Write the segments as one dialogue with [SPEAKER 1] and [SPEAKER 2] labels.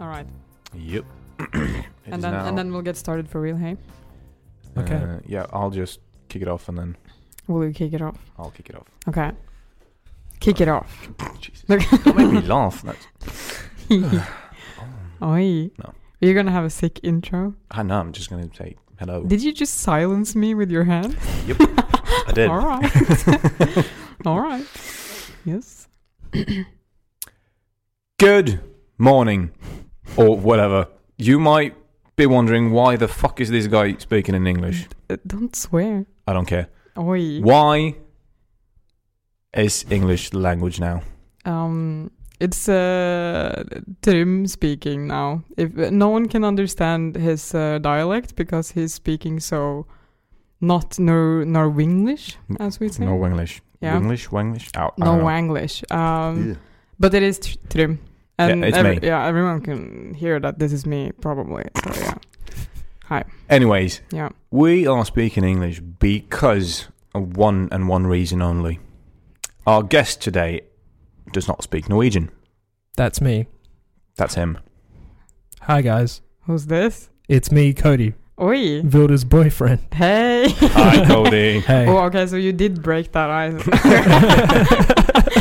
[SPEAKER 1] All right.
[SPEAKER 2] Yep. It is
[SPEAKER 1] and then
[SPEAKER 2] now,
[SPEAKER 1] and then we'll get started for real, hey?
[SPEAKER 3] Okay.
[SPEAKER 2] uh, yeah, I'll just kick it off and then
[SPEAKER 1] Will you kick it off?
[SPEAKER 2] I'll kick it off.
[SPEAKER 1] Okay. Kick it off.
[SPEAKER 2] Jesus.
[SPEAKER 1] Look.
[SPEAKER 2] Don't make me laugh. That's,
[SPEAKER 1] Oi.
[SPEAKER 2] No.
[SPEAKER 1] You're gonna have a sick intro.
[SPEAKER 2] I know, I'm just going to say hello.
[SPEAKER 1] Did you just silence me with your hand?
[SPEAKER 2] Yep, I did.
[SPEAKER 1] All right. All right. Yes.
[SPEAKER 2] Good morning, or whatever. You might be wondering why the fuck is this guy speaking in English?
[SPEAKER 1] Uh, don't swear.
[SPEAKER 2] I don't care.
[SPEAKER 1] Oi.
[SPEAKER 2] Why is English the language now?
[SPEAKER 1] Um, it's uh, Trim speaking now. If no one can understand his uh, dialect because he's speaking so not Nor Norwenglish, as we say.
[SPEAKER 2] No English.
[SPEAKER 1] Yeah.
[SPEAKER 2] English, Wenglish? Oh, I
[SPEAKER 1] no
[SPEAKER 2] don't know.
[SPEAKER 1] Wanglish. Um, but it is tr- Trim. And
[SPEAKER 2] it's me.
[SPEAKER 1] yeah, everyone can hear that this is me probably. So yeah,
[SPEAKER 2] Anyways,
[SPEAKER 1] yeah.
[SPEAKER 2] we are speaking English because of one and one reason only. Our guest today does not speak Norwegian.
[SPEAKER 3] That's me.
[SPEAKER 2] That's him.
[SPEAKER 3] Hi, guys.
[SPEAKER 1] Who's this?
[SPEAKER 3] It's me, Cody,
[SPEAKER 1] Oi.
[SPEAKER 3] Vilda's boyfriend.
[SPEAKER 1] Hey.
[SPEAKER 2] Hi, Cody.
[SPEAKER 3] Hey.
[SPEAKER 1] Oh, okay. So you did break that ice.
[SPEAKER 2] I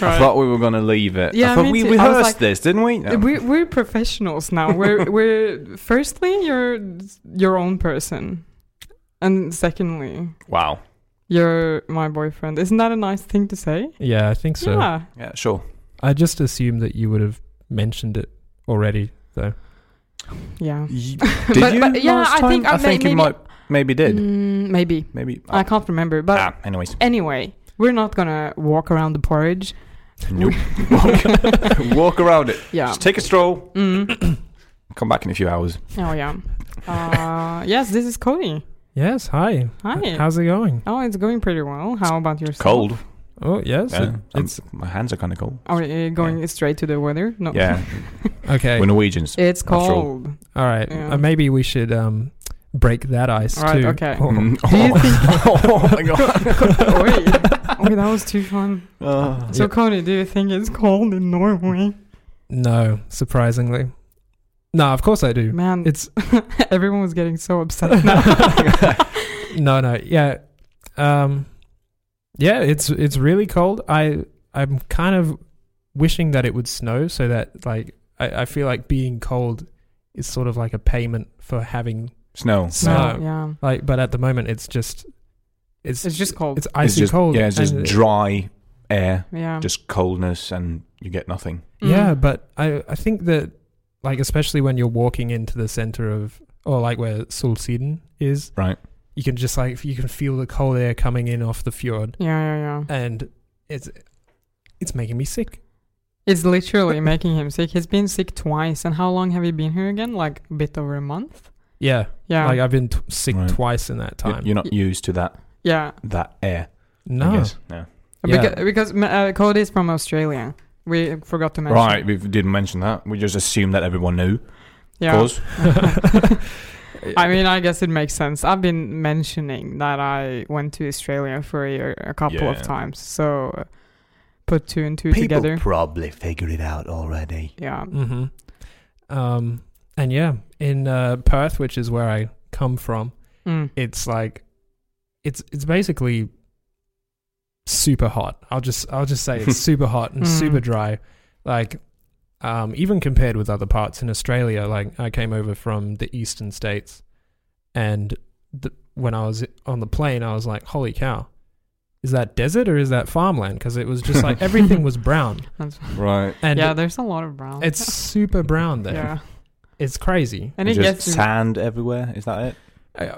[SPEAKER 1] Right.
[SPEAKER 2] thought we were going to leave it.
[SPEAKER 1] Yeah,
[SPEAKER 2] I thought
[SPEAKER 1] me
[SPEAKER 2] we
[SPEAKER 1] too. I was
[SPEAKER 2] rehearsed
[SPEAKER 1] like-
[SPEAKER 2] this, didn't we? No.
[SPEAKER 1] We're, we're professionals now. We're we're firstly you're your own person, and secondly
[SPEAKER 2] Wow.
[SPEAKER 1] you're my boyfriend. Isn't that a nice thing to say?
[SPEAKER 3] Yeah, I think so.
[SPEAKER 1] yeah.
[SPEAKER 2] Yeah, sure.
[SPEAKER 3] I just assumed that you would have mentioned it already, though.
[SPEAKER 1] Yeah.
[SPEAKER 2] Did
[SPEAKER 1] But-
[SPEAKER 2] you?
[SPEAKER 1] but, yeah,
[SPEAKER 2] last
[SPEAKER 1] I think
[SPEAKER 2] time?
[SPEAKER 1] I
[SPEAKER 2] I think
[SPEAKER 1] may-
[SPEAKER 2] you
[SPEAKER 1] maybe-
[SPEAKER 2] might maybe did.
[SPEAKER 1] Mm, uh, maybe
[SPEAKER 2] Maybe.
[SPEAKER 1] I can't remember. But
[SPEAKER 2] ah, anyways.
[SPEAKER 1] anyway, we're not gonna walk around the porridge.
[SPEAKER 2] Nope. walk, walk around it.
[SPEAKER 1] Yeah.
[SPEAKER 2] Just take a stroll.
[SPEAKER 1] Mm.
[SPEAKER 2] Come back in a few hours.
[SPEAKER 1] Oh yeah. Uh, yes, this is Cody.
[SPEAKER 3] Yes, hi.
[SPEAKER 1] Hi.
[SPEAKER 3] How's it going?
[SPEAKER 1] oh, it's going pretty well. How about yourself?
[SPEAKER 2] Uh, Cold.
[SPEAKER 3] Oh, yes.
[SPEAKER 2] Yeah.
[SPEAKER 3] it-
[SPEAKER 2] I'm-
[SPEAKER 3] it's
[SPEAKER 2] my hands are kind of cold.
[SPEAKER 1] Are you going straight to the weather? No.
[SPEAKER 2] Yeah.
[SPEAKER 3] okay.
[SPEAKER 2] We're Norwegians.
[SPEAKER 1] It's
[SPEAKER 2] After all.
[SPEAKER 1] cold.
[SPEAKER 3] All right.
[SPEAKER 1] Yeah.
[SPEAKER 3] Uh, maybe we should um, break that ice,
[SPEAKER 1] All right,
[SPEAKER 3] too.
[SPEAKER 1] okay.
[SPEAKER 3] Oh.
[SPEAKER 2] Mm.
[SPEAKER 1] Do you
[SPEAKER 2] Oh, my god.
[SPEAKER 1] Oi. Okay, that was too fun. So,
[SPEAKER 3] Yeah.
[SPEAKER 1] Cody, do you think it's cold in Norway?
[SPEAKER 3] No, surprisingly. No, of course I do.
[SPEAKER 1] Man,
[SPEAKER 3] It's
[SPEAKER 1] everyone was getting so upset now.
[SPEAKER 3] no, no, yeah, um, yeah. It's it's really cold. I I'm kind of wishing that it would snow so that like I, I feel like being cold is sort of like a payment for having
[SPEAKER 2] Snow.
[SPEAKER 3] snow.
[SPEAKER 1] yeah,
[SPEAKER 3] Like, but at the moment it's just it's
[SPEAKER 1] it's just cold. Uh,
[SPEAKER 3] it's icy
[SPEAKER 2] it's just,
[SPEAKER 3] cold.
[SPEAKER 2] Yeah, it's just
[SPEAKER 3] and-
[SPEAKER 2] dry air,
[SPEAKER 1] yeah,
[SPEAKER 2] just coldness, and you get nothing.
[SPEAKER 1] Mm.
[SPEAKER 3] Yeah, but I I think that like especially when you're walking into the center of or like where Sulsiden is,
[SPEAKER 2] Right.
[SPEAKER 3] You can just like you can feel the cold air coming in off the fjord.
[SPEAKER 1] yeah, yeah, yeah.
[SPEAKER 3] and it's it's making me sick.
[SPEAKER 1] It's literally making him sick. He's been sick twice. And how long have you been here again? Like a bit over a month.
[SPEAKER 3] Yeah,
[SPEAKER 1] Yeah,
[SPEAKER 3] like I've been t- sick
[SPEAKER 2] Right.
[SPEAKER 3] twice in that
[SPEAKER 2] You-
[SPEAKER 3] time.
[SPEAKER 2] You're not used to that
[SPEAKER 1] yeah.
[SPEAKER 2] that air. I
[SPEAKER 3] no,
[SPEAKER 2] guess. Yeah.
[SPEAKER 3] Yeah.
[SPEAKER 1] Beca- because ma- uh, Cody's from Australia. We forgot to mention.
[SPEAKER 2] Right. We didn't mention that. We just assumed that everyone knew.
[SPEAKER 1] Yeah.
[SPEAKER 2] Of course.
[SPEAKER 1] I mean, I guess it makes sense. I've been mentioning that I went to Australia for a, year, a couple
[SPEAKER 2] Yeah.
[SPEAKER 1] of times, so uh, put two and two
[SPEAKER 2] People
[SPEAKER 1] together.
[SPEAKER 2] probably figured it out already.
[SPEAKER 1] yeah,
[SPEAKER 3] hmm um, and yeah, in uh, Perth, which is where I come from,
[SPEAKER 1] mm.
[SPEAKER 3] it's like it's it's basically super hot. I'll just I'll just say it's super hot and
[SPEAKER 1] Mm.
[SPEAKER 3] super dry. Like um, even compared with other parts in Australia, like I came over from the eastern states, and the, when I was on the plane, I was like, "Holy cow, is that desert or is that farmland?" Because it was just like everything was brown,
[SPEAKER 1] That's-
[SPEAKER 2] Right.
[SPEAKER 3] and
[SPEAKER 1] yeah. There's a lot of brown.
[SPEAKER 3] it's super brown there.
[SPEAKER 1] yeah,
[SPEAKER 3] It's crazy.
[SPEAKER 1] and it
[SPEAKER 2] just
[SPEAKER 1] gets
[SPEAKER 2] sand everywhere. Is that it?
[SPEAKER 3] I,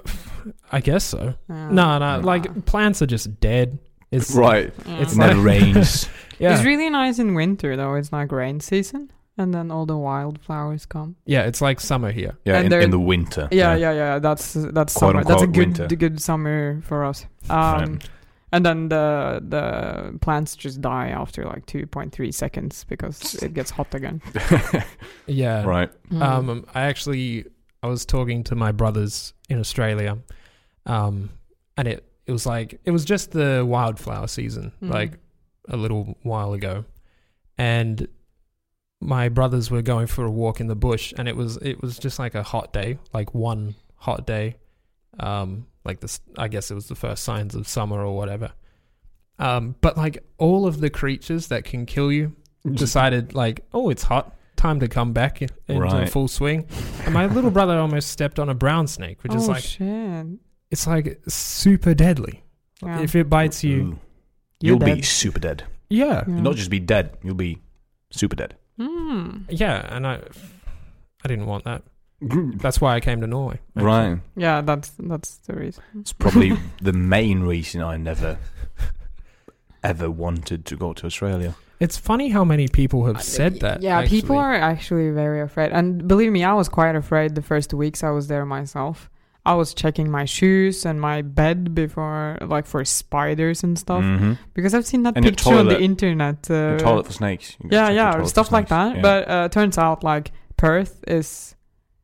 [SPEAKER 3] I guess so.
[SPEAKER 1] yeah.
[SPEAKER 3] No,
[SPEAKER 1] Yeah.
[SPEAKER 3] no, like plants are just dead. It's
[SPEAKER 2] Right.
[SPEAKER 1] Yeah.
[SPEAKER 3] it's
[SPEAKER 2] It
[SPEAKER 3] not-
[SPEAKER 2] never rains.
[SPEAKER 3] Yeah.
[SPEAKER 1] It's really nice in winter though. It's like rain season, and then all the wildflowers come.
[SPEAKER 3] Yeah, it's like summer here.
[SPEAKER 2] Yeah.
[SPEAKER 1] And
[SPEAKER 2] In,
[SPEAKER 1] they're-
[SPEAKER 2] in the winter.
[SPEAKER 1] Yeah, yeah, yeah. That's that's
[SPEAKER 2] Quote,
[SPEAKER 1] summer. That's a
[SPEAKER 2] unquote,
[SPEAKER 1] good
[SPEAKER 2] winter.
[SPEAKER 1] d- good summer for us.
[SPEAKER 2] Right.
[SPEAKER 1] Um, And then the the plants just die after like 2.3 seconds because it gets hot again.
[SPEAKER 3] Yeah.
[SPEAKER 2] right.
[SPEAKER 1] Mm.
[SPEAKER 3] Um, I actually I was talking to my brothers in Australia, um, and it it was like it was just the
[SPEAKER 1] Mm.
[SPEAKER 3] wildflower season,
[SPEAKER 1] Mhm.
[SPEAKER 3] like a little while ago, and my brothers were going for a walk in the bush, and it was it was just like a hot day, like one hot day, um, like this. I guess it was the first signs of summer or whatever. Um, but like all of the creatures that can kill you decided, like, oh, it's hot, time to come back in, into
[SPEAKER 2] Right.
[SPEAKER 3] full swing. And my little brother almost stepped on a brown snake, which
[SPEAKER 1] oh
[SPEAKER 3] is like
[SPEAKER 1] shit!
[SPEAKER 3] it's like super deadly.
[SPEAKER 1] Yeah.
[SPEAKER 3] If it bites you,
[SPEAKER 2] Ooh. Mm. You'll
[SPEAKER 1] You're
[SPEAKER 2] be
[SPEAKER 1] dead.
[SPEAKER 2] super dead.
[SPEAKER 3] yeah,
[SPEAKER 1] Yeah.
[SPEAKER 2] You'll not just be dead. You'll be super dead.
[SPEAKER 1] Mm.
[SPEAKER 3] yeah, and I, I didn't want that. That's why I came to Norway. actually.
[SPEAKER 2] Right.
[SPEAKER 1] Yeah, that's that's the reason.
[SPEAKER 2] It's probably the main reason I never, ever wanted to go to Australia.
[SPEAKER 3] It's funny how many people
[SPEAKER 1] I-
[SPEAKER 3] have said that.
[SPEAKER 1] Yeah, people
[SPEAKER 3] actually.
[SPEAKER 1] are actually very afraid. And believe me, I was quite afraid the first weeks I was there myself. I was checking my shoes and my bed before, like for spiders and stuff,
[SPEAKER 3] Mm-hmm.
[SPEAKER 2] Mhm.
[SPEAKER 1] because I've seen that
[SPEAKER 2] And your
[SPEAKER 1] picture on the
[SPEAKER 2] toilet.
[SPEAKER 1] internet. Uh,
[SPEAKER 2] The toilet for snakes. You
[SPEAKER 1] yeah,
[SPEAKER 2] check the
[SPEAKER 1] yeah,
[SPEAKER 2] toilet for
[SPEAKER 1] stuff like
[SPEAKER 2] snakes.
[SPEAKER 1] that.
[SPEAKER 2] Yeah.
[SPEAKER 1] But uh, turns out, like Perth is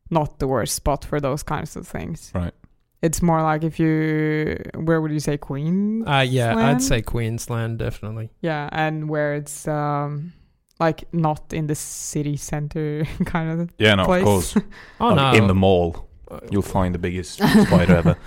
[SPEAKER 1] not the worst spot for those kinds of things.
[SPEAKER 2] Right.
[SPEAKER 1] It's more like if you, where would you say Queen?
[SPEAKER 3] Uh, yeah,
[SPEAKER 1] Queensland?
[SPEAKER 3] I'd say Queensland definitely.
[SPEAKER 1] Yeah, and where it's um like not in the city center kind of
[SPEAKER 2] yeah, no,
[SPEAKER 1] place.
[SPEAKER 2] of course.
[SPEAKER 3] Oh
[SPEAKER 2] Like,
[SPEAKER 3] no,
[SPEAKER 2] In the mall, you'll find the biggest spider ever.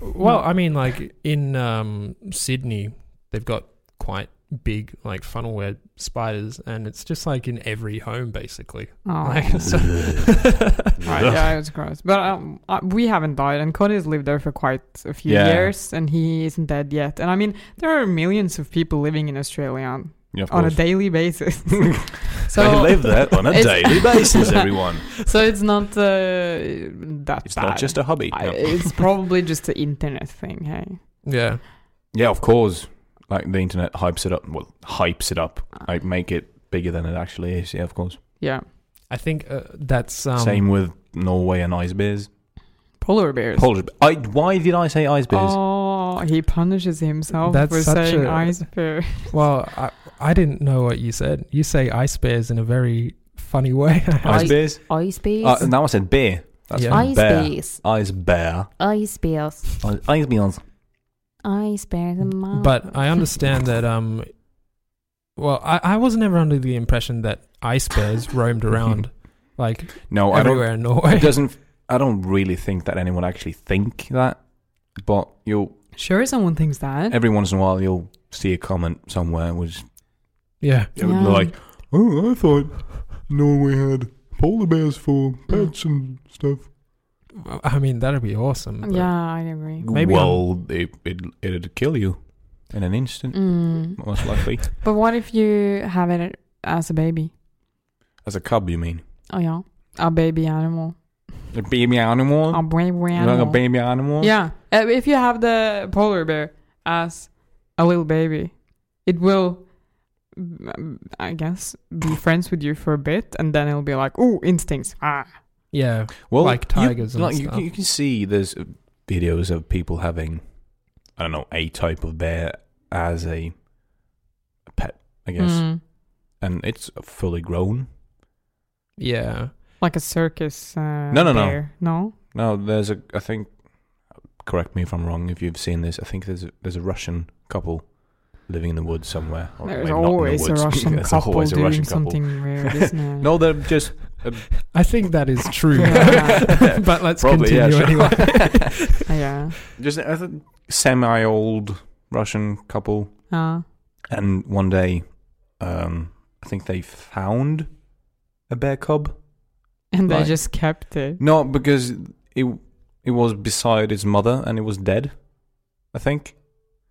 [SPEAKER 3] well, I mean, like in um, Sydney, they've got quite big like funnelweb spiders, and it's just like in every home basically.
[SPEAKER 1] Oh.
[SPEAKER 3] Like, so-
[SPEAKER 1] Right, yeah, it was gross. But um, uh, we haven't died, and Cody's lived there for quite a few
[SPEAKER 2] Yeah.
[SPEAKER 1] years, and he isn't dead yet. And I mean, there are millions of people living in Australia on,
[SPEAKER 2] Yeah, of
[SPEAKER 1] on a
[SPEAKER 2] course.
[SPEAKER 1] daily basis.
[SPEAKER 2] they
[SPEAKER 1] so,
[SPEAKER 2] live there on a
[SPEAKER 1] it's-
[SPEAKER 2] daily basis, everyone.
[SPEAKER 1] so it's not uh, that
[SPEAKER 2] It's
[SPEAKER 1] bad.
[SPEAKER 2] not just a hobby.
[SPEAKER 1] I-
[SPEAKER 2] No.
[SPEAKER 1] it's probably just the internet thing. Hey,
[SPEAKER 3] yeah,
[SPEAKER 2] Yeah, of course. Like the internet hypes it up. Well, hypes it up. Like make it bigger than it actually is. Yeah, of course.
[SPEAKER 1] yeah,
[SPEAKER 3] I think uh, that's um,
[SPEAKER 2] Same with Norway and ice bears.
[SPEAKER 1] polar bears.
[SPEAKER 2] Polish. I, why did I say ice bears?
[SPEAKER 1] Oh, he punishes himself
[SPEAKER 3] That's
[SPEAKER 1] for
[SPEAKER 3] such
[SPEAKER 1] saying
[SPEAKER 3] a-
[SPEAKER 1] ice bear.
[SPEAKER 3] Well, I, I didn't know what you said. You say ice bears in a very funny way.
[SPEAKER 2] ice,
[SPEAKER 4] Ice-
[SPEAKER 2] bears.
[SPEAKER 4] Ice bears.
[SPEAKER 2] Uh, now I said bear. That's
[SPEAKER 3] Yeah.
[SPEAKER 2] from
[SPEAKER 4] Ice
[SPEAKER 2] bear.
[SPEAKER 4] bears.
[SPEAKER 2] Ice bear.
[SPEAKER 4] Ice bears.
[SPEAKER 2] Ice- Ice bears.
[SPEAKER 4] Ice bears and
[SPEAKER 1] Oh.
[SPEAKER 4] mountains.
[SPEAKER 3] but I understand that. Um, well, I, I was never under the impression that ice bears roamed around like
[SPEAKER 2] No, I don't.
[SPEAKER 3] everywhere in
[SPEAKER 2] It
[SPEAKER 3] Norway.
[SPEAKER 2] doesn't. I don't really think that anyone actually think that. But you'll
[SPEAKER 1] Sure, someone thinks that.
[SPEAKER 2] every once in a while you'll see a comment somewhere which
[SPEAKER 3] Yeah,
[SPEAKER 2] it would be
[SPEAKER 4] Yeah.
[SPEAKER 2] like,
[SPEAKER 5] Oh, I thought Norway had polar bears for pets and stuff.
[SPEAKER 3] I mean that'd be awesome. but-
[SPEAKER 1] yeah, I agree.
[SPEAKER 3] Maybe
[SPEAKER 2] well, it, it it'd kill you in an instant,
[SPEAKER 4] Mm.
[SPEAKER 2] most likely.
[SPEAKER 1] But what if you have it as a baby?
[SPEAKER 2] As a cub, you mean?
[SPEAKER 1] Oh yeah, a baby animal,
[SPEAKER 2] A baby animal?
[SPEAKER 1] a baby
[SPEAKER 2] You like a
[SPEAKER 1] animal.
[SPEAKER 2] baby animal?
[SPEAKER 1] yeah, Uh, if you have the polar bear as a little baby, it will, mm, I guess, be friends with you for a bit, and then it'll be like, "Oh, instincts." Ah,
[SPEAKER 3] yeah,
[SPEAKER 2] Well,
[SPEAKER 3] Like
[SPEAKER 2] you-
[SPEAKER 3] tigers and
[SPEAKER 2] like, you,
[SPEAKER 3] stuff.
[SPEAKER 2] You can see there's videos of people having, I don't know, a type of bear as a a pet, I guess,
[SPEAKER 1] Mm.
[SPEAKER 2] and it's fully grown.
[SPEAKER 3] yeah.
[SPEAKER 1] like a circus. Uh,
[SPEAKER 2] No, no, no.
[SPEAKER 1] bear. no,
[SPEAKER 2] No, there's a. I think. Correct me if I'm wrong. If you've seen this, I think there's a, there's a Russian couple living in the woods somewhere. Or
[SPEAKER 1] There's
[SPEAKER 2] maybe Oh, not in the
[SPEAKER 1] always a
[SPEAKER 2] woods.
[SPEAKER 1] Russian
[SPEAKER 2] There's
[SPEAKER 1] couple
[SPEAKER 2] always a
[SPEAKER 1] doing
[SPEAKER 2] Russian couple.
[SPEAKER 1] something weird, isn't it?
[SPEAKER 2] No, they're just
[SPEAKER 3] I think that is true.
[SPEAKER 1] Yeah.
[SPEAKER 3] but let's
[SPEAKER 2] Probably, yeah,
[SPEAKER 3] continue
[SPEAKER 2] sure.
[SPEAKER 3] anyway.
[SPEAKER 1] yeah,
[SPEAKER 2] just a semi-old Russian couple,
[SPEAKER 1] uh,
[SPEAKER 2] and one day, um, I think they found a bear cub.
[SPEAKER 1] and they
[SPEAKER 2] Right.
[SPEAKER 1] just kept it.
[SPEAKER 2] No, because it it was beside its mother and it was dead. I think.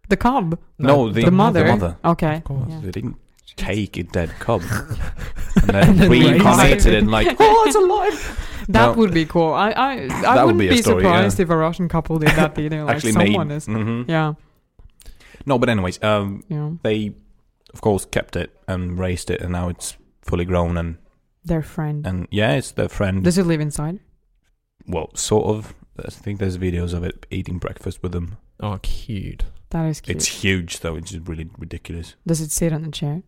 [SPEAKER 1] The cub.
[SPEAKER 2] No, the,
[SPEAKER 1] the mother.
[SPEAKER 2] The mother.
[SPEAKER 1] Okay.
[SPEAKER 3] Of course.
[SPEAKER 1] Yeah.
[SPEAKER 2] They didn't take a dead cub and
[SPEAKER 3] And
[SPEAKER 2] then
[SPEAKER 3] then
[SPEAKER 2] reincarnated
[SPEAKER 1] raised
[SPEAKER 2] it.
[SPEAKER 1] it.
[SPEAKER 2] And like,
[SPEAKER 1] oh, it's alive. That
[SPEAKER 2] No.
[SPEAKER 1] would be cool. I I, I
[SPEAKER 2] That would
[SPEAKER 1] wouldn't
[SPEAKER 2] be
[SPEAKER 1] be,
[SPEAKER 2] a story,
[SPEAKER 1] surprised
[SPEAKER 2] yeah.
[SPEAKER 1] if a Russian couple did that either. Like
[SPEAKER 2] actually
[SPEAKER 1] someone
[SPEAKER 2] made.
[SPEAKER 1] is.
[SPEAKER 2] Mhm.
[SPEAKER 1] Yeah.
[SPEAKER 2] No, but anyways, um,
[SPEAKER 1] Yeah.
[SPEAKER 2] they of course kept it and raised it, and now it's fully grown and
[SPEAKER 1] Their friend.
[SPEAKER 2] and yeah, it's their friend.
[SPEAKER 1] Does it live inside?
[SPEAKER 2] well, sort of. I think there's videos of it eating breakfast with them.
[SPEAKER 3] Oh, cute.
[SPEAKER 1] That is cute.
[SPEAKER 2] It's huge, though. It's just really ridiculous.
[SPEAKER 1] Does it sit on a chair?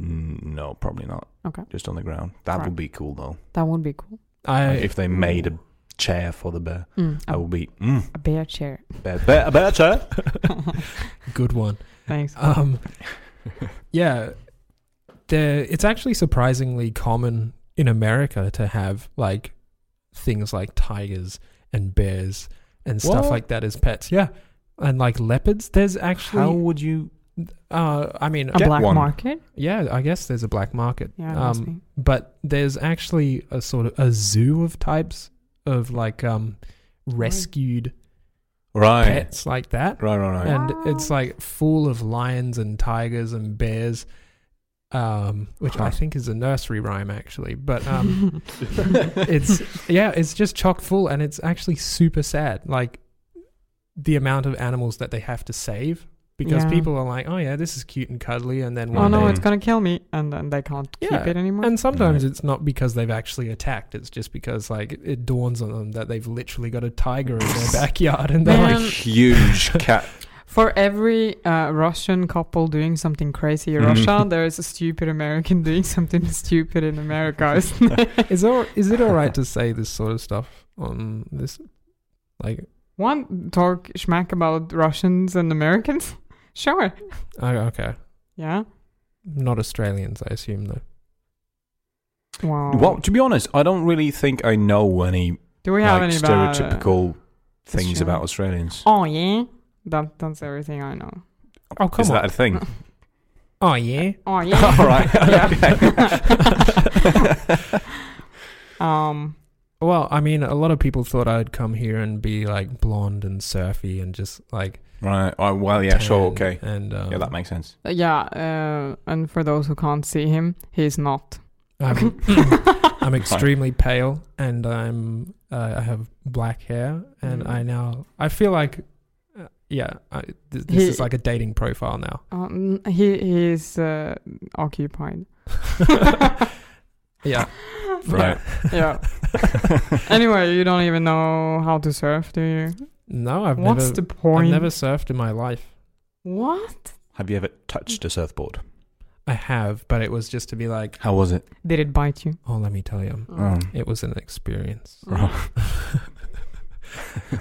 [SPEAKER 2] Mm, No, probably not.
[SPEAKER 1] Okay.
[SPEAKER 2] Just on the ground. That
[SPEAKER 1] Right.
[SPEAKER 2] would be cool, though.
[SPEAKER 1] That would be cool.
[SPEAKER 3] I
[SPEAKER 2] Like, Uh, if they made a chair for the bear,
[SPEAKER 1] Mm,
[SPEAKER 2] that
[SPEAKER 1] a,
[SPEAKER 2] would be mm,
[SPEAKER 1] a bear chair.
[SPEAKER 2] bear, bear, a bear chair.
[SPEAKER 3] good one.
[SPEAKER 2] Uh,
[SPEAKER 1] Thanks.
[SPEAKER 3] Um, yeah, there it's actually surprisingly common in America to have like things like tigers and bears and stuff
[SPEAKER 2] What?
[SPEAKER 3] like that as pets. Yeah. And like leopards, there's
[SPEAKER 2] How
[SPEAKER 3] actually
[SPEAKER 2] would you?
[SPEAKER 3] uh I mean
[SPEAKER 1] A
[SPEAKER 2] Get
[SPEAKER 1] black
[SPEAKER 2] one.
[SPEAKER 1] market?
[SPEAKER 3] yeah, I guess there's a black market.
[SPEAKER 1] Um,
[SPEAKER 3] Um,
[SPEAKER 1] Yeah, it must be.
[SPEAKER 3] but there's actually a sort of a zoo of types of like um rescued
[SPEAKER 2] Right,
[SPEAKER 3] pets like that
[SPEAKER 2] right, right, right.
[SPEAKER 3] and it's like full of lions and tigers and bears um which i
[SPEAKER 2] Huh.
[SPEAKER 3] think is a nursery rhyme actually but um it's yeah it's just chock full and it's actually super sad like the amount of animals that they have to save because
[SPEAKER 1] Yeah.
[SPEAKER 3] people are like oh yeah this is cute and cuddly and then
[SPEAKER 1] oh
[SPEAKER 3] one
[SPEAKER 1] no,
[SPEAKER 3] day
[SPEAKER 1] it's gonna kill me, and then they can't
[SPEAKER 3] Yeah,
[SPEAKER 1] keep it anymore.
[SPEAKER 3] and sometimes
[SPEAKER 2] Right.
[SPEAKER 3] it's not because they've actually attacked it's just because like it dawns on them that they've literally got a tiger in their backyard and they're
[SPEAKER 1] Man,
[SPEAKER 2] a
[SPEAKER 3] like
[SPEAKER 2] huge cat.
[SPEAKER 1] For every uh, Russian couple doing something crazy in
[SPEAKER 2] Mhm.
[SPEAKER 1] Russia, there is a stupid American doing something stupid in America. isn't there?
[SPEAKER 3] is, all, is it all right to say this sort of stuff on this like
[SPEAKER 1] One talk schmack about Russians and Americans? Sure.
[SPEAKER 3] Oh, okay.
[SPEAKER 1] Yeah.
[SPEAKER 3] Not Australians, I assume, though.
[SPEAKER 1] Wow.
[SPEAKER 2] Well, to be honest, I don't really think I know any
[SPEAKER 1] Do we have
[SPEAKER 2] like
[SPEAKER 1] any bad-
[SPEAKER 2] stereotypical things
[SPEAKER 1] Australian?
[SPEAKER 2] about Australians.
[SPEAKER 1] Oh yeah. That that's everything I know.
[SPEAKER 3] Oh, come
[SPEAKER 2] Is
[SPEAKER 3] on.
[SPEAKER 2] that a thing?
[SPEAKER 3] Oh, yeah.
[SPEAKER 1] Oh yeah.
[SPEAKER 2] All right.
[SPEAKER 1] Yeah. um.
[SPEAKER 3] Well, I mean, a lot of people thought I'd come here and be like blonde and surfy and just like.
[SPEAKER 2] Right. Oh, well, yeah, sure,
[SPEAKER 3] tan
[SPEAKER 2] okay.
[SPEAKER 3] And um,
[SPEAKER 2] Yeah, that makes sense.
[SPEAKER 1] Yeah. Uh, and for those who can't see him, he's not.
[SPEAKER 3] I'm, I'm extremely pale, and I'm uh, I have black hair, and
[SPEAKER 1] Mm.
[SPEAKER 3] I now I feel like, uh, yeah, I, th- this
[SPEAKER 1] He-
[SPEAKER 3] is like a dating profile now.
[SPEAKER 1] Um, he he is uh, occupied.
[SPEAKER 3] yeah,
[SPEAKER 2] Right.
[SPEAKER 1] yeah. Anyway, you don't even know how to surf, do you?
[SPEAKER 3] No, I've
[SPEAKER 1] What's
[SPEAKER 3] never.
[SPEAKER 1] the point?
[SPEAKER 3] I've never surfed in my life.
[SPEAKER 1] What?
[SPEAKER 2] Have you ever touched a surfboard?
[SPEAKER 3] I have, but it was just to be like,
[SPEAKER 2] How was it?
[SPEAKER 1] Did it bite you?
[SPEAKER 3] oh, let me tell you,
[SPEAKER 2] Um,
[SPEAKER 3] It was an experience.
[SPEAKER 2] right.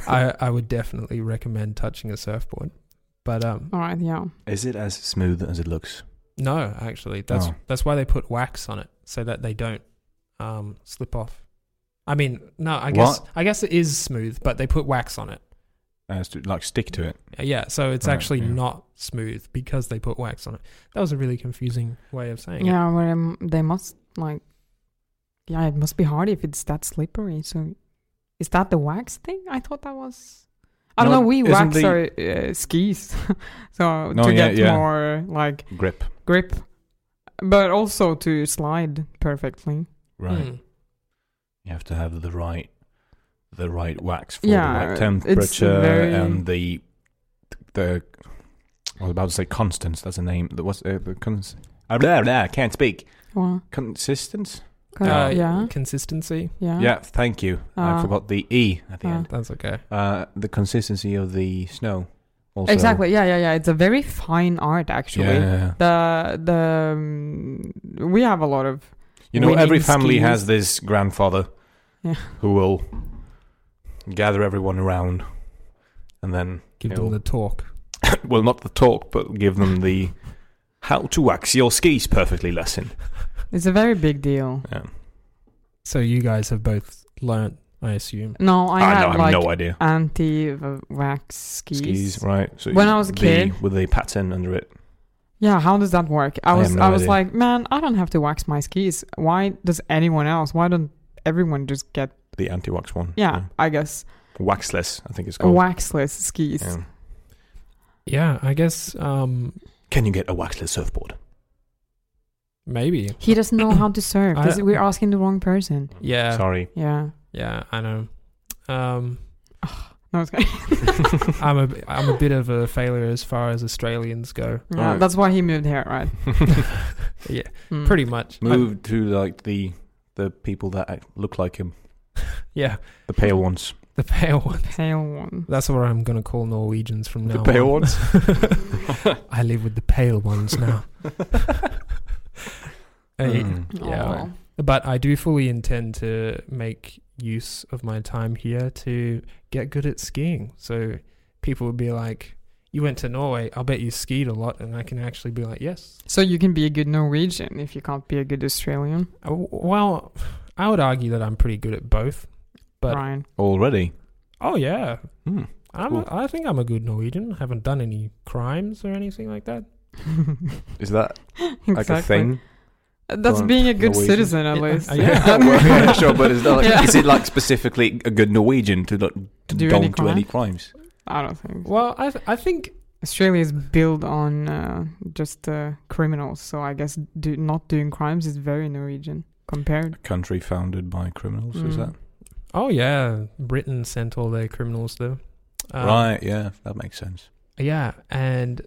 [SPEAKER 3] I, I would definitely recommend touching a surfboard. But um
[SPEAKER 1] All right. Yeah.
[SPEAKER 2] Is it as smooth as it looks?
[SPEAKER 3] no, actually. That's
[SPEAKER 2] Oh.
[SPEAKER 3] that's why they put wax on it so that they don't um slip off. I mean, no, I guess I guess it is smooth, but they put wax on it.
[SPEAKER 2] As to, uh, like stick to it.
[SPEAKER 3] Uh, Yeah, so it's
[SPEAKER 2] Right,
[SPEAKER 3] actually
[SPEAKER 2] yeah.
[SPEAKER 3] not smooth because they put wax on it. That was a really confusing way of saying it.
[SPEAKER 1] Yeah. Well, um, they must like. Yeah, it must be hard if it's that slippery. So, is that the wax thing? I thought that was. I don't
[SPEAKER 2] No,
[SPEAKER 1] know. We
[SPEAKER 2] isn't
[SPEAKER 1] wax
[SPEAKER 2] the-
[SPEAKER 1] our uh, skis, so
[SPEAKER 2] No,
[SPEAKER 1] to
[SPEAKER 2] yeah,
[SPEAKER 1] get
[SPEAKER 2] yeah.
[SPEAKER 1] more like
[SPEAKER 2] Grip.
[SPEAKER 1] grip, but also to slide perfectly. Hmm.
[SPEAKER 2] Right.
[SPEAKER 3] Mm.
[SPEAKER 2] You have to have the right the right wax for
[SPEAKER 1] Yeah,
[SPEAKER 2] the right
[SPEAKER 1] it's
[SPEAKER 2] temperature
[SPEAKER 1] very-
[SPEAKER 2] and the the I was about to say constants, that's a name. The what's uh, the cons Ah, blah, blah, can't speak.
[SPEAKER 1] Well,
[SPEAKER 2] Consistence?
[SPEAKER 1] kind
[SPEAKER 3] Uh,
[SPEAKER 1] of- yeah,
[SPEAKER 3] Consistency.
[SPEAKER 1] yeah,
[SPEAKER 2] Yeah, thank you. I
[SPEAKER 1] Uh,
[SPEAKER 2] forgot the E at the
[SPEAKER 1] uh,
[SPEAKER 2] end.
[SPEAKER 3] That's okay.
[SPEAKER 2] Uh, the consistency of the snow. Also.
[SPEAKER 1] Exactly. Yeah, yeah, yeah. It's a very fine art,
[SPEAKER 2] Yeah.
[SPEAKER 1] actually. The the um, we have a lot of
[SPEAKER 2] You know,
[SPEAKER 1] Winning
[SPEAKER 2] every family
[SPEAKER 1] skis.
[SPEAKER 2] has this grandfather
[SPEAKER 1] Yeah.
[SPEAKER 2] who will gather everyone around and then,
[SPEAKER 3] Give
[SPEAKER 2] Ew.
[SPEAKER 3] them the talk.
[SPEAKER 2] well, not the talk, but give them the how to wax your skis perfectly lesson. Um,
[SPEAKER 1] It's a very big deal.
[SPEAKER 2] Yeah.
[SPEAKER 3] So you guys have both learnt, I assume.
[SPEAKER 1] No, I,
[SPEAKER 2] I,
[SPEAKER 1] had
[SPEAKER 2] know, I have
[SPEAKER 1] like
[SPEAKER 2] no idea.
[SPEAKER 1] anti-wax skis.
[SPEAKER 2] Skis, right? So
[SPEAKER 1] When I was a
[SPEAKER 2] the-
[SPEAKER 1] kid-
[SPEAKER 2] with the pattern under it.
[SPEAKER 1] Yeah, how does that work? I
[SPEAKER 2] I
[SPEAKER 1] was
[SPEAKER 2] have no
[SPEAKER 1] I was
[SPEAKER 2] idea.
[SPEAKER 1] like, man, I don't have to wax my skis. Why does anyone else? Why don't everyone just get?
[SPEAKER 2] The anti-wax one.
[SPEAKER 1] Yeah, I guess
[SPEAKER 2] Waxless, I think it's
[SPEAKER 1] a
[SPEAKER 2] called. Um,
[SPEAKER 1] waxless skis.
[SPEAKER 2] Oh. Yeah.
[SPEAKER 3] Yeah, I guess um
[SPEAKER 2] Can you get a waxless surfboard?
[SPEAKER 3] maybe.
[SPEAKER 1] He doesn't know how to surf.
[SPEAKER 3] I-
[SPEAKER 1] This- we're asking the wrong person.
[SPEAKER 3] Yeah.
[SPEAKER 2] Sorry.
[SPEAKER 1] Yeah.
[SPEAKER 3] Yeah, I know. Um
[SPEAKER 1] No, it's okay.
[SPEAKER 3] I'm a I'm a bit of a failure as far as Australians go.
[SPEAKER 1] yeah,
[SPEAKER 2] Alright.
[SPEAKER 1] That's why he moved here, right?
[SPEAKER 3] Yeah,
[SPEAKER 1] Mm.
[SPEAKER 3] pretty much. I-
[SPEAKER 2] Move to like the the people that act- look like him,
[SPEAKER 3] yeah,
[SPEAKER 2] the pale ones.
[SPEAKER 3] the pale one.
[SPEAKER 1] pale one.
[SPEAKER 3] That's what I'm going to call Norwegians from now.
[SPEAKER 2] the pale
[SPEAKER 3] on.
[SPEAKER 2] ones.
[SPEAKER 3] I live with the pale ones now. Hey,
[SPEAKER 2] Mm. Hmm.
[SPEAKER 3] Yeah.
[SPEAKER 1] Aw.
[SPEAKER 3] But I do fully intend to make use of my time here to get good at skiing. So people would be like, you went to Norway, I'll bet you skied a lot, and I can actually be like, yes.
[SPEAKER 1] So you can be a good Norwegian if you can't be a good Australian,
[SPEAKER 3] I- Uh, Well, I would argue that I'm pretty good at both. But-
[SPEAKER 1] Ryan.
[SPEAKER 2] Already.
[SPEAKER 3] Oh yeah,
[SPEAKER 2] Hmm.
[SPEAKER 3] I'm.
[SPEAKER 2] Cool.
[SPEAKER 3] A, I think I'm a good Norwegian. I haven't done any crimes or anything like that.
[SPEAKER 2] Is that
[SPEAKER 1] exactly.
[SPEAKER 2] like a thing?
[SPEAKER 1] That's
[SPEAKER 2] Don't-
[SPEAKER 1] being a good
[SPEAKER 2] Norwegian.
[SPEAKER 1] citizen, at
[SPEAKER 3] Yeah,
[SPEAKER 1] least.
[SPEAKER 3] uh, yeah.
[SPEAKER 2] Well, I'm not sure, but is, that like,
[SPEAKER 1] Yeah.
[SPEAKER 2] is it like specifically a good Norwegian to, not, to
[SPEAKER 1] Do any
[SPEAKER 2] don't do
[SPEAKER 1] crime?
[SPEAKER 2] any crimes?
[SPEAKER 1] I don't think
[SPEAKER 3] Well, I th- I think
[SPEAKER 1] Australia is built on uh, just uh, criminals, so I guess do, not doing crimes is very Norwegian compared.
[SPEAKER 2] A country founded by criminals,
[SPEAKER 1] Mm.
[SPEAKER 2] is that?
[SPEAKER 3] Oh yeah, Britain sent all their criminals there.
[SPEAKER 1] Uh.
[SPEAKER 3] Um,
[SPEAKER 2] right, yeah, that makes sense.
[SPEAKER 3] Yeah, and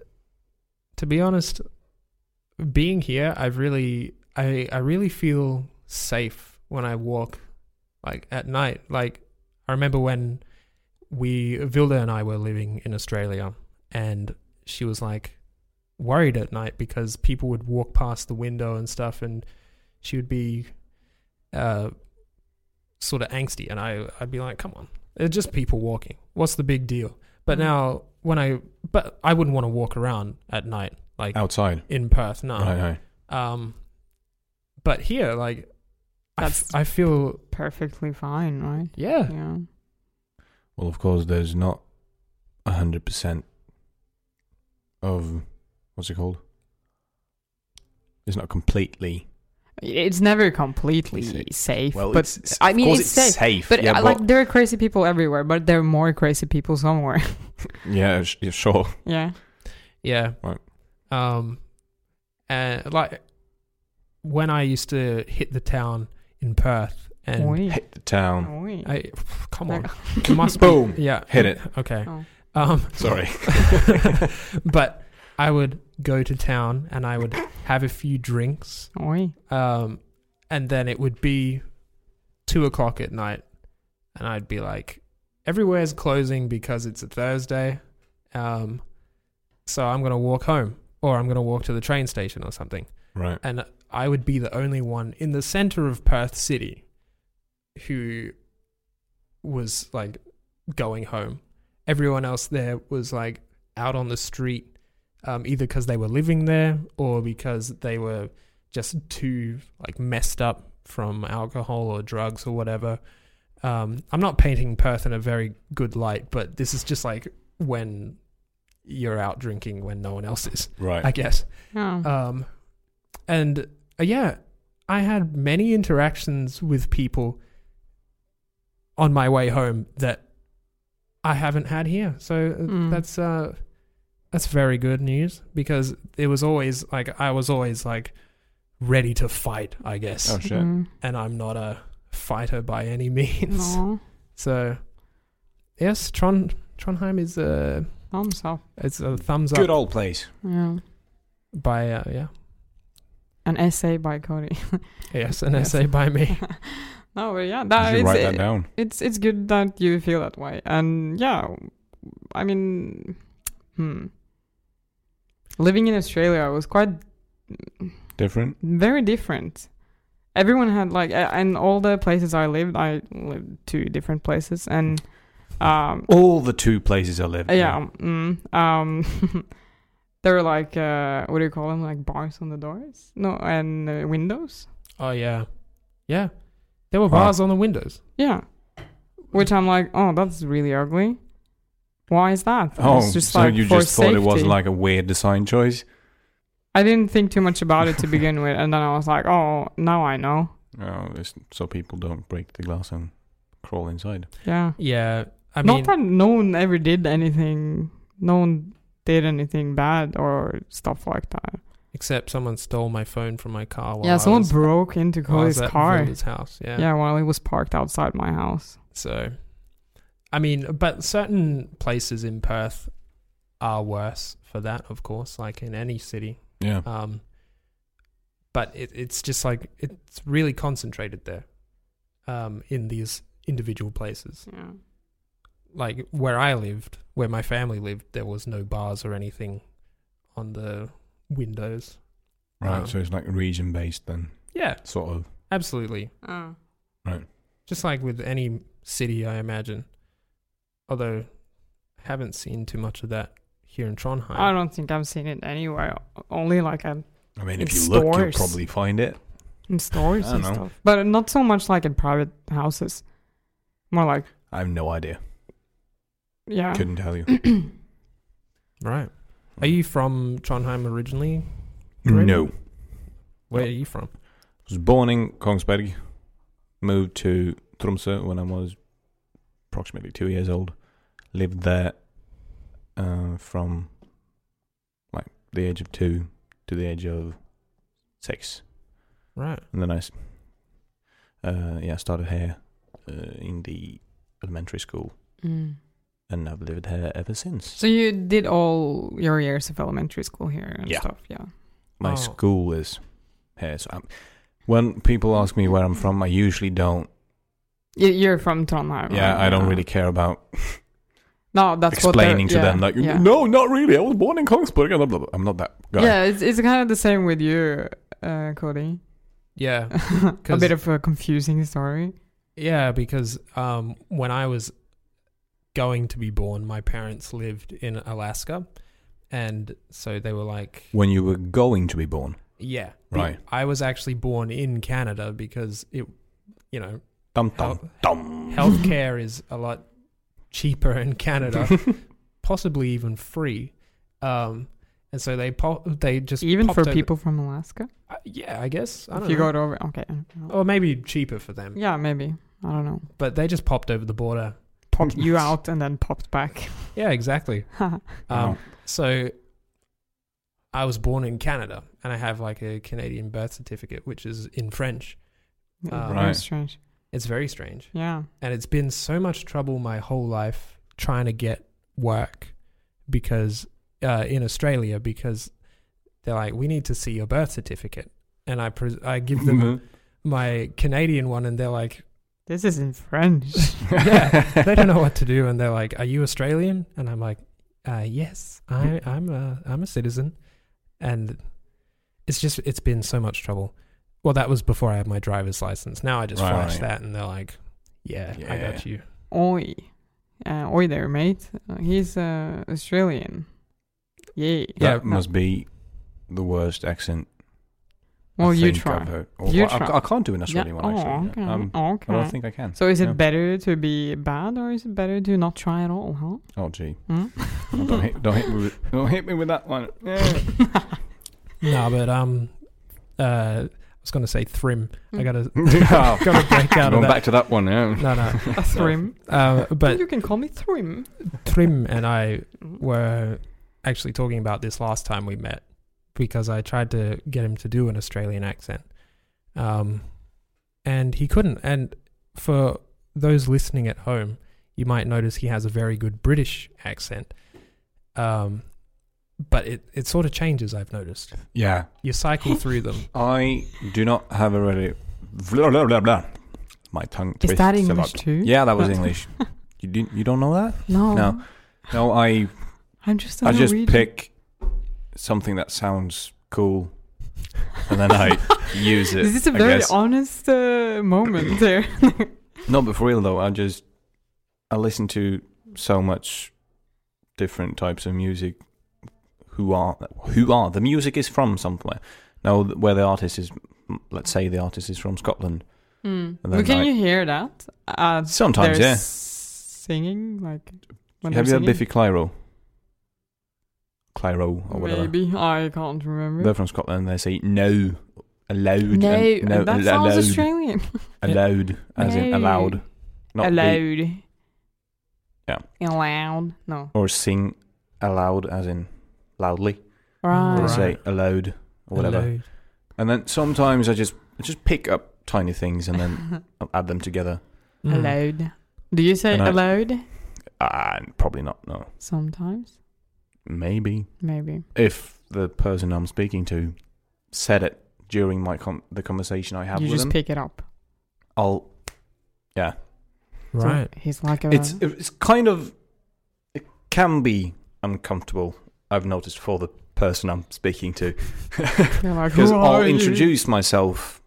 [SPEAKER 3] to be honest, being here, I've really, I, I really feel safe when I walk, like at night. Like I remember when we Vilda and I were living in Australia, and she was like worried at night because people would walk past the window and stuff, and she would be, uh, sort of angsty, and I, I'd be like, come on, they're just people walking. What's the big deal? But
[SPEAKER 1] Mm.
[SPEAKER 3] now when I but I wouldn't want to walk around at night like
[SPEAKER 2] Outside.
[SPEAKER 3] in Perth.
[SPEAKER 1] Uh.
[SPEAKER 3] No.
[SPEAKER 2] Right, right.
[SPEAKER 3] Um. But here, like, I, f-
[SPEAKER 1] That's-
[SPEAKER 3] I feel
[SPEAKER 1] Perfectly fine, right?
[SPEAKER 3] yeah.
[SPEAKER 1] Yeah.
[SPEAKER 2] Well, of course, there's not a 100% of what's it called? It's not completely.
[SPEAKER 1] It's never completely
[SPEAKER 2] Safe.
[SPEAKER 1] safe,
[SPEAKER 2] Well,
[SPEAKER 1] but
[SPEAKER 2] it's,
[SPEAKER 1] I mean,
[SPEAKER 2] of course
[SPEAKER 1] it's safe, but
[SPEAKER 2] yeah,
[SPEAKER 1] uh, like there are crazy people everywhere, but there are more crazy people somewhere.
[SPEAKER 2] yeah, sh- yeah, sure.
[SPEAKER 1] yeah.
[SPEAKER 3] Yeah.
[SPEAKER 2] Right.
[SPEAKER 3] Um, and like when I used to hit the town in Perth, and
[SPEAKER 1] Oi.
[SPEAKER 2] Hit the town.
[SPEAKER 1] Oi. Oh.
[SPEAKER 3] I come on,
[SPEAKER 1] Like-
[SPEAKER 3] it must
[SPEAKER 2] Boom.
[SPEAKER 3] Be, yeah,
[SPEAKER 2] Hit it.
[SPEAKER 3] Okay.
[SPEAKER 1] Oh.
[SPEAKER 3] Um,
[SPEAKER 2] Sorry.
[SPEAKER 3] but I would go to town and I would have a few drinks
[SPEAKER 1] Oi.
[SPEAKER 3] um, and then it would be two o'clock at night, and I'd be like, everywhere's closing because it's a Thursday, um, so I'm gonna walk home or I'm gonna walk to the train station or something,
[SPEAKER 2] Right.
[SPEAKER 3] and I would be the only one in the center of Perth City who was like going home. Everyone else there was like out on the street, um, either because they were living there or because they were just too like messed up from alcohol or drugs or whatever. Um, I'm not painting Perth in a very good light, but this is just like when you're out drinking when no one else is,
[SPEAKER 2] Right.
[SPEAKER 3] I guess.
[SPEAKER 1] Yeah.
[SPEAKER 2] Oh,
[SPEAKER 3] Um, and uh, yeah, I had many interactions with people on my way home that I haven't had here. So uh,
[SPEAKER 1] Mm.
[SPEAKER 3] that's uh, that's very good news because it was always like I was always like ready to fight, I guess,
[SPEAKER 2] oh, shit.
[SPEAKER 1] Mm.
[SPEAKER 3] and I'm not a fighter by any means.
[SPEAKER 1] No.
[SPEAKER 3] So yes, Tron Trondheim is a
[SPEAKER 1] Thumbs up.
[SPEAKER 3] it's a thumbs
[SPEAKER 2] Good
[SPEAKER 3] up
[SPEAKER 2] old place.
[SPEAKER 1] Yeah.
[SPEAKER 3] by uh, yeah
[SPEAKER 1] An essay by Cody.
[SPEAKER 3] yes an
[SPEAKER 1] Yes.
[SPEAKER 3] essay by me.
[SPEAKER 1] no, but yeah,
[SPEAKER 2] You
[SPEAKER 1] that,
[SPEAKER 2] should
[SPEAKER 1] it's,
[SPEAKER 2] write that down.
[SPEAKER 1] it's it's good that you feel that way, and yeah, I mean, hmm. Living in Australia was quite
[SPEAKER 2] Different.
[SPEAKER 1] very different. Everyone had like, a- and all the places I lived, I lived two different places, and um,
[SPEAKER 2] All the two places I live.
[SPEAKER 1] yeah, mm, um, there were like uh, what do you call them? Like bars on the doors, no, and uh, windows.
[SPEAKER 3] Oh yeah, yeah. There were
[SPEAKER 2] Wow.
[SPEAKER 3] bars on the windows.
[SPEAKER 1] Yeah. Which I'm like, oh, that's really ugly. Why is that?
[SPEAKER 2] Oh,
[SPEAKER 1] It's
[SPEAKER 2] so you
[SPEAKER 1] for
[SPEAKER 2] just thought it was
[SPEAKER 1] safety.
[SPEAKER 2] like a weird design choice?
[SPEAKER 1] I didn't think too much about it to begin with, and then I was like, oh, now I know.
[SPEAKER 2] Oh, it's so people don't break the glass and crawl inside.
[SPEAKER 1] Yeah.
[SPEAKER 3] Yeah, I
[SPEAKER 1] Not
[SPEAKER 3] mean,
[SPEAKER 1] that no one ever did anything. No one did anything bad or stuff like that.
[SPEAKER 3] except someone stole my phone from my car. While
[SPEAKER 1] yeah,
[SPEAKER 3] I
[SPEAKER 1] someone
[SPEAKER 3] was,
[SPEAKER 1] broke into
[SPEAKER 3] while I was
[SPEAKER 1] Cody's
[SPEAKER 3] at
[SPEAKER 1] car.
[SPEAKER 3] Vilda's house. Yeah.
[SPEAKER 1] yeah. while it was parked outside my house.
[SPEAKER 3] So, I mean, but certain places in Perth are worse for that, of course, like in any city.
[SPEAKER 2] Yeah.
[SPEAKER 1] Uh,
[SPEAKER 3] Um, but it, it's just like it's really concentrated there, um, in these individual places.
[SPEAKER 1] Yeah.
[SPEAKER 3] like where I lived, where my family lived, there was no bars or anything on the windows.
[SPEAKER 2] Right,
[SPEAKER 3] Oh.
[SPEAKER 2] so it's like region based then,
[SPEAKER 3] Yeah,
[SPEAKER 2] sort of.
[SPEAKER 3] absolutely.
[SPEAKER 1] Uh,
[SPEAKER 3] Just like with any city, I imagine. Although, haven't seen too much of that here in Trondheim.
[SPEAKER 1] I don't think I've seen it anywhere. Only like um,
[SPEAKER 2] I mean, if
[SPEAKER 1] It's
[SPEAKER 2] you look, you'll
[SPEAKER 1] stores.
[SPEAKER 2] probably find it.
[SPEAKER 1] in stores
[SPEAKER 2] I
[SPEAKER 1] and
[SPEAKER 2] don't know.
[SPEAKER 1] stuff, but not so much like in private houses. More like
[SPEAKER 2] I have no idea.
[SPEAKER 1] yeah.
[SPEAKER 2] Couldn't tell you.
[SPEAKER 3] Right. Are you from Trondheim originally?
[SPEAKER 2] No. I
[SPEAKER 3] Where
[SPEAKER 2] No.
[SPEAKER 3] are you from?
[SPEAKER 2] was born in Kongsberg, moved to Tromsø when I was approximately two years old. Lived there uh, from like the age of two to the age of six.
[SPEAKER 3] Right.
[SPEAKER 2] And then I, s- uh, yeah, started here uh, in the elementary school,
[SPEAKER 1] Mm.
[SPEAKER 2] and I've lived here ever since.
[SPEAKER 1] So you did all your years of elementary school here and
[SPEAKER 2] Yeah.
[SPEAKER 1] stuff. Yeah.
[SPEAKER 2] My
[SPEAKER 3] Oh.
[SPEAKER 2] school is here, so I'm, when people ask me where I'm from, I usually don't.
[SPEAKER 1] You- You're from Trondheim.
[SPEAKER 2] yeah,
[SPEAKER 1] right?
[SPEAKER 2] I don't really care about
[SPEAKER 1] No, that's
[SPEAKER 2] explaining
[SPEAKER 1] what
[SPEAKER 2] to
[SPEAKER 1] they're-
[SPEAKER 2] them like,
[SPEAKER 1] yeah, yeah.
[SPEAKER 2] no, not really. I was born in Kongsberg. and blah, blah, blah." I'm not that guy.
[SPEAKER 1] Yeah, it's it's kind of the same with you, uh, Cody.
[SPEAKER 3] Yeah.
[SPEAKER 1] a bit of a confusing story.
[SPEAKER 3] Yeah, because um, when I was going to be born, my parents lived in Alaska. And so they were like,
[SPEAKER 2] When you were going to be born,
[SPEAKER 3] yeah.
[SPEAKER 2] Right.
[SPEAKER 3] I was actually born in Canada because it, you know,
[SPEAKER 2] dum
[SPEAKER 3] health,
[SPEAKER 2] dum dum.
[SPEAKER 3] healthcare is a lot cheaper in Canada, possibly even free. Um, and so they po- they just
[SPEAKER 1] Even
[SPEAKER 3] popped
[SPEAKER 1] for
[SPEAKER 3] over-
[SPEAKER 1] people from Alaska,
[SPEAKER 3] Uh, yeah, I guess. I don't
[SPEAKER 1] if you
[SPEAKER 3] know.
[SPEAKER 1] go to over, okay,
[SPEAKER 3] or maybe cheaper for them.
[SPEAKER 1] yeah, maybe I don't know.
[SPEAKER 3] But they just popped over the border.
[SPEAKER 1] Popped you out and then popped back.
[SPEAKER 3] Yeah, exactly. Um, So I was born in Canada and I have like a Canadian birth certificate, which is in French.
[SPEAKER 1] Yeah,
[SPEAKER 3] Uh,
[SPEAKER 2] Right.
[SPEAKER 1] Very strange.
[SPEAKER 3] It's very strange.
[SPEAKER 1] Yeah.
[SPEAKER 3] And it's been so much trouble my whole life trying to get work because uh, in Australia, because they're like, we need to see your birth certificate. And I, pres I give them my Canadian one and they're like,
[SPEAKER 1] This is in French.
[SPEAKER 3] yeah, they don't know what to do, and they're like, "Are you Australian?" And I'm like, uh, "Yes, I, I'm a I'm a citizen," and it's just it's been so much trouble. Well, that was before I had my driver's license. Now I just
[SPEAKER 2] Right,
[SPEAKER 3] flash
[SPEAKER 2] right.
[SPEAKER 3] that, and they're like, "Yeah, I got you."
[SPEAKER 1] Oi, uh, oi there, mate. Uh, he's uh, Australian. Yay.
[SPEAKER 2] That
[SPEAKER 3] Yeah.
[SPEAKER 2] must be the worst accent.
[SPEAKER 1] Well,
[SPEAKER 2] I
[SPEAKER 1] you
[SPEAKER 2] think
[SPEAKER 1] try.
[SPEAKER 2] I've heard. Or-
[SPEAKER 1] You
[SPEAKER 2] I- I,
[SPEAKER 1] try.
[SPEAKER 2] can't do an
[SPEAKER 1] Yeah,
[SPEAKER 2] Australian one
[SPEAKER 1] Oh,
[SPEAKER 2] actually.
[SPEAKER 1] okay.
[SPEAKER 2] Yeah. Um, I
[SPEAKER 1] okay.
[SPEAKER 2] don't think I can.
[SPEAKER 1] So is it
[SPEAKER 2] Yeah.
[SPEAKER 1] better to be bad or is it better to not try at all, huh?
[SPEAKER 2] Oh gee,
[SPEAKER 1] Hmm?
[SPEAKER 2] Oh, don't hit, don't hit me with don't hit me with that one. Yeah.
[SPEAKER 3] no, but um, uh, I was gonna say Thrim. I gotta
[SPEAKER 2] Oh,
[SPEAKER 3] gotta break out of
[SPEAKER 2] Going
[SPEAKER 3] that.
[SPEAKER 2] back to that one. Yeah.
[SPEAKER 3] No, no,
[SPEAKER 1] A thrim.
[SPEAKER 3] uh, but
[SPEAKER 1] you can call me thrim.
[SPEAKER 3] Thrim and I were actually talking about this last time we met because I tried to get him to do an Australian accent. Um, and he couldn't. And for those listening at home, you might notice he has a very good British accent. Um, but it, it sort of changes, I've noticed.
[SPEAKER 2] yeah.
[SPEAKER 3] You cycle through them.
[SPEAKER 2] I do not have a really. Blah, blah, blah, blah. My tongue
[SPEAKER 1] Is
[SPEAKER 2] twists
[SPEAKER 1] that
[SPEAKER 2] a
[SPEAKER 1] English
[SPEAKER 2] lot.
[SPEAKER 1] too?
[SPEAKER 2] Yeah, that was English. You didn't. You don't know that?
[SPEAKER 1] No.
[SPEAKER 2] No. No, I
[SPEAKER 1] I'm just a
[SPEAKER 2] I just
[SPEAKER 1] Norwegian.
[SPEAKER 2] pick something that sounds cool, and then I use it.
[SPEAKER 1] This is a
[SPEAKER 2] I
[SPEAKER 1] very
[SPEAKER 2] guess.
[SPEAKER 1] honest uh, moment there.
[SPEAKER 2] No, but for real though, I just I listen to so much different types of music. Who are who are the music is from somewhere? Now, th- where the artist is, let's say the artist is from Scotland.
[SPEAKER 1] Mm.
[SPEAKER 2] And
[SPEAKER 1] But
[SPEAKER 2] then,
[SPEAKER 1] can
[SPEAKER 2] like-
[SPEAKER 1] you hear that? Uh,
[SPEAKER 2] Sometimes, yeah.
[SPEAKER 1] Singing like when
[SPEAKER 2] Have you
[SPEAKER 1] they're
[SPEAKER 2] heard Biffy Clyro? Clyro or
[SPEAKER 1] singing?
[SPEAKER 2] whatever.
[SPEAKER 1] Maybe I can't remember.
[SPEAKER 2] They're from Scotland. They say no, allowed. and-
[SPEAKER 1] no,
[SPEAKER 2] no,
[SPEAKER 1] that
[SPEAKER 2] al-
[SPEAKER 1] sounds
[SPEAKER 2] allowed,
[SPEAKER 1] Australian.
[SPEAKER 2] allowed, as in
[SPEAKER 1] No.
[SPEAKER 2] allowed, not the-
[SPEAKER 1] Allowed.
[SPEAKER 2] Yeah.
[SPEAKER 1] Allowed. No.
[SPEAKER 2] or sing aloud as in loudly
[SPEAKER 1] Right.
[SPEAKER 2] they
[SPEAKER 3] Right.
[SPEAKER 2] say aloud or whatever
[SPEAKER 3] Hello.
[SPEAKER 2] and then sometimes i just I just pick up tiny things and then I'll add them together
[SPEAKER 3] Mm.
[SPEAKER 1] allowed. Do you say
[SPEAKER 2] And I-
[SPEAKER 1] allowed?
[SPEAKER 2] uh, probably not no
[SPEAKER 1] Sometimes,
[SPEAKER 2] maybe
[SPEAKER 1] maybe.
[SPEAKER 2] if the person i'm speaking to said it during my com- the conversation i have
[SPEAKER 1] you
[SPEAKER 2] with
[SPEAKER 1] just
[SPEAKER 2] them
[SPEAKER 1] pick it up.
[SPEAKER 2] i'll
[SPEAKER 1] So
[SPEAKER 3] Right.
[SPEAKER 1] he's like a.
[SPEAKER 2] it's it's kind of it can be uncomfortable i've noticed for the person i'm speaking to
[SPEAKER 1] they're like,
[SPEAKER 2] because
[SPEAKER 1] "Who
[SPEAKER 2] i'll
[SPEAKER 1] are you?"
[SPEAKER 2] introduce myself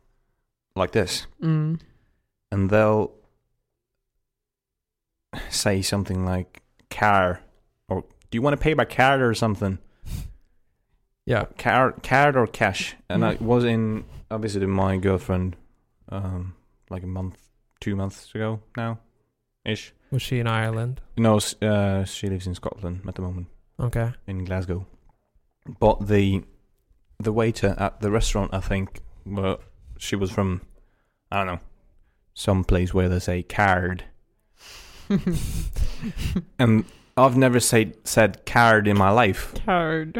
[SPEAKER 2] like this
[SPEAKER 1] Mm.
[SPEAKER 2] and they'll say something like car or Do you want to pay by card or something?
[SPEAKER 3] Yeah.
[SPEAKER 2] Card, card or cash? And I was in I visited my girlfriend, um, like a month, two months ago now, ish.
[SPEAKER 3] Was she in Ireland?
[SPEAKER 2] No, s- uh, she lives in Scotland at the moment,
[SPEAKER 3] Okay.
[SPEAKER 2] in Glasgow. But the the waiter at the restaurant, I think, well, she was from, I don't know, some place where they say card, and I've never said said card in my life.
[SPEAKER 1] Card.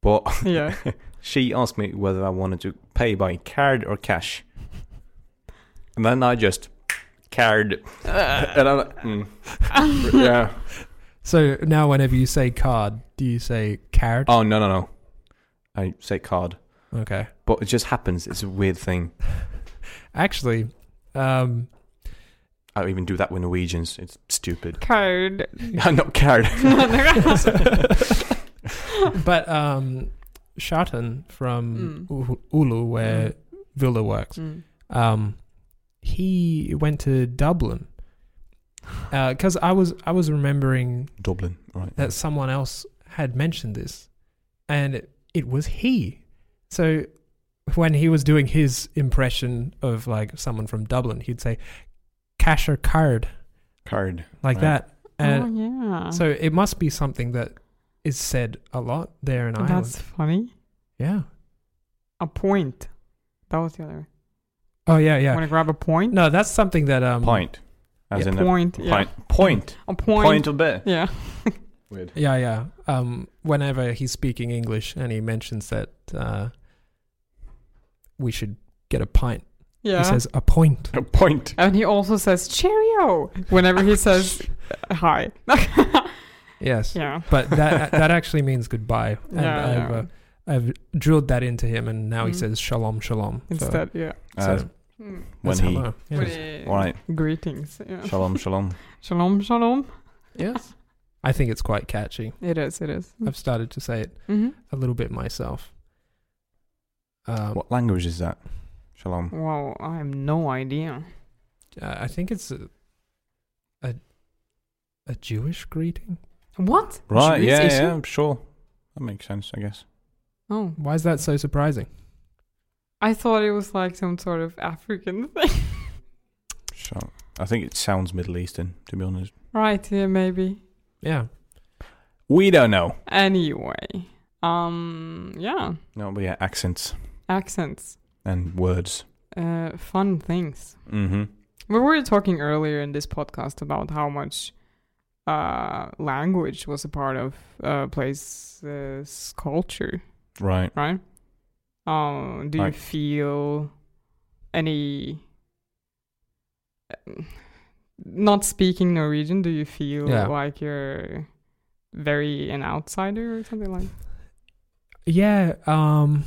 [SPEAKER 2] But
[SPEAKER 1] Yeah.
[SPEAKER 2] she asked me whether I wanted to pay by card or cash, and then I just card, and I'm like, mm, yeah.
[SPEAKER 3] So now, whenever you say card, do you say card?
[SPEAKER 2] Oh no no no, I say card.
[SPEAKER 3] Okay.
[SPEAKER 2] But it just happens. It's a weird thing.
[SPEAKER 3] Actually, um,
[SPEAKER 2] I even do that with Norwegians. It's stupid.
[SPEAKER 1] Card.
[SPEAKER 2] I'm not card.
[SPEAKER 3] Uh, but um, Sharton from
[SPEAKER 1] Mm.
[SPEAKER 3] Ulu- Ulu, where Villa works,
[SPEAKER 1] Mm.
[SPEAKER 3] um, he went to Dublin because I was I was remembering
[SPEAKER 2] Dublin, right?
[SPEAKER 3] that someone else had mentioned this, and it, it was he. So when he was doing his impression of like someone from Dublin, he'd say cash or card
[SPEAKER 2] card.
[SPEAKER 3] like
[SPEAKER 2] Right.
[SPEAKER 3] that, and
[SPEAKER 1] oh yeah.
[SPEAKER 3] so it must be something that is said a lot there in Ireland.
[SPEAKER 1] That's funny.
[SPEAKER 3] Yeah.
[SPEAKER 1] A point. That was the other.
[SPEAKER 3] Oh yeah, yeah.
[SPEAKER 1] Want to grab a point?
[SPEAKER 3] No, that's something that um
[SPEAKER 2] Point, as
[SPEAKER 3] Yeah,
[SPEAKER 2] in
[SPEAKER 1] point.
[SPEAKER 2] a
[SPEAKER 1] yeah.
[SPEAKER 2] pint. Point.
[SPEAKER 1] A
[SPEAKER 2] Point.
[SPEAKER 1] point.
[SPEAKER 2] of bit.
[SPEAKER 1] Yeah.
[SPEAKER 2] Weird.
[SPEAKER 3] Yeah, yeah. Um, whenever he's speaking English and he mentions that uh, we should get a pint,
[SPEAKER 1] Yeah.
[SPEAKER 3] he says a point.
[SPEAKER 2] A point.
[SPEAKER 1] and he also says cheerio whenever he says hi.
[SPEAKER 3] Yes.
[SPEAKER 1] yeah.
[SPEAKER 3] But that that actually means goodbye. And
[SPEAKER 1] Yeah,
[SPEAKER 3] I've,
[SPEAKER 1] yeah.
[SPEAKER 3] Uh, I've drilled that into him, and now he
[SPEAKER 1] Mm.
[SPEAKER 3] says shalom, shalom. for-
[SPEAKER 1] Instead, yeah.
[SPEAKER 3] so
[SPEAKER 2] Uh,
[SPEAKER 1] Mm.
[SPEAKER 2] when
[SPEAKER 3] that's
[SPEAKER 2] he.
[SPEAKER 3] hello. Yes.
[SPEAKER 1] With-
[SPEAKER 2] All right.
[SPEAKER 1] Greetings. Yeah.
[SPEAKER 2] Shalom, shalom.
[SPEAKER 1] Shalom, shalom.
[SPEAKER 3] yes. I think it's quite catchy.
[SPEAKER 1] It is, it is.
[SPEAKER 3] I've started to say it
[SPEAKER 1] Mhm.
[SPEAKER 3] a little bit myself. Um,
[SPEAKER 2] What language is that? Shalom.
[SPEAKER 1] Wow, I have no idea.
[SPEAKER 3] uh, I think it's a, a a Jewish greeting.
[SPEAKER 1] What?
[SPEAKER 2] Right.
[SPEAKER 3] Jewish
[SPEAKER 2] Yeah.
[SPEAKER 3] issue?
[SPEAKER 2] Yeah. Sure. That makes sense. I guess.
[SPEAKER 1] Oh,
[SPEAKER 3] Why is that so surprising?
[SPEAKER 1] I thought it was like some sort of African thing.
[SPEAKER 2] Shal- I think it sounds Middle Eastern. To be honest,
[SPEAKER 1] right, yeah, maybe.
[SPEAKER 3] Yeah.
[SPEAKER 2] we don't know.
[SPEAKER 1] Anyway, um, yeah,
[SPEAKER 2] No, but yeah, accents
[SPEAKER 1] accents,
[SPEAKER 2] and words.
[SPEAKER 1] uh, fun things.
[SPEAKER 2] Mm-hmm.
[SPEAKER 1] We were talking earlier in this podcast about how much uh, language was a part of uh, place's culture,
[SPEAKER 2] Right.
[SPEAKER 1] right? Um, do
[SPEAKER 2] Right.
[SPEAKER 1] you feel any not speaking Norwegian? Do you feel
[SPEAKER 3] Yeah.
[SPEAKER 1] like you're very an outsider or something like?
[SPEAKER 3] Yeah. Um,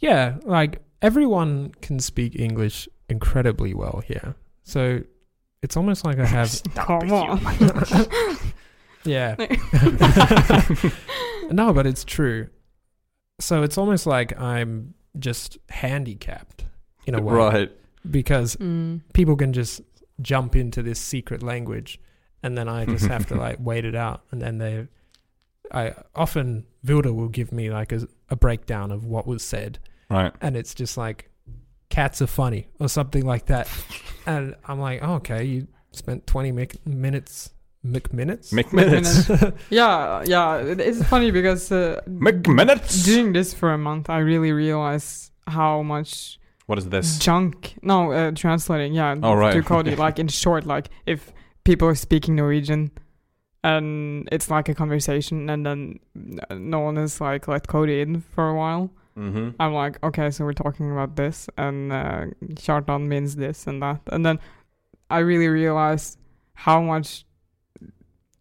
[SPEAKER 3] yeah. Like everyone can speak English incredibly well here. So it's almost like I have.
[SPEAKER 1] Come on.
[SPEAKER 3] yeah. No, but it's true. So it's almost like I'm just handicapped in a way.
[SPEAKER 2] Right.
[SPEAKER 3] Because
[SPEAKER 1] Mm.
[SPEAKER 3] people can just jump into this secret language and then I just have to like wait it out and then they I often Vilda will give me like a, a breakdown of what was said
[SPEAKER 2] Right.
[SPEAKER 3] and it's just like cats are funny or something like that and I'm like oh, okay you spent 20 mic- minutes mic minutes
[SPEAKER 2] McMinutes.
[SPEAKER 1] Yeah, yeah. it- It's funny because uh,
[SPEAKER 2] McMinutes.
[SPEAKER 1] doing this for a month, I really realized how much
[SPEAKER 2] What is this?
[SPEAKER 1] junk. No, uh, translating. Yeah,
[SPEAKER 2] Oh, right.
[SPEAKER 1] to Cody. like in short, like if people are speaking Norwegian, and it's like a conversation, and then n- no one is like let Cody in for a while.
[SPEAKER 2] Mm-hmm.
[SPEAKER 1] I'm like, okay, so we're talking about this, and uh, Sharton means this and that, and then I really realized how much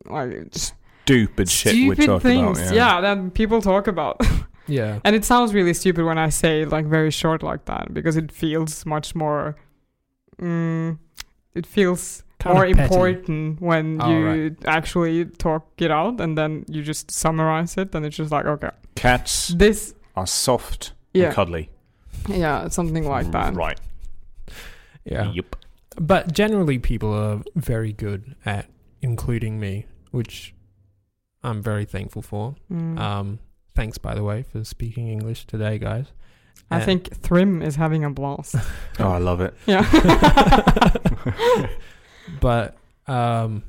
[SPEAKER 1] like just
[SPEAKER 2] Stupid shit we talk
[SPEAKER 1] things,
[SPEAKER 2] about.
[SPEAKER 1] yeah. that people talk about,
[SPEAKER 3] yeah
[SPEAKER 1] and it sounds really stupid when I say it like very short like that because it feels much more. Mm, it feels
[SPEAKER 3] Kinda
[SPEAKER 1] more
[SPEAKER 3] petty.
[SPEAKER 1] important when
[SPEAKER 3] Oh,
[SPEAKER 1] you
[SPEAKER 3] right.
[SPEAKER 1] actually talk it out, and then you just summarize it, and it's just like, okay,
[SPEAKER 2] Cats
[SPEAKER 1] this,
[SPEAKER 2] are soft
[SPEAKER 1] yeah,
[SPEAKER 2] and cuddly.
[SPEAKER 1] yeah, something like that.
[SPEAKER 2] Right.
[SPEAKER 3] yeah
[SPEAKER 2] Yep.
[SPEAKER 3] but generally people are very good at including me which I'm very thankful for.
[SPEAKER 1] Mm.
[SPEAKER 3] Um, thanks, by the way, for speaking English today, guys.
[SPEAKER 1] I
[SPEAKER 3] uh,
[SPEAKER 1] think Thrim is having a blast.
[SPEAKER 2] Oh, I love it.
[SPEAKER 1] yeah.
[SPEAKER 3] but um,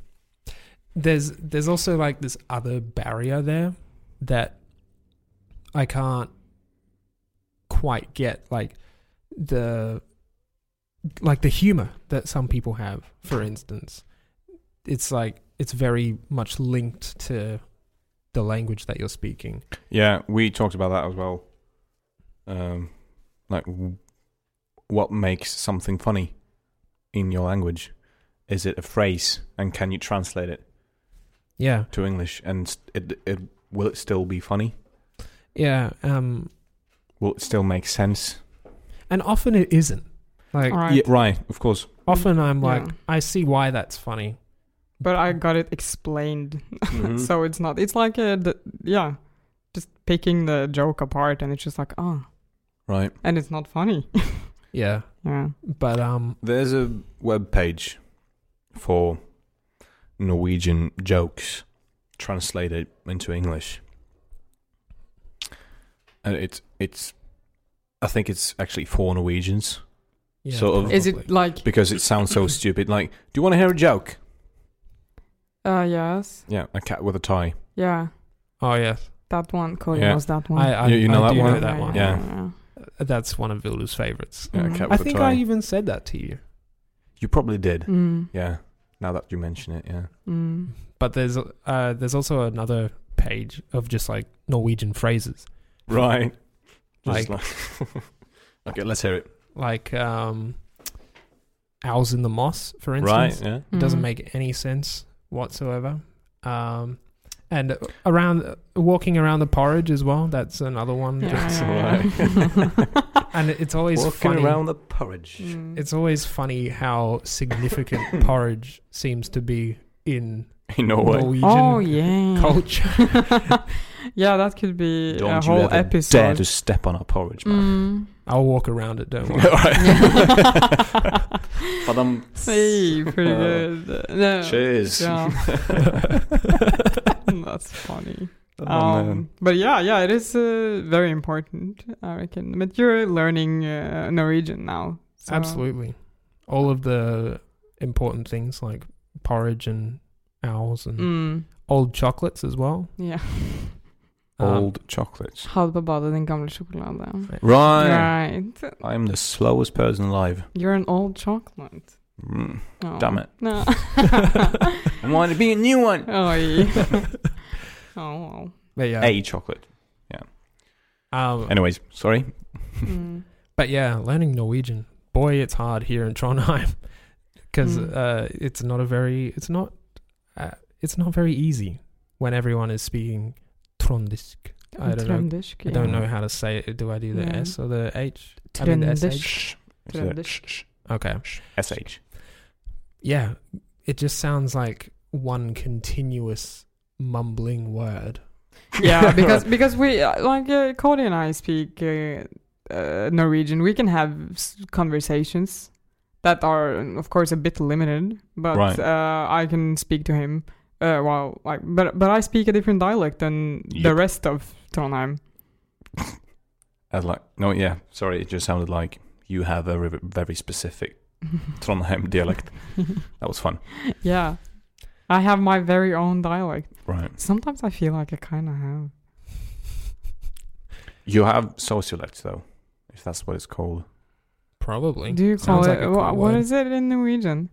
[SPEAKER 3] there's there's also like this other barrier there that I can't quite get like the like the humor that some people have for instance it's like it's very much linked to the language that you're speaking
[SPEAKER 2] Yeah, we talked about that as well. Um, like, w- what makes something funny in your language? Is it a phrase, and can you translate it
[SPEAKER 3] yeah
[SPEAKER 2] to English? And s- it, it will it still be funny?
[SPEAKER 3] yeah um
[SPEAKER 2] Will it still make sense?
[SPEAKER 3] and often it isn't like
[SPEAKER 1] All right.
[SPEAKER 2] Yeah, right, of course.
[SPEAKER 3] often i'm like
[SPEAKER 1] Yeah.
[SPEAKER 3] i see why that's funny
[SPEAKER 1] But I got it explained.
[SPEAKER 2] Mhm.
[SPEAKER 1] so it's not, it's like, a, d- yeah, just picking the joke apart and it's just like, oh,
[SPEAKER 2] Right.
[SPEAKER 1] and it's not funny.
[SPEAKER 3] yeah
[SPEAKER 1] yeah.
[SPEAKER 3] but um
[SPEAKER 2] There's a web page for Norwegian jokes translated into English. And it's it's I think it's actually for Norwegians
[SPEAKER 3] yeah,
[SPEAKER 2] Sort of-
[SPEAKER 1] Is it
[SPEAKER 3] probably.
[SPEAKER 1] like,
[SPEAKER 2] because it sounds so stupid. Like, do you want to hear a joke?
[SPEAKER 1] uh, yes,
[SPEAKER 2] Yeah, a cat with a tie.
[SPEAKER 1] yeah,
[SPEAKER 3] oh yeah
[SPEAKER 1] that one, Cody
[SPEAKER 2] Yeah.
[SPEAKER 1] knows that one.
[SPEAKER 3] I, I,
[SPEAKER 2] You- you know
[SPEAKER 3] I
[SPEAKER 2] that
[SPEAKER 3] do
[SPEAKER 2] one?
[SPEAKER 3] know that one.
[SPEAKER 2] Yeah.
[SPEAKER 3] That's one of Vildu's favorites.
[SPEAKER 2] Yeah,
[SPEAKER 1] Mhm.
[SPEAKER 2] a cat
[SPEAKER 3] I
[SPEAKER 2] with a
[SPEAKER 3] think
[SPEAKER 2] tie.
[SPEAKER 3] I even said that to you.
[SPEAKER 2] You probably did.
[SPEAKER 1] Mm,
[SPEAKER 2] Yeah. Now that you mention it, yeah.
[SPEAKER 1] mm.
[SPEAKER 3] But there's uh, there's also another page of just like Norwegian phrases,
[SPEAKER 2] Right.
[SPEAKER 3] Like-
[SPEAKER 2] Just like, okay, let's hear it.
[SPEAKER 3] like um, "owls in the moss," for instance.
[SPEAKER 2] Right, yeah.
[SPEAKER 3] It doesn't
[SPEAKER 1] Mm.
[SPEAKER 3] make any sense whatsoever. Um, and around walking around the porridge as well. That's another one.
[SPEAKER 1] Yeah,
[SPEAKER 3] that's-
[SPEAKER 1] yeah, yeah.
[SPEAKER 3] And it's always
[SPEAKER 2] Walking
[SPEAKER 3] funny.
[SPEAKER 2] around the porridge.
[SPEAKER 1] Mm.
[SPEAKER 3] It's always funny how significant porridge seems to be in
[SPEAKER 2] In Norway.
[SPEAKER 3] Norwegian
[SPEAKER 1] oh yeah
[SPEAKER 3] culture.
[SPEAKER 1] yeah that could be
[SPEAKER 2] Don't
[SPEAKER 1] a
[SPEAKER 2] you
[SPEAKER 1] whole
[SPEAKER 2] ever
[SPEAKER 1] episode
[SPEAKER 2] dare to step on our porridge, man.
[SPEAKER 1] Mm.
[SPEAKER 3] I'll walk around it. Don't worry.
[SPEAKER 2] Alright. Badum.
[SPEAKER 1] hey pretty
[SPEAKER 2] Uh,
[SPEAKER 1] good Mm. Uh, no,
[SPEAKER 2] Cheers.
[SPEAKER 1] yeah. that's funny
[SPEAKER 2] Oh, man.
[SPEAKER 1] um, but yeah yeah it is uh, very important i reckon but you're learning uh, norwegian now so-
[SPEAKER 3] Absolutely, all of the important things like porridge and owls and
[SPEAKER 1] mm,
[SPEAKER 3] old chocolates as well.
[SPEAKER 1] yeah
[SPEAKER 3] Um,
[SPEAKER 2] Old chocolates.
[SPEAKER 1] Had bebadet din gamle sjokolade.
[SPEAKER 2] Right.
[SPEAKER 1] Right.
[SPEAKER 2] I'm the slowest person alive.
[SPEAKER 1] You're an old chocolate.
[SPEAKER 2] Mm,
[SPEAKER 1] No.
[SPEAKER 2] Damn it.
[SPEAKER 1] No.
[SPEAKER 2] I want to be a new one.
[SPEAKER 1] oh, yeah. oh, well.
[SPEAKER 3] Um, but yeah,
[SPEAKER 2] A chocolate.
[SPEAKER 3] Um,
[SPEAKER 2] Anyways, sorry.
[SPEAKER 1] Mm.
[SPEAKER 3] but yeah, learning Norwegian, boy, it's hard here in Trondheim because
[SPEAKER 1] Mm.
[SPEAKER 3] uh, it's not a very, it's not, uh, it's not very easy when everyone is speaking Trondisk. I don't know.
[SPEAKER 1] Trendisk,
[SPEAKER 3] I
[SPEAKER 1] yeah.
[SPEAKER 3] don't know how to say it. Do I do the
[SPEAKER 1] Yeah.
[SPEAKER 3] S or the H? I mean, the
[SPEAKER 1] Trendish.
[SPEAKER 3] SH?
[SPEAKER 2] Shh.
[SPEAKER 1] Trendish.
[SPEAKER 3] Okay.
[SPEAKER 2] SH.
[SPEAKER 3] yeah, it just sounds like one continuous mumbling word.
[SPEAKER 1] yeah, because because we uh, like uh, Cody and I speak uh, uh, Norwegian. We can have s- conversations that are, of course, a bit limited. But
[SPEAKER 2] Right.
[SPEAKER 1] uh, I can speak to him. Uh, well, like, but but I speak a different dialect than the
[SPEAKER 2] Yep.
[SPEAKER 1] rest of Trondheim.
[SPEAKER 2] I was like, no, yeah, sorry. It just sounded like you have a re- very specific Trondheim dialect. That was fun.
[SPEAKER 1] yeah, I have my very own dialect.
[SPEAKER 2] Right.
[SPEAKER 1] Sometimes I feel like I kind of have.
[SPEAKER 2] You have sociolect, though, if that's what it's called.
[SPEAKER 3] Probably.
[SPEAKER 1] Do you call
[SPEAKER 3] Sounds
[SPEAKER 1] it?
[SPEAKER 3] like a cool
[SPEAKER 1] wha- what
[SPEAKER 3] word.
[SPEAKER 1] is it in Norwegian?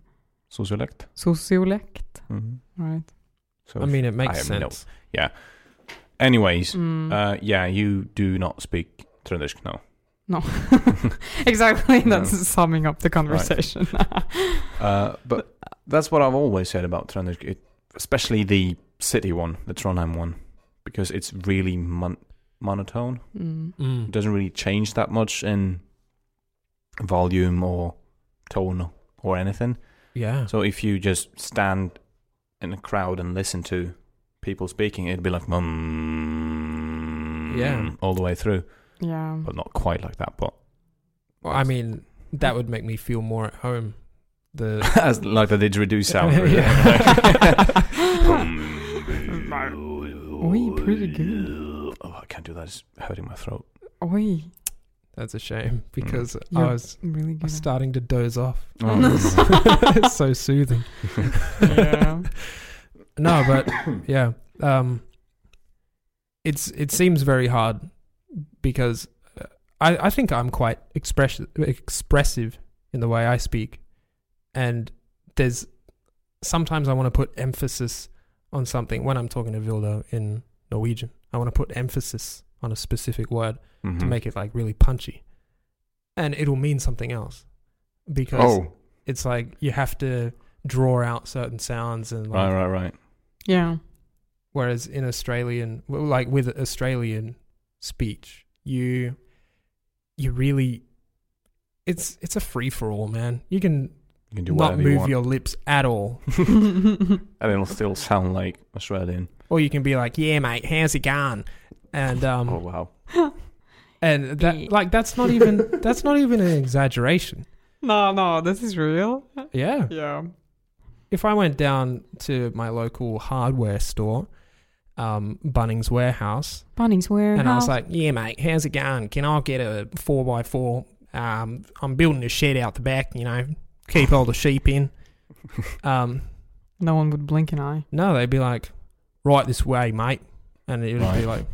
[SPEAKER 2] Sociolect.
[SPEAKER 1] Sociolect,
[SPEAKER 2] Mm-hmm.
[SPEAKER 1] right?
[SPEAKER 2] So,
[SPEAKER 3] I mean, it makes
[SPEAKER 2] I have no-
[SPEAKER 3] sense.
[SPEAKER 2] anyways,
[SPEAKER 1] Mm.
[SPEAKER 2] uh, yeah, you do not speak Trondheim now.
[SPEAKER 1] No. exactly.
[SPEAKER 2] No.
[SPEAKER 1] That's summing up the conversation.
[SPEAKER 2] Uh, but that's what I've always said about Trondheim, it, especially the city one, the Trondheim one, because it's really mon- monotone.
[SPEAKER 1] Mm.
[SPEAKER 2] It
[SPEAKER 3] Mm.
[SPEAKER 2] doesn't really change that much in volume or tone or anything.
[SPEAKER 3] Yeah.
[SPEAKER 2] So if you just stand in a crowd and listen to people speaking, it'd be like mm,
[SPEAKER 3] Yeah.
[SPEAKER 2] all the way through,
[SPEAKER 1] Yeah.
[SPEAKER 2] but not quite like that. But
[SPEAKER 3] I mean, that would make me feel more at home. The
[SPEAKER 2] as like the didgeridoo sound.
[SPEAKER 3] Yeah.
[SPEAKER 2] really.
[SPEAKER 1] Oi, pretty good.
[SPEAKER 2] Oh, I can't do that. It's hurting my throat.
[SPEAKER 1] Oi,
[SPEAKER 3] That's a shame because
[SPEAKER 1] Yeah.
[SPEAKER 3] I was
[SPEAKER 1] really good.
[SPEAKER 3] I'm starting to doze off.
[SPEAKER 2] Oh,
[SPEAKER 3] it's so soothing.
[SPEAKER 1] yeah.
[SPEAKER 3] No, but yeah, um, it's it seems very hard because uh, I I think I'm quite express expressive in the way I speak, and there's sometimes I want to put emphasis on something when I'm talking to Vilda in Norwegian. I want to put emphasis on a specific word to
[SPEAKER 2] Mhm.
[SPEAKER 3] make it like really punchy, and it'll mean something else because
[SPEAKER 2] Oh,
[SPEAKER 3] it's like you have to draw out certain sounds and like
[SPEAKER 2] right, right, right.
[SPEAKER 1] Yeah.
[SPEAKER 3] Whereas in Australian, well, like with Australian speech, you you really it's it's a free for all, man. You can
[SPEAKER 2] You can do
[SPEAKER 3] not
[SPEAKER 2] whatever you
[SPEAKER 3] move
[SPEAKER 2] want.
[SPEAKER 3] your lips at all,
[SPEAKER 2] and it'll still sound like Australian.
[SPEAKER 3] or you can be like, "Yeah, mate, how's it going?" And um,
[SPEAKER 2] Oh, wow.
[SPEAKER 3] and that like that's not even that's not even an exaggeration.
[SPEAKER 1] no, no, this is real.
[SPEAKER 3] Yeah.
[SPEAKER 1] Yeah.
[SPEAKER 3] if I went down to my local hardware store, um, Bunnings Warehouse,
[SPEAKER 4] Bunnings warehouse.
[SPEAKER 3] and I
[SPEAKER 1] Mm-hmm.
[SPEAKER 3] was like, "Yeah, mate, how's it going? Can I get a four by four? Um, I'm building a shed out the back. You know, keep all the sheep in." Um,
[SPEAKER 1] No one would blink an eye.
[SPEAKER 3] no, they'd be like, "Right this way, mate," and it would
[SPEAKER 2] Right.
[SPEAKER 3] be like,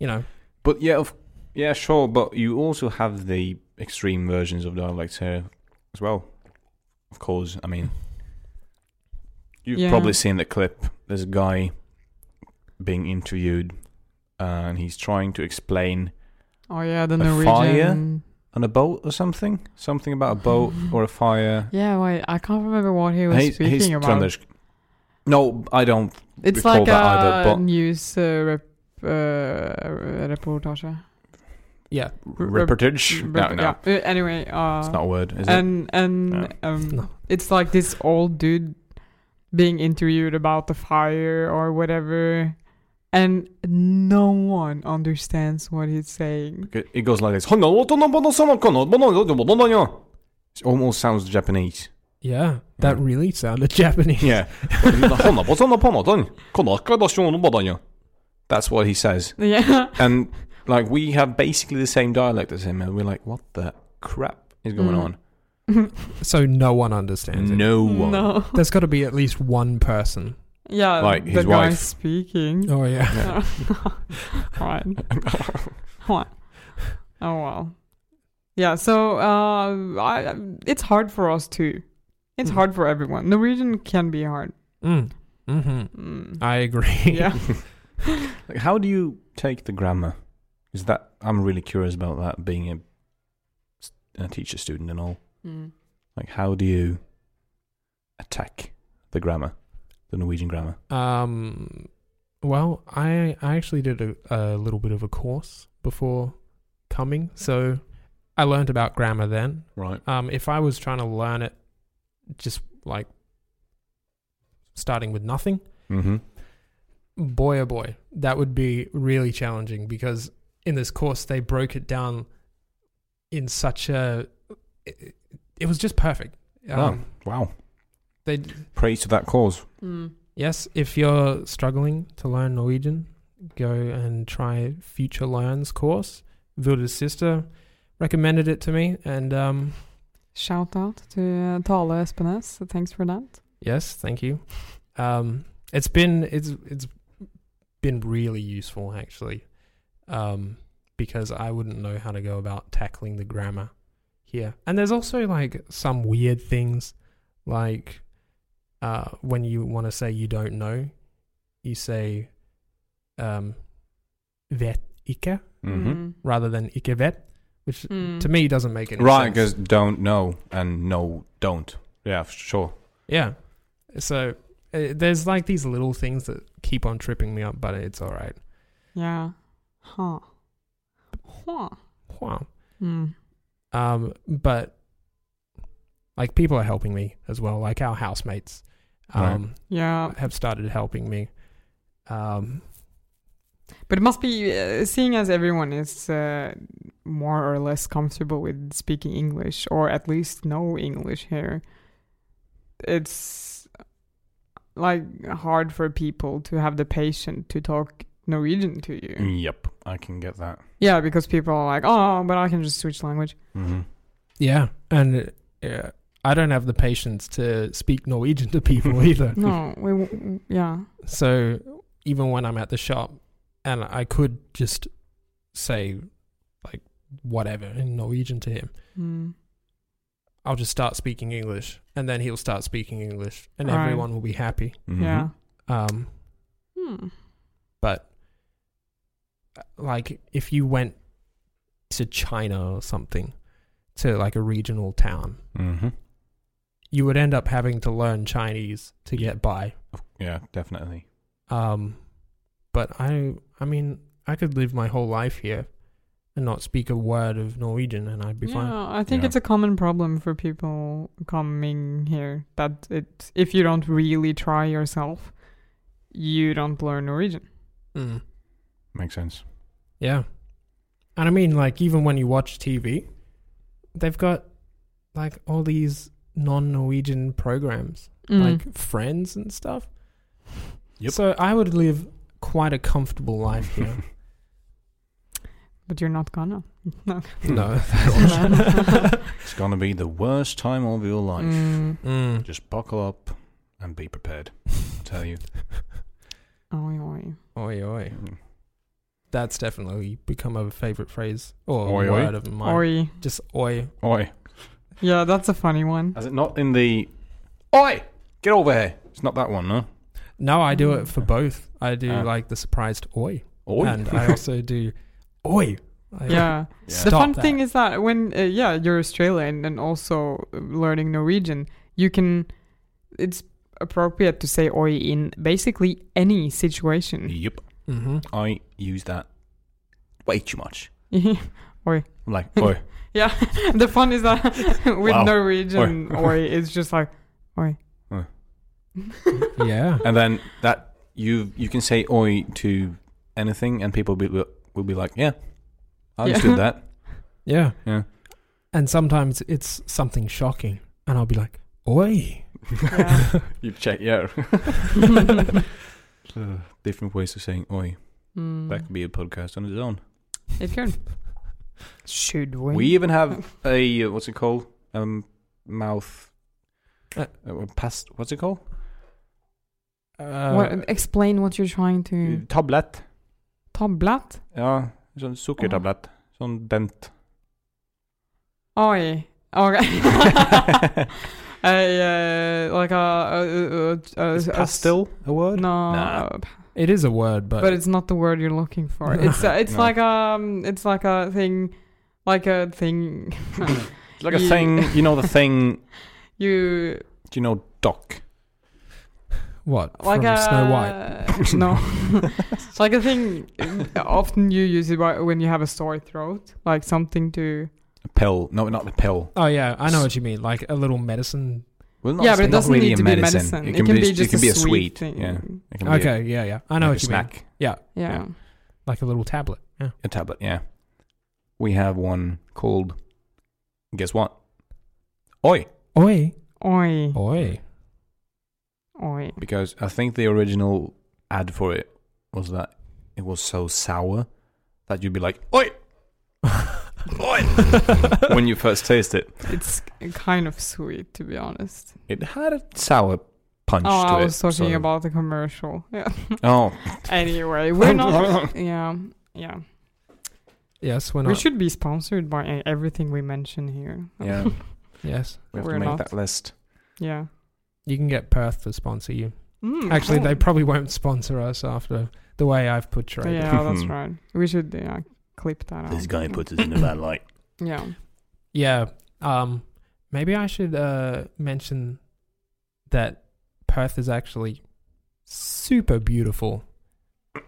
[SPEAKER 3] you know,
[SPEAKER 2] But yeah, of, yeah, sure. But you also have the extreme versions of dialects here as well. Of course, I mean, you've
[SPEAKER 1] Yeah.
[SPEAKER 2] probably seen the clip. There's a guy being interviewed, uh, and he's trying to explain
[SPEAKER 1] Oh yeah, the
[SPEAKER 2] A fire?
[SPEAKER 1] Norwegian.
[SPEAKER 2] on a boat or something, something about a boat or a fire.
[SPEAKER 1] Yeah, wait, I can't remember what he was
[SPEAKER 2] He's-
[SPEAKER 1] speaking
[SPEAKER 2] he's
[SPEAKER 1] about.
[SPEAKER 2] trying to- No, I don't.
[SPEAKER 1] it's
[SPEAKER 2] recall
[SPEAKER 1] like a
[SPEAKER 2] that either, but-
[SPEAKER 1] news uh, rep, uh, reportage.
[SPEAKER 3] yeah,
[SPEAKER 1] Rep-
[SPEAKER 2] Reportage. No,
[SPEAKER 1] Rep-
[SPEAKER 2] no,
[SPEAKER 1] yeah. Uh, anyway, uh,
[SPEAKER 2] it's not a word, is it?
[SPEAKER 1] and and
[SPEAKER 2] No.
[SPEAKER 1] um,
[SPEAKER 3] No.
[SPEAKER 1] it's like this old dude being interviewed about the fire or whatever, and no one understands what he's saying.
[SPEAKER 2] It- It goes like this. It almost sounds Japanese.
[SPEAKER 3] yeah, that
[SPEAKER 2] Mm.
[SPEAKER 3] really sounded Japanese.
[SPEAKER 2] Yeah. That's what he says.
[SPEAKER 1] Yeah,
[SPEAKER 2] And like we have basically the same dialect as him and we're like, what the crap is going
[SPEAKER 1] Mm.
[SPEAKER 2] on?
[SPEAKER 3] So no one understands it.
[SPEAKER 2] No one.
[SPEAKER 1] no,
[SPEAKER 3] There's got to be at least one person.
[SPEAKER 1] yeah,
[SPEAKER 2] Like
[SPEAKER 1] the
[SPEAKER 2] his
[SPEAKER 1] guy
[SPEAKER 2] wife.
[SPEAKER 1] speaking.
[SPEAKER 3] Oh yeah.
[SPEAKER 1] right. What? Oh well. Yeah. So uh, I, it's hard for us too. It's
[SPEAKER 3] Mm.
[SPEAKER 1] hard for everyone. Norwegian can be hard.
[SPEAKER 3] Mm. hmm
[SPEAKER 1] Mm.
[SPEAKER 3] I agree.
[SPEAKER 1] yeah.
[SPEAKER 2] Like, how do you take the grammar? Is that I'm really curious about that being a, s- a teacher student and all.
[SPEAKER 1] Mm.
[SPEAKER 2] Like how do you attack the grammar? The Norwegian grammar.
[SPEAKER 3] Um, well, I I actually did a, a little bit of a course before coming, so I learned about grammar then.
[SPEAKER 2] Right.
[SPEAKER 3] Um, if I was trying to learn it, just like starting with nothing,
[SPEAKER 2] Mm-hmm.
[SPEAKER 3] boy oh boy, that would be really challenging because in this course they broke it down in such a it, it was just perfect. Um,
[SPEAKER 2] Oh. Wow.
[SPEAKER 3] They
[SPEAKER 2] Praise to that cause.
[SPEAKER 1] Mm.
[SPEAKER 3] Yes, if you're struggling to learn Norwegian, go and try Future Learns course. Vilda's sister recommended it to me, and um,
[SPEAKER 1] Shout out to uh, Tale Espenes. So thanks for that.
[SPEAKER 3] yes, thank you. Um, it's been it's it's been really useful actually, um, because I wouldn't know how to go about tackling the grammar here. And there's also like some weird things, like uh, when you want to say you don't know, you say um, vet ikke
[SPEAKER 2] Mm-hmm.
[SPEAKER 3] rather than ikke vet, which
[SPEAKER 1] Mm.
[SPEAKER 3] to me doesn't make any
[SPEAKER 2] Right, because
[SPEAKER 3] sense.
[SPEAKER 2] don't know and no don't. Yeah, for sure.
[SPEAKER 3] yeah. So uh, there's like these little things that keep on tripping me up, but it's all right.
[SPEAKER 1] Yeah. Huh. Huh.
[SPEAKER 3] Wow.
[SPEAKER 1] Mm.
[SPEAKER 3] Um, but like people are helping me as well, like our housemates.
[SPEAKER 2] Right.
[SPEAKER 3] Um,
[SPEAKER 1] Yeah.
[SPEAKER 3] have started helping me. Um,
[SPEAKER 1] But it must be uh, seeing as everyone is uh, more or less comfortable with speaking English or at least know English here. It's like hard for people to have the patience to talk Norwegian to you.
[SPEAKER 2] Yep, I can get that.
[SPEAKER 1] Yeah, because people are like, oh, but I can just switch language.
[SPEAKER 2] hmm
[SPEAKER 3] Yeah, and uh, I don't have the patience to speak Norwegian to people either.
[SPEAKER 1] No, we, w- yeah,
[SPEAKER 3] So even when I'm at the shop, and I could just say like whatever in Norwegian to him,
[SPEAKER 1] mm.
[SPEAKER 3] I'll just start speaking English, and then he'll start speaking English, and
[SPEAKER 1] Right.
[SPEAKER 3] everyone will be happy.
[SPEAKER 2] Mm-hmm.
[SPEAKER 1] yeah.
[SPEAKER 3] Um,
[SPEAKER 1] Hmm.
[SPEAKER 3] but uh, like if you went to China or something, to like a regional town,
[SPEAKER 2] Mm-hmm.
[SPEAKER 3] you would end up having to learn Chinese to get by.
[SPEAKER 2] Yeah, definitely.
[SPEAKER 3] Um, but I, I mean, I could live my whole life here and not speak a word of Norwegian, and I'd be fine.
[SPEAKER 1] Yeah, I think
[SPEAKER 2] Yeah.
[SPEAKER 1] it's a common problem for people coming here that it if you don't really try yourself, you don't learn Norwegian.
[SPEAKER 3] Mm.
[SPEAKER 2] Makes sense.
[SPEAKER 3] Yeah, and I mean, like even when you watch TV, they've got like all these non-Norwegian programs,
[SPEAKER 1] Mm.
[SPEAKER 3] like Friends and stuff.
[SPEAKER 2] Yep.
[SPEAKER 3] So I would live quite a comfortable life here.
[SPEAKER 1] but you're not gonna. No.
[SPEAKER 3] no.
[SPEAKER 2] It's gonna be the worst time of your life.
[SPEAKER 1] Mm.
[SPEAKER 3] Mm.
[SPEAKER 2] Just buckle up and be prepared. I tell you.
[SPEAKER 1] Oi, oi.
[SPEAKER 3] Oi oi.
[SPEAKER 2] Mm-hmm.
[SPEAKER 3] That's definitely become a favorite phrase or
[SPEAKER 2] Oi, oi.
[SPEAKER 3] word of mine.
[SPEAKER 1] Oi.
[SPEAKER 3] Just oi.
[SPEAKER 2] Oi.
[SPEAKER 1] Yeah, that's a funny one.
[SPEAKER 2] Is it not in the Oi! Get over here. It's not that one, no?
[SPEAKER 3] No, I do it for both. I do
[SPEAKER 2] Ah.
[SPEAKER 3] like the surprised oi,
[SPEAKER 2] Oi.
[SPEAKER 3] and I also do oi. I-
[SPEAKER 1] Yeah.
[SPEAKER 2] Yeah.
[SPEAKER 1] The
[SPEAKER 3] Stop
[SPEAKER 1] fun
[SPEAKER 3] that.
[SPEAKER 1] thing is that when uh, yeah you're Australian and also learning Norwegian, you can. It's appropriate to say "oi" in basically any situation.
[SPEAKER 2] Yep.
[SPEAKER 3] Mhm.
[SPEAKER 2] I use that way too much.
[SPEAKER 1] oi.
[SPEAKER 2] I'm like, oi.
[SPEAKER 1] Yeah. the fun is that with
[SPEAKER 2] Wow.
[SPEAKER 1] Norwegian "oi," it's just like "oi."
[SPEAKER 2] Oi.
[SPEAKER 3] Yeah.
[SPEAKER 2] and then that you you can say oi to anything and people be, will be like, yeah,
[SPEAKER 1] Yeah.
[SPEAKER 2] I understood that.
[SPEAKER 3] Yeah.
[SPEAKER 2] Yeah.
[SPEAKER 3] And sometimes it's something shocking, and I'll be like oi.
[SPEAKER 1] Yeah.
[SPEAKER 2] You check, yeah. Different ways of saying oi.
[SPEAKER 1] Mm.
[SPEAKER 2] That could be a podcast on its own.
[SPEAKER 1] It can. Should we?
[SPEAKER 2] We even have a uh, what's it called? Um, mouth.
[SPEAKER 3] Uh,
[SPEAKER 2] Uh, past what's it called?
[SPEAKER 3] Uh,
[SPEAKER 1] What, explain what you're trying to.
[SPEAKER 2] Tablett.
[SPEAKER 1] Tablet?
[SPEAKER 2] Ja, sånn sukkertablett. Sånn dent.
[SPEAKER 1] Oi. Okay. a uh, like a, a, a, a,
[SPEAKER 2] Is
[SPEAKER 1] a-
[SPEAKER 2] past still a
[SPEAKER 1] No,
[SPEAKER 2] word? Nah.
[SPEAKER 1] uh,
[SPEAKER 3] It is a word, but,
[SPEAKER 1] but it's not the word you're looking for. It's uh, it's
[SPEAKER 2] No.
[SPEAKER 1] like um, it's like a thing, like a thing.
[SPEAKER 2] It's like a
[SPEAKER 1] You-
[SPEAKER 2] thing. You know the thing.
[SPEAKER 1] you
[SPEAKER 2] Do you know dock?
[SPEAKER 3] what
[SPEAKER 1] like uh,
[SPEAKER 3] from
[SPEAKER 1] a
[SPEAKER 3] Snow White.
[SPEAKER 1] no, it's like a thing. uh, Often you use it whi- when you have a sore throat, like something to.
[SPEAKER 2] A pill? No, not the pill.
[SPEAKER 3] Oh yeah, I know what you mean. Like a little medicine.
[SPEAKER 2] Well, not,
[SPEAKER 1] yeah,
[SPEAKER 2] it's
[SPEAKER 1] but it
[SPEAKER 2] not
[SPEAKER 1] doesn't
[SPEAKER 2] really
[SPEAKER 1] need
[SPEAKER 2] a
[SPEAKER 1] to be
[SPEAKER 2] medicine.
[SPEAKER 1] medicine.
[SPEAKER 2] It can, be, just, it can be a
[SPEAKER 1] sweet
[SPEAKER 2] sweet.
[SPEAKER 1] thing.
[SPEAKER 2] Yeah. It can be a-
[SPEAKER 3] Okay, yeah, yeah. I
[SPEAKER 2] like
[SPEAKER 3] know what
[SPEAKER 2] a
[SPEAKER 3] you
[SPEAKER 2] snack.
[SPEAKER 1] Yeah.
[SPEAKER 3] mean. Like a little tablet. Yeah.
[SPEAKER 2] A tablet. Yeah. We have one called. Guess what? Oi.
[SPEAKER 3] Oi.
[SPEAKER 1] Oi,
[SPEAKER 3] Oi. Oh.
[SPEAKER 1] oi.
[SPEAKER 2] because I think the original ad for it was that it was so sour that you'd be like, "Oi, oi!" when you first taste it.
[SPEAKER 1] It's kind of sweet, to be honest.
[SPEAKER 2] It had a sour punch
[SPEAKER 1] Oh,
[SPEAKER 2] to it.
[SPEAKER 1] I was talking
[SPEAKER 2] so-
[SPEAKER 1] about the commercial. Yeah.
[SPEAKER 2] Oh,
[SPEAKER 1] anyway, we're not. Yeah, yeah.
[SPEAKER 3] Yes, we're
[SPEAKER 1] We
[SPEAKER 3] not.
[SPEAKER 1] should be sponsored by e- everything we mention here.
[SPEAKER 2] yeah.
[SPEAKER 3] yes.
[SPEAKER 2] We have
[SPEAKER 1] We're
[SPEAKER 2] to make
[SPEAKER 1] not.
[SPEAKER 2] that list.
[SPEAKER 1] yeah.
[SPEAKER 3] You can get Perth to sponsor you.
[SPEAKER 1] Mm,
[SPEAKER 3] Actually,
[SPEAKER 1] oh.
[SPEAKER 3] they probably won't sponsor us after the way I've portrayed it.
[SPEAKER 1] Yeah, that's right. We should yeah, clip that out.
[SPEAKER 2] us in a bad light.
[SPEAKER 1] Yeah.
[SPEAKER 3] Yeah. Um, maybe I should uh, mention that Perth is actually super beautiful.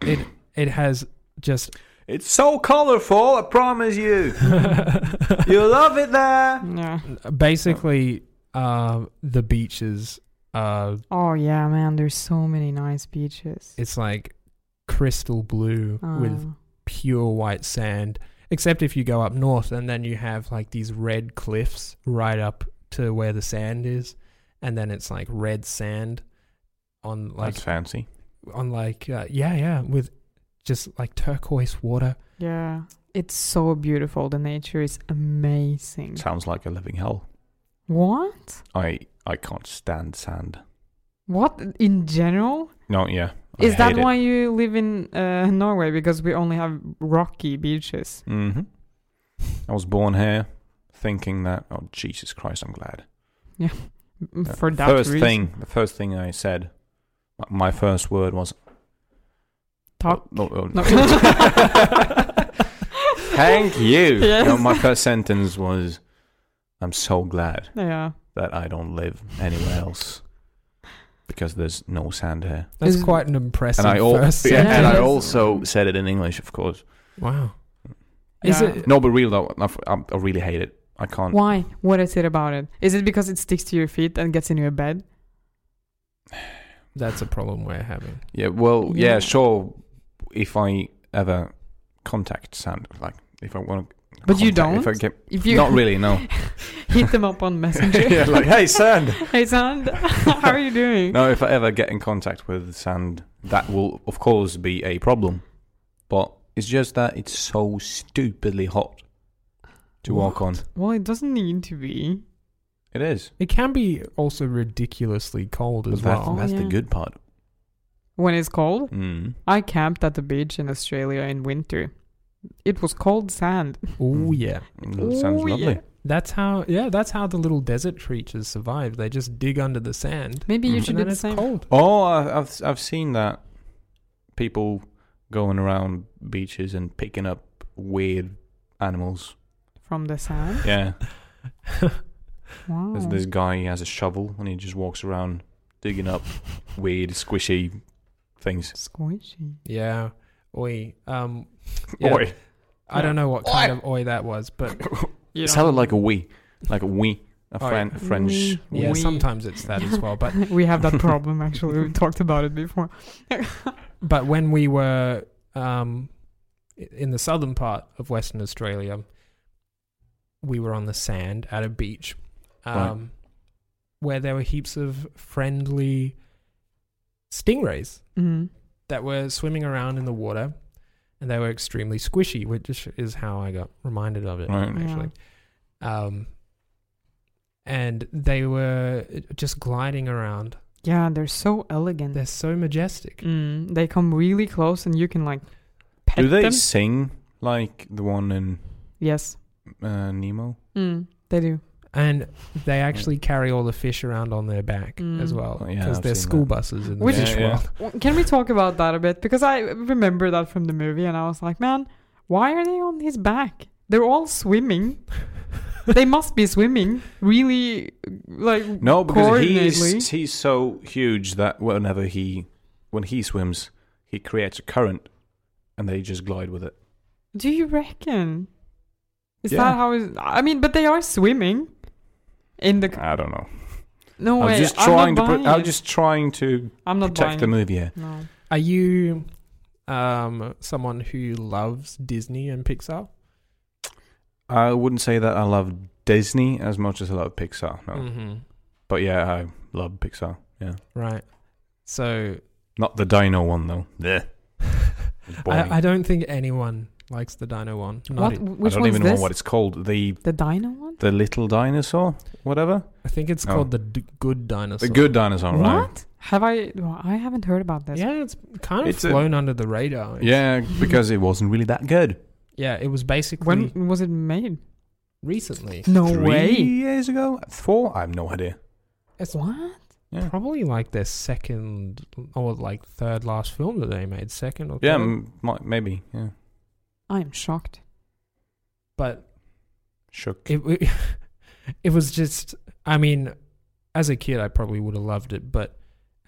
[SPEAKER 3] It it has just
[SPEAKER 2] It's so colorful. I promise you, you'll love it there.
[SPEAKER 1] Yeah.
[SPEAKER 3] basically uh, the beaches. Uh,
[SPEAKER 1] Oh yeah, man. There's so many nice beaches.
[SPEAKER 3] it's like crystal blue with
[SPEAKER 1] Oh.
[SPEAKER 3] pure white sand, except if you go up north and then you have like these red cliffs right up to where the sand is, and then it's like red sand. on like
[SPEAKER 2] That's fancy.
[SPEAKER 3] on like uh, yeah yeah with just like turquoise water.
[SPEAKER 1] Yeah. It's so beautiful. The nature is amazing.
[SPEAKER 2] Sounds like a living hell.
[SPEAKER 1] What?
[SPEAKER 2] I I can't stand sand.
[SPEAKER 1] What in general?
[SPEAKER 2] No, yeah. I
[SPEAKER 1] Is that
[SPEAKER 2] hate it.
[SPEAKER 1] why you live in uh, Norway? Because we only have rocky beaches.
[SPEAKER 2] hmm I was born here thinking that, oh, Jesus Christ, I'm glad.
[SPEAKER 1] M-
[SPEAKER 2] Uh,
[SPEAKER 1] For that
[SPEAKER 2] first
[SPEAKER 1] reason,
[SPEAKER 2] thing, the first thing I said, my- my first word was, oh,
[SPEAKER 1] Talk.
[SPEAKER 2] No, no,
[SPEAKER 1] Oh. No.
[SPEAKER 2] thank you.
[SPEAKER 1] Yes.
[SPEAKER 2] No, my first sentence was, I'm so glad
[SPEAKER 1] yeah.
[SPEAKER 2] that I don't live anywhere else because there's no sand here.
[SPEAKER 3] That's
[SPEAKER 1] Is-
[SPEAKER 3] quite an impressive
[SPEAKER 2] And I, al-
[SPEAKER 3] first.
[SPEAKER 2] yeah, and I
[SPEAKER 1] sentence.
[SPEAKER 2] also said it in English, of course.
[SPEAKER 3] wow.
[SPEAKER 1] Is
[SPEAKER 3] Is
[SPEAKER 1] Yeah.
[SPEAKER 3] it
[SPEAKER 2] No, but real though, I, I- I really hate it. I can't.
[SPEAKER 1] Why? What is it about it? Is it because it sticks to your feet and gets in your bed?
[SPEAKER 3] that's a problem we're having.
[SPEAKER 2] Yeah, well, yeah,
[SPEAKER 1] Yeah.
[SPEAKER 2] sure. If I ever contact Sand, like if I want, to
[SPEAKER 1] But you
[SPEAKER 2] If I
[SPEAKER 1] don't?
[SPEAKER 2] get,
[SPEAKER 1] If you
[SPEAKER 2] not really, no.
[SPEAKER 1] hit them up on Messenger.
[SPEAKER 2] yeah, like hey, Sand.
[SPEAKER 1] Hey, Sand, how are you doing?
[SPEAKER 2] No, if I ever get in contact with Sand, that will of course be a problem. But it's just that it's so stupidly hot to walk on.
[SPEAKER 1] Well, it doesn't need to be.
[SPEAKER 2] It is.
[SPEAKER 3] It can be also ridiculously cold
[SPEAKER 2] But
[SPEAKER 3] as
[SPEAKER 2] that,
[SPEAKER 3] well.
[SPEAKER 2] that's the
[SPEAKER 1] Oh, Yeah.
[SPEAKER 2] good part.
[SPEAKER 1] When it's cold,
[SPEAKER 2] Mm.
[SPEAKER 1] I camped at the beach in Australia in winter. It was cold sand.
[SPEAKER 3] Oh
[SPEAKER 2] Mm.
[SPEAKER 3] yeah.
[SPEAKER 2] That sounds
[SPEAKER 1] Ooh,
[SPEAKER 2] lovely.
[SPEAKER 1] yeah.
[SPEAKER 3] That's how yeah, that's how the little desert creatures survive. They just dig under the sand
[SPEAKER 1] Maybe you
[SPEAKER 2] Mhm.
[SPEAKER 1] should
[SPEAKER 3] Mm. and
[SPEAKER 1] do the
[SPEAKER 3] then
[SPEAKER 1] same.
[SPEAKER 3] it's cold.
[SPEAKER 2] Oh, I- I've I've seen that people going around beaches and picking up weird animals.
[SPEAKER 1] From the sand?
[SPEAKER 2] Yeah,
[SPEAKER 1] Wow.
[SPEAKER 2] there's this guy he has a shovel and he just walks around digging up weird squishy things.
[SPEAKER 1] Squishy.
[SPEAKER 3] yeah. Oi. Um Yeah.
[SPEAKER 2] Oi,
[SPEAKER 3] I don't know what kind of oi that was, but
[SPEAKER 2] it sounded like a wee, like a wee, a
[SPEAKER 3] Oi.
[SPEAKER 2] Fran- French.
[SPEAKER 1] Wee.
[SPEAKER 3] yeah,
[SPEAKER 1] We-
[SPEAKER 3] sometimes it's that as well. But
[SPEAKER 1] we have that problem actually. We've talked about it before.
[SPEAKER 3] but when we were um, i- in the southern part of Western Australia, we were on the sand at a beach um,
[SPEAKER 2] Right.
[SPEAKER 3] where there were heaps of friendly stingrays
[SPEAKER 1] Mm.
[SPEAKER 3] that were swimming around in the water and they were extremely squishy, which is how I got reminded of it,
[SPEAKER 2] Right.
[SPEAKER 1] Yeah.
[SPEAKER 3] actually. Um, and they were uh, just gliding around.
[SPEAKER 1] Yeah, they're so elegant.
[SPEAKER 3] They're so majestic.
[SPEAKER 1] Mm, they come really close, and you can like pet
[SPEAKER 2] Do they
[SPEAKER 1] them.
[SPEAKER 2] sing like the one in
[SPEAKER 1] Yes,
[SPEAKER 2] uh, Nemo?
[SPEAKER 1] mm, they do.
[SPEAKER 3] and they actually carry all the fish around on their back
[SPEAKER 1] Mm.
[SPEAKER 3] as well
[SPEAKER 2] Oh, yeah,
[SPEAKER 3] because
[SPEAKER 2] I've
[SPEAKER 3] they're
[SPEAKER 2] seen
[SPEAKER 3] school
[SPEAKER 2] that.
[SPEAKER 3] buses in the
[SPEAKER 1] Which-
[SPEAKER 3] fish
[SPEAKER 2] Yeah, yeah.
[SPEAKER 3] world.
[SPEAKER 1] Well, Can we talk about that a bit? Because I remember that from the movie, and I was like, man, why are they on his back? They're all swimming. they must be swimming really, like
[SPEAKER 2] No, because
[SPEAKER 1] coordinately.
[SPEAKER 2] he's he's so huge that whenever he when he swims, he creates a current, and they just glide with it.
[SPEAKER 1] Do you reckon? Is
[SPEAKER 2] Yeah.
[SPEAKER 1] that how? Is, I mean, but they are swimming in the.
[SPEAKER 2] I don't know.
[SPEAKER 1] No
[SPEAKER 2] I'm
[SPEAKER 1] way.
[SPEAKER 2] just
[SPEAKER 1] I'm
[SPEAKER 2] trying
[SPEAKER 1] not
[SPEAKER 2] to.
[SPEAKER 1] buying
[SPEAKER 2] Pr- I'm
[SPEAKER 1] it.
[SPEAKER 2] just trying to
[SPEAKER 1] I'm not buying.
[SPEAKER 2] protect the movie here.
[SPEAKER 1] it. No.
[SPEAKER 3] Are you um, someone who loves Disney and Pixar?
[SPEAKER 2] I wouldn't say that I love Disney as much as I love Pixar. No,
[SPEAKER 1] Mm.
[SPEAKER 3] Mm-hmm.
[SPEAKER 2] but yeah, I love Pixar. Yeah,
[SPEAKER 3] Right. So
[SPEAKER 2] not the Dino one though. Yeah.
[SPEAKER 3] I,
[SPEAKER 2] I,
[SPEAKER 3] I don't think anyone likes the Dino one. Not e-
[SPEAKER 1] What?
[SPEAKER 3] it-
[SPEAKER 1] Which
[SPEAKER 2] don't
[SPEAKER 1] one's
[SPEAKER 2] even
[SPEAKER 1] this?
[SPEAKER 2] know what it's called. The
[SPEAKER 1] the dino one?
[SPEAKER 2] the little dinosaur, whatever.
[SPEAKER 3] I think it's
[SPEAKER 2] Oh.
[SPEAKER 3] called the d- Good Dinosaur.
[SPEAKER 2] The good dinosaur, right?
[SPEAKER 1] What? Have I? Well, I haven't heard about this.
[SPEAKER 3] Yeah, it's kind of
[SPEAKER 2] It's a-
[SPEAKER 3] flown under the radar. It's-
[SPEAKER 2] Yeah, because it wasn't really that good.
[SPEAKER 3] Yeah, it was basically
[SPEAKER 1] When was it made?
[SPEAKER 3] recently.
[SPEAKER 1] No
[SPEAKER 2] Three
[SPEAKER 1] way.
[SPEAKER 2] years ago? Four? I have no idea.
[SPEAKER 3] It's
[SPEAKER 1] What?
[SPEAKER 2] Yeah.
[SPEAKER 3] probably like their second or like third last film that they made, second or
[SPEAKER 2] Yeah,
[SPEAKER 3] third.
[SPEAKER 2] m- might, maybe. Yeah.
[SPEAKER 1] I'm shocked.
[SPEAKER 3] But
[SPEAKER 2] Shook.
[SPEAKER 3] it w- it was just i mean as a kid i probably would have loved it but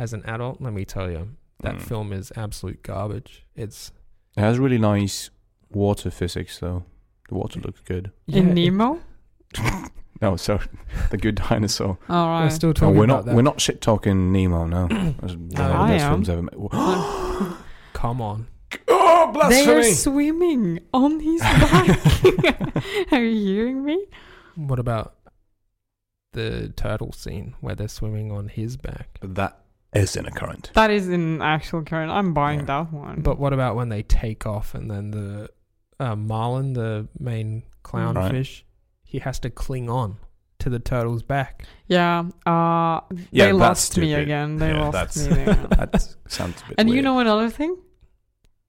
[SPEAKER 3] as an adult let me tell you that
[SPEAKER 2] Mm.
[SPEAKER 3] film is absolute garbage it's
[SPEAKER 2] It has really nice water physics, though. The water looks good.
[SPEAKER 1] in
[SPEAKER 3] it-
[SPEAKER 1] Nemo.
[SPEAKER 2] No, sorry. the good dinosaur.
[SPEAKER 1] All
[SPEAKER 3] we're
[SPEAKER 1] right.
[SPEAKER 3] still
[SPEAKER 2] No,
[SPEAKER 3] talking
[SPEAKER 2] Oh, we're
[SPEAKER 3] about
[SPEAKER 2] not.
[SPEAKER 3] that
[SPEAKER 2] We're not shit talking Nemo. No, That's one of the
[SPEAKER 3] I
[SPEAKER 2] best
[SPEAKER 1] am.
[SPEAKER 2] films ever made. oh,
[SPEAKER 3] come on
[SPEAKER 1] they are
[SPEAKER 2] blasphemy!
[SPEAKER 1] swimming on his back. are you hearing me?
[SPEAKER 3] what about the turtle scene where they're swimming on his back
[SPEAKER 2] that is in a current.
[SPEAKER 1] That is an actual current. I'm buying
[SPEAKER 2] Yeah.
[SPEAKER 1] that one.
[SPEAKER 2] Mm.
[SPEAKER 3] But what about when they take off and then the uh, marlin, the main clownfish,
[SPEAKER 2] Right.
[SPEAKER 3] he has to cling on to the turtle's back.
[SPEAKER 1] yeah, uh,
[SPEAKER 2] Yeah,
[SPEAKER 1] they
[SPEAKER 2] that's
[SPEAKER 1] lost me
[SPEAKER 2] stupid.
[SPEAKER 1] again. They
[SPEAKER 2] Yeah,
[SPEAKER 1] lost
[SPEAKER 2] that's-
[SPEAKER 1] me again.
[SPEAKER 2] That sounds a bit.
[SPEAKER 1] and you
[SPEAKER 2] weird.
[SPEAKER 1] know another thing?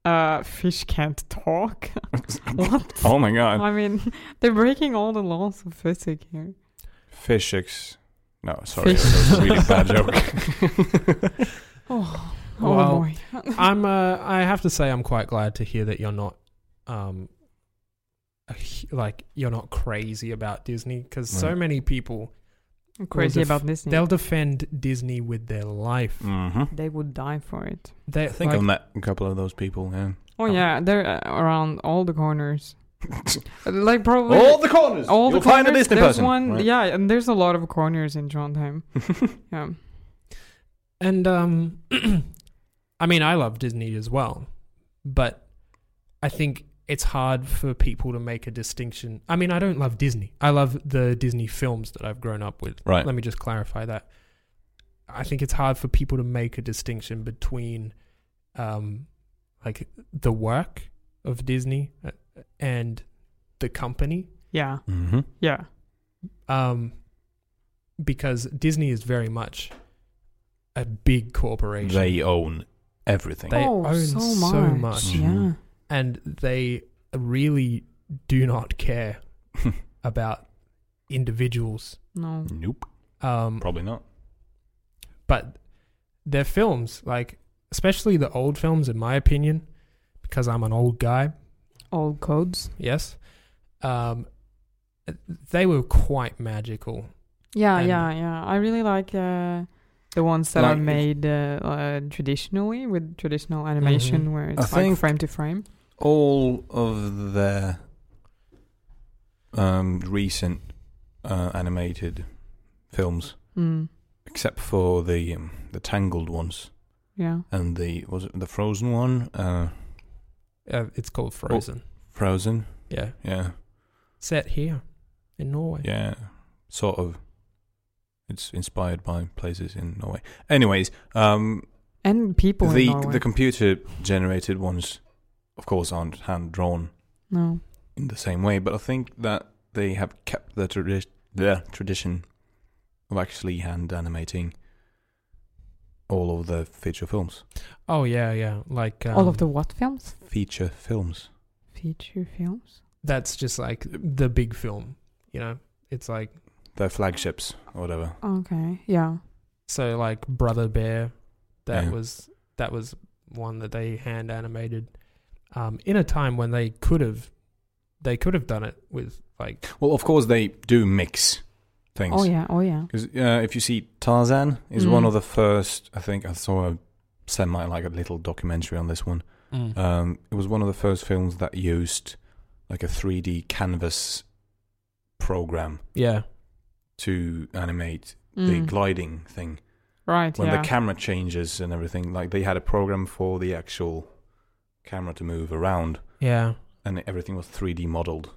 [SPEAKER 1] Uh, fish can't talk. what?
[SPEAKER 2] oh my god,
[SPEAKER 1] I mean, they're breaking all the laws of physics here.
[SPEAKER 2] fish ex. No, sorry,
[SPEAKER 1] Fish-
[SPEAKER 2] that was a really bad joke.
[SPEAKER 1] Oh,
[SPEAKER 3] Well,
[SPEAKER 1] oh boy.
[SPEAKER 3] I'm. Uh, I have to say, I'm quite glad to hear that you're not, um, a hu- like you're not crazy about Disney because so
[SPEAKER 2] Right. Mm.
[SPEAKER 3] many people
[SPEAKER 1] I'm crazy
[SPEAKER 3] def-
[SPEAKER 1] about Disney.
[SPEAKER 3] they'll defend Disney with their life.
[SPEAKER 2] hmm
[SPEAKER 1] They would die for it.
[SPEAKER 3] They
[SPEAKER 2] I think
[SPEAKER 3] like,
[SPEAKER 2] I met a couple of those people. Yeah.
[SPEAKER 1] Oh,
[SPEAKER 2] Oh.
[SPEAKER 1] yeah, they're uh, around all the corners. Uh, like probably
[SPEAKER 2] all the corners.
[SPEAKER 1] all
[SPEAKER 2] You'll
[SPEAKER 1] the
[SPEAKER 2] find a
[SPEAKER 1] corners,
[SPEAKER 2] Disney
[SPEAKER 1] there's
[SPEAKER 2] person.
[SPEAKER 1] One,
[SPEAKER 2] right?
[SPEAKER 1] Yeah, and there's a lot of corners in Trondheim. Yeah.
[SPEAKER 3] And um, I mean, I love Disney as well, but I think it's hard for people to make a distinction. I mean, I don't love Disney. I love the Disney films that I've grown up with.
[SPEAKER 2] Right.
[SPEAKER 3] Let me just clarify that. I think it's hard for people to make a distinction between, um, like the work of Disney uh, and the company
[SPEAKER 1] Yeah.
[SPEAKER 2] Mm-hmm.
[SPEAKER 1] Yeah.
[SPEAKER 3] um, because Disney is very much a big corporation.
[SPEAKER 2] They own everything.
[SPEAKER 3] They
[SPEAKER 1] Oh,
[SPEAKER 3] own
[SPEAKER 1] so
[SPEAKER 3] so
[SPEAKER 1] much.
[SPEAKER 3] much.
[SPEAKER 1] Yeah.
[SPEAKER 2] Mhm.
[SPEAKER 3] and they really do not care about individuals.
[SPEAKER 1] No.
[SPEAKER 2] nope,
[SPEAKER 3] Um,
[SPEAKER 2] probably not.
[SPEAKER 3] but their films, like especially the old films, in my opinion, because I'm an old guy,
[SPEAKER 1] All codes.
[SPEAKER 3] yes, um, they were quite magical.
[SPEAKER 1] Yeah,
[SPEAKER 3] And-
[SPEAKER 1] yeah, yeah. I really like uh, the ones that are
[SPEAKER 2] Like-
[SPEAKER 1] made uh, uh, traditionally with traditional animation where it's like
[SPEAKER 2] think-
[SPEAKER 1] frame to frame.
[SPEAKER 2] all of the um, recent uh, animated films,
[SPEAKER 1] Mm.
[SPEAKER 2] except for the um, the Tangled ones
[SPEAKER 1] Yeah.
[SPEAKER 2] and the was it the Frozen one, uh,
[SPEAKER 3] Uh, it's called Frozen.
[SPEAKER 2] Frozen,
[SPEAKER 3] Yeah,
[SPEAKER 2] yeah,
[SPEAKER 3] set here in Norway.
[SPEAKER 2] yeah, sort of. It's inspired by places in Norway. Anyways, um,
[SPEAKER 1] And people in
[SPEAKER 2] the
[SPEAKER 1] Norway.
[SPEAKER 2] the computer generated ones, of course, aren't hand drawn
[SPEAKER 1] no.
[SPEAKER 2] in the same way, but I think that they have kept the tradi- the tradition of actually hand animating all of the feature films.
[SPEAKER 3] Oh yeah, yeah. Like um,
[SPEAKER 1] All of the what films?
[SPEAKER 2] Feature films.
[SPEAKER 1] Feature films?
[SPEAKER 3] that's just like the big film. You know, it's like.
[SPEAKER 2] Their flagships or whatever.
[SPEAKER 1] Oh. Okay. Yeah.
[SPEAKER 3] So like Brother Bear, that
[SPEAKER 2] Yeah.
[SPEAKER 3] was that was one that they hand animated um, in a time when they could have they could have done it with like
[SPEAKER 2] Well, of course they do mix things.
[SPEAKER 1] Oh, yeah. Oh, yeah.
[SPEAKER 2] Because uh, if you see Tarzan is one
[SPEAKER 1] Mm.
[SPEAKER 2] of the first, I think I saw a semi like a little documentary on this one. Um, it was one of the first films that used like a 3D canvas program
[SPEAKER 3] yeah
[SPEAKER 2] to animate the
[SPEAKER 1] Mm.
[SPEAKER 2] gliding thing
[SPEAKER 1] right.
[SPEAKER 2] when
[SPEAKER 1] yeah.
[SPEAKER 2] the camera changes and everything like they had a program for the actual camera to move around
[SPEAKER 3] yeah
[SPEAKER 2] and everything was 3d modeled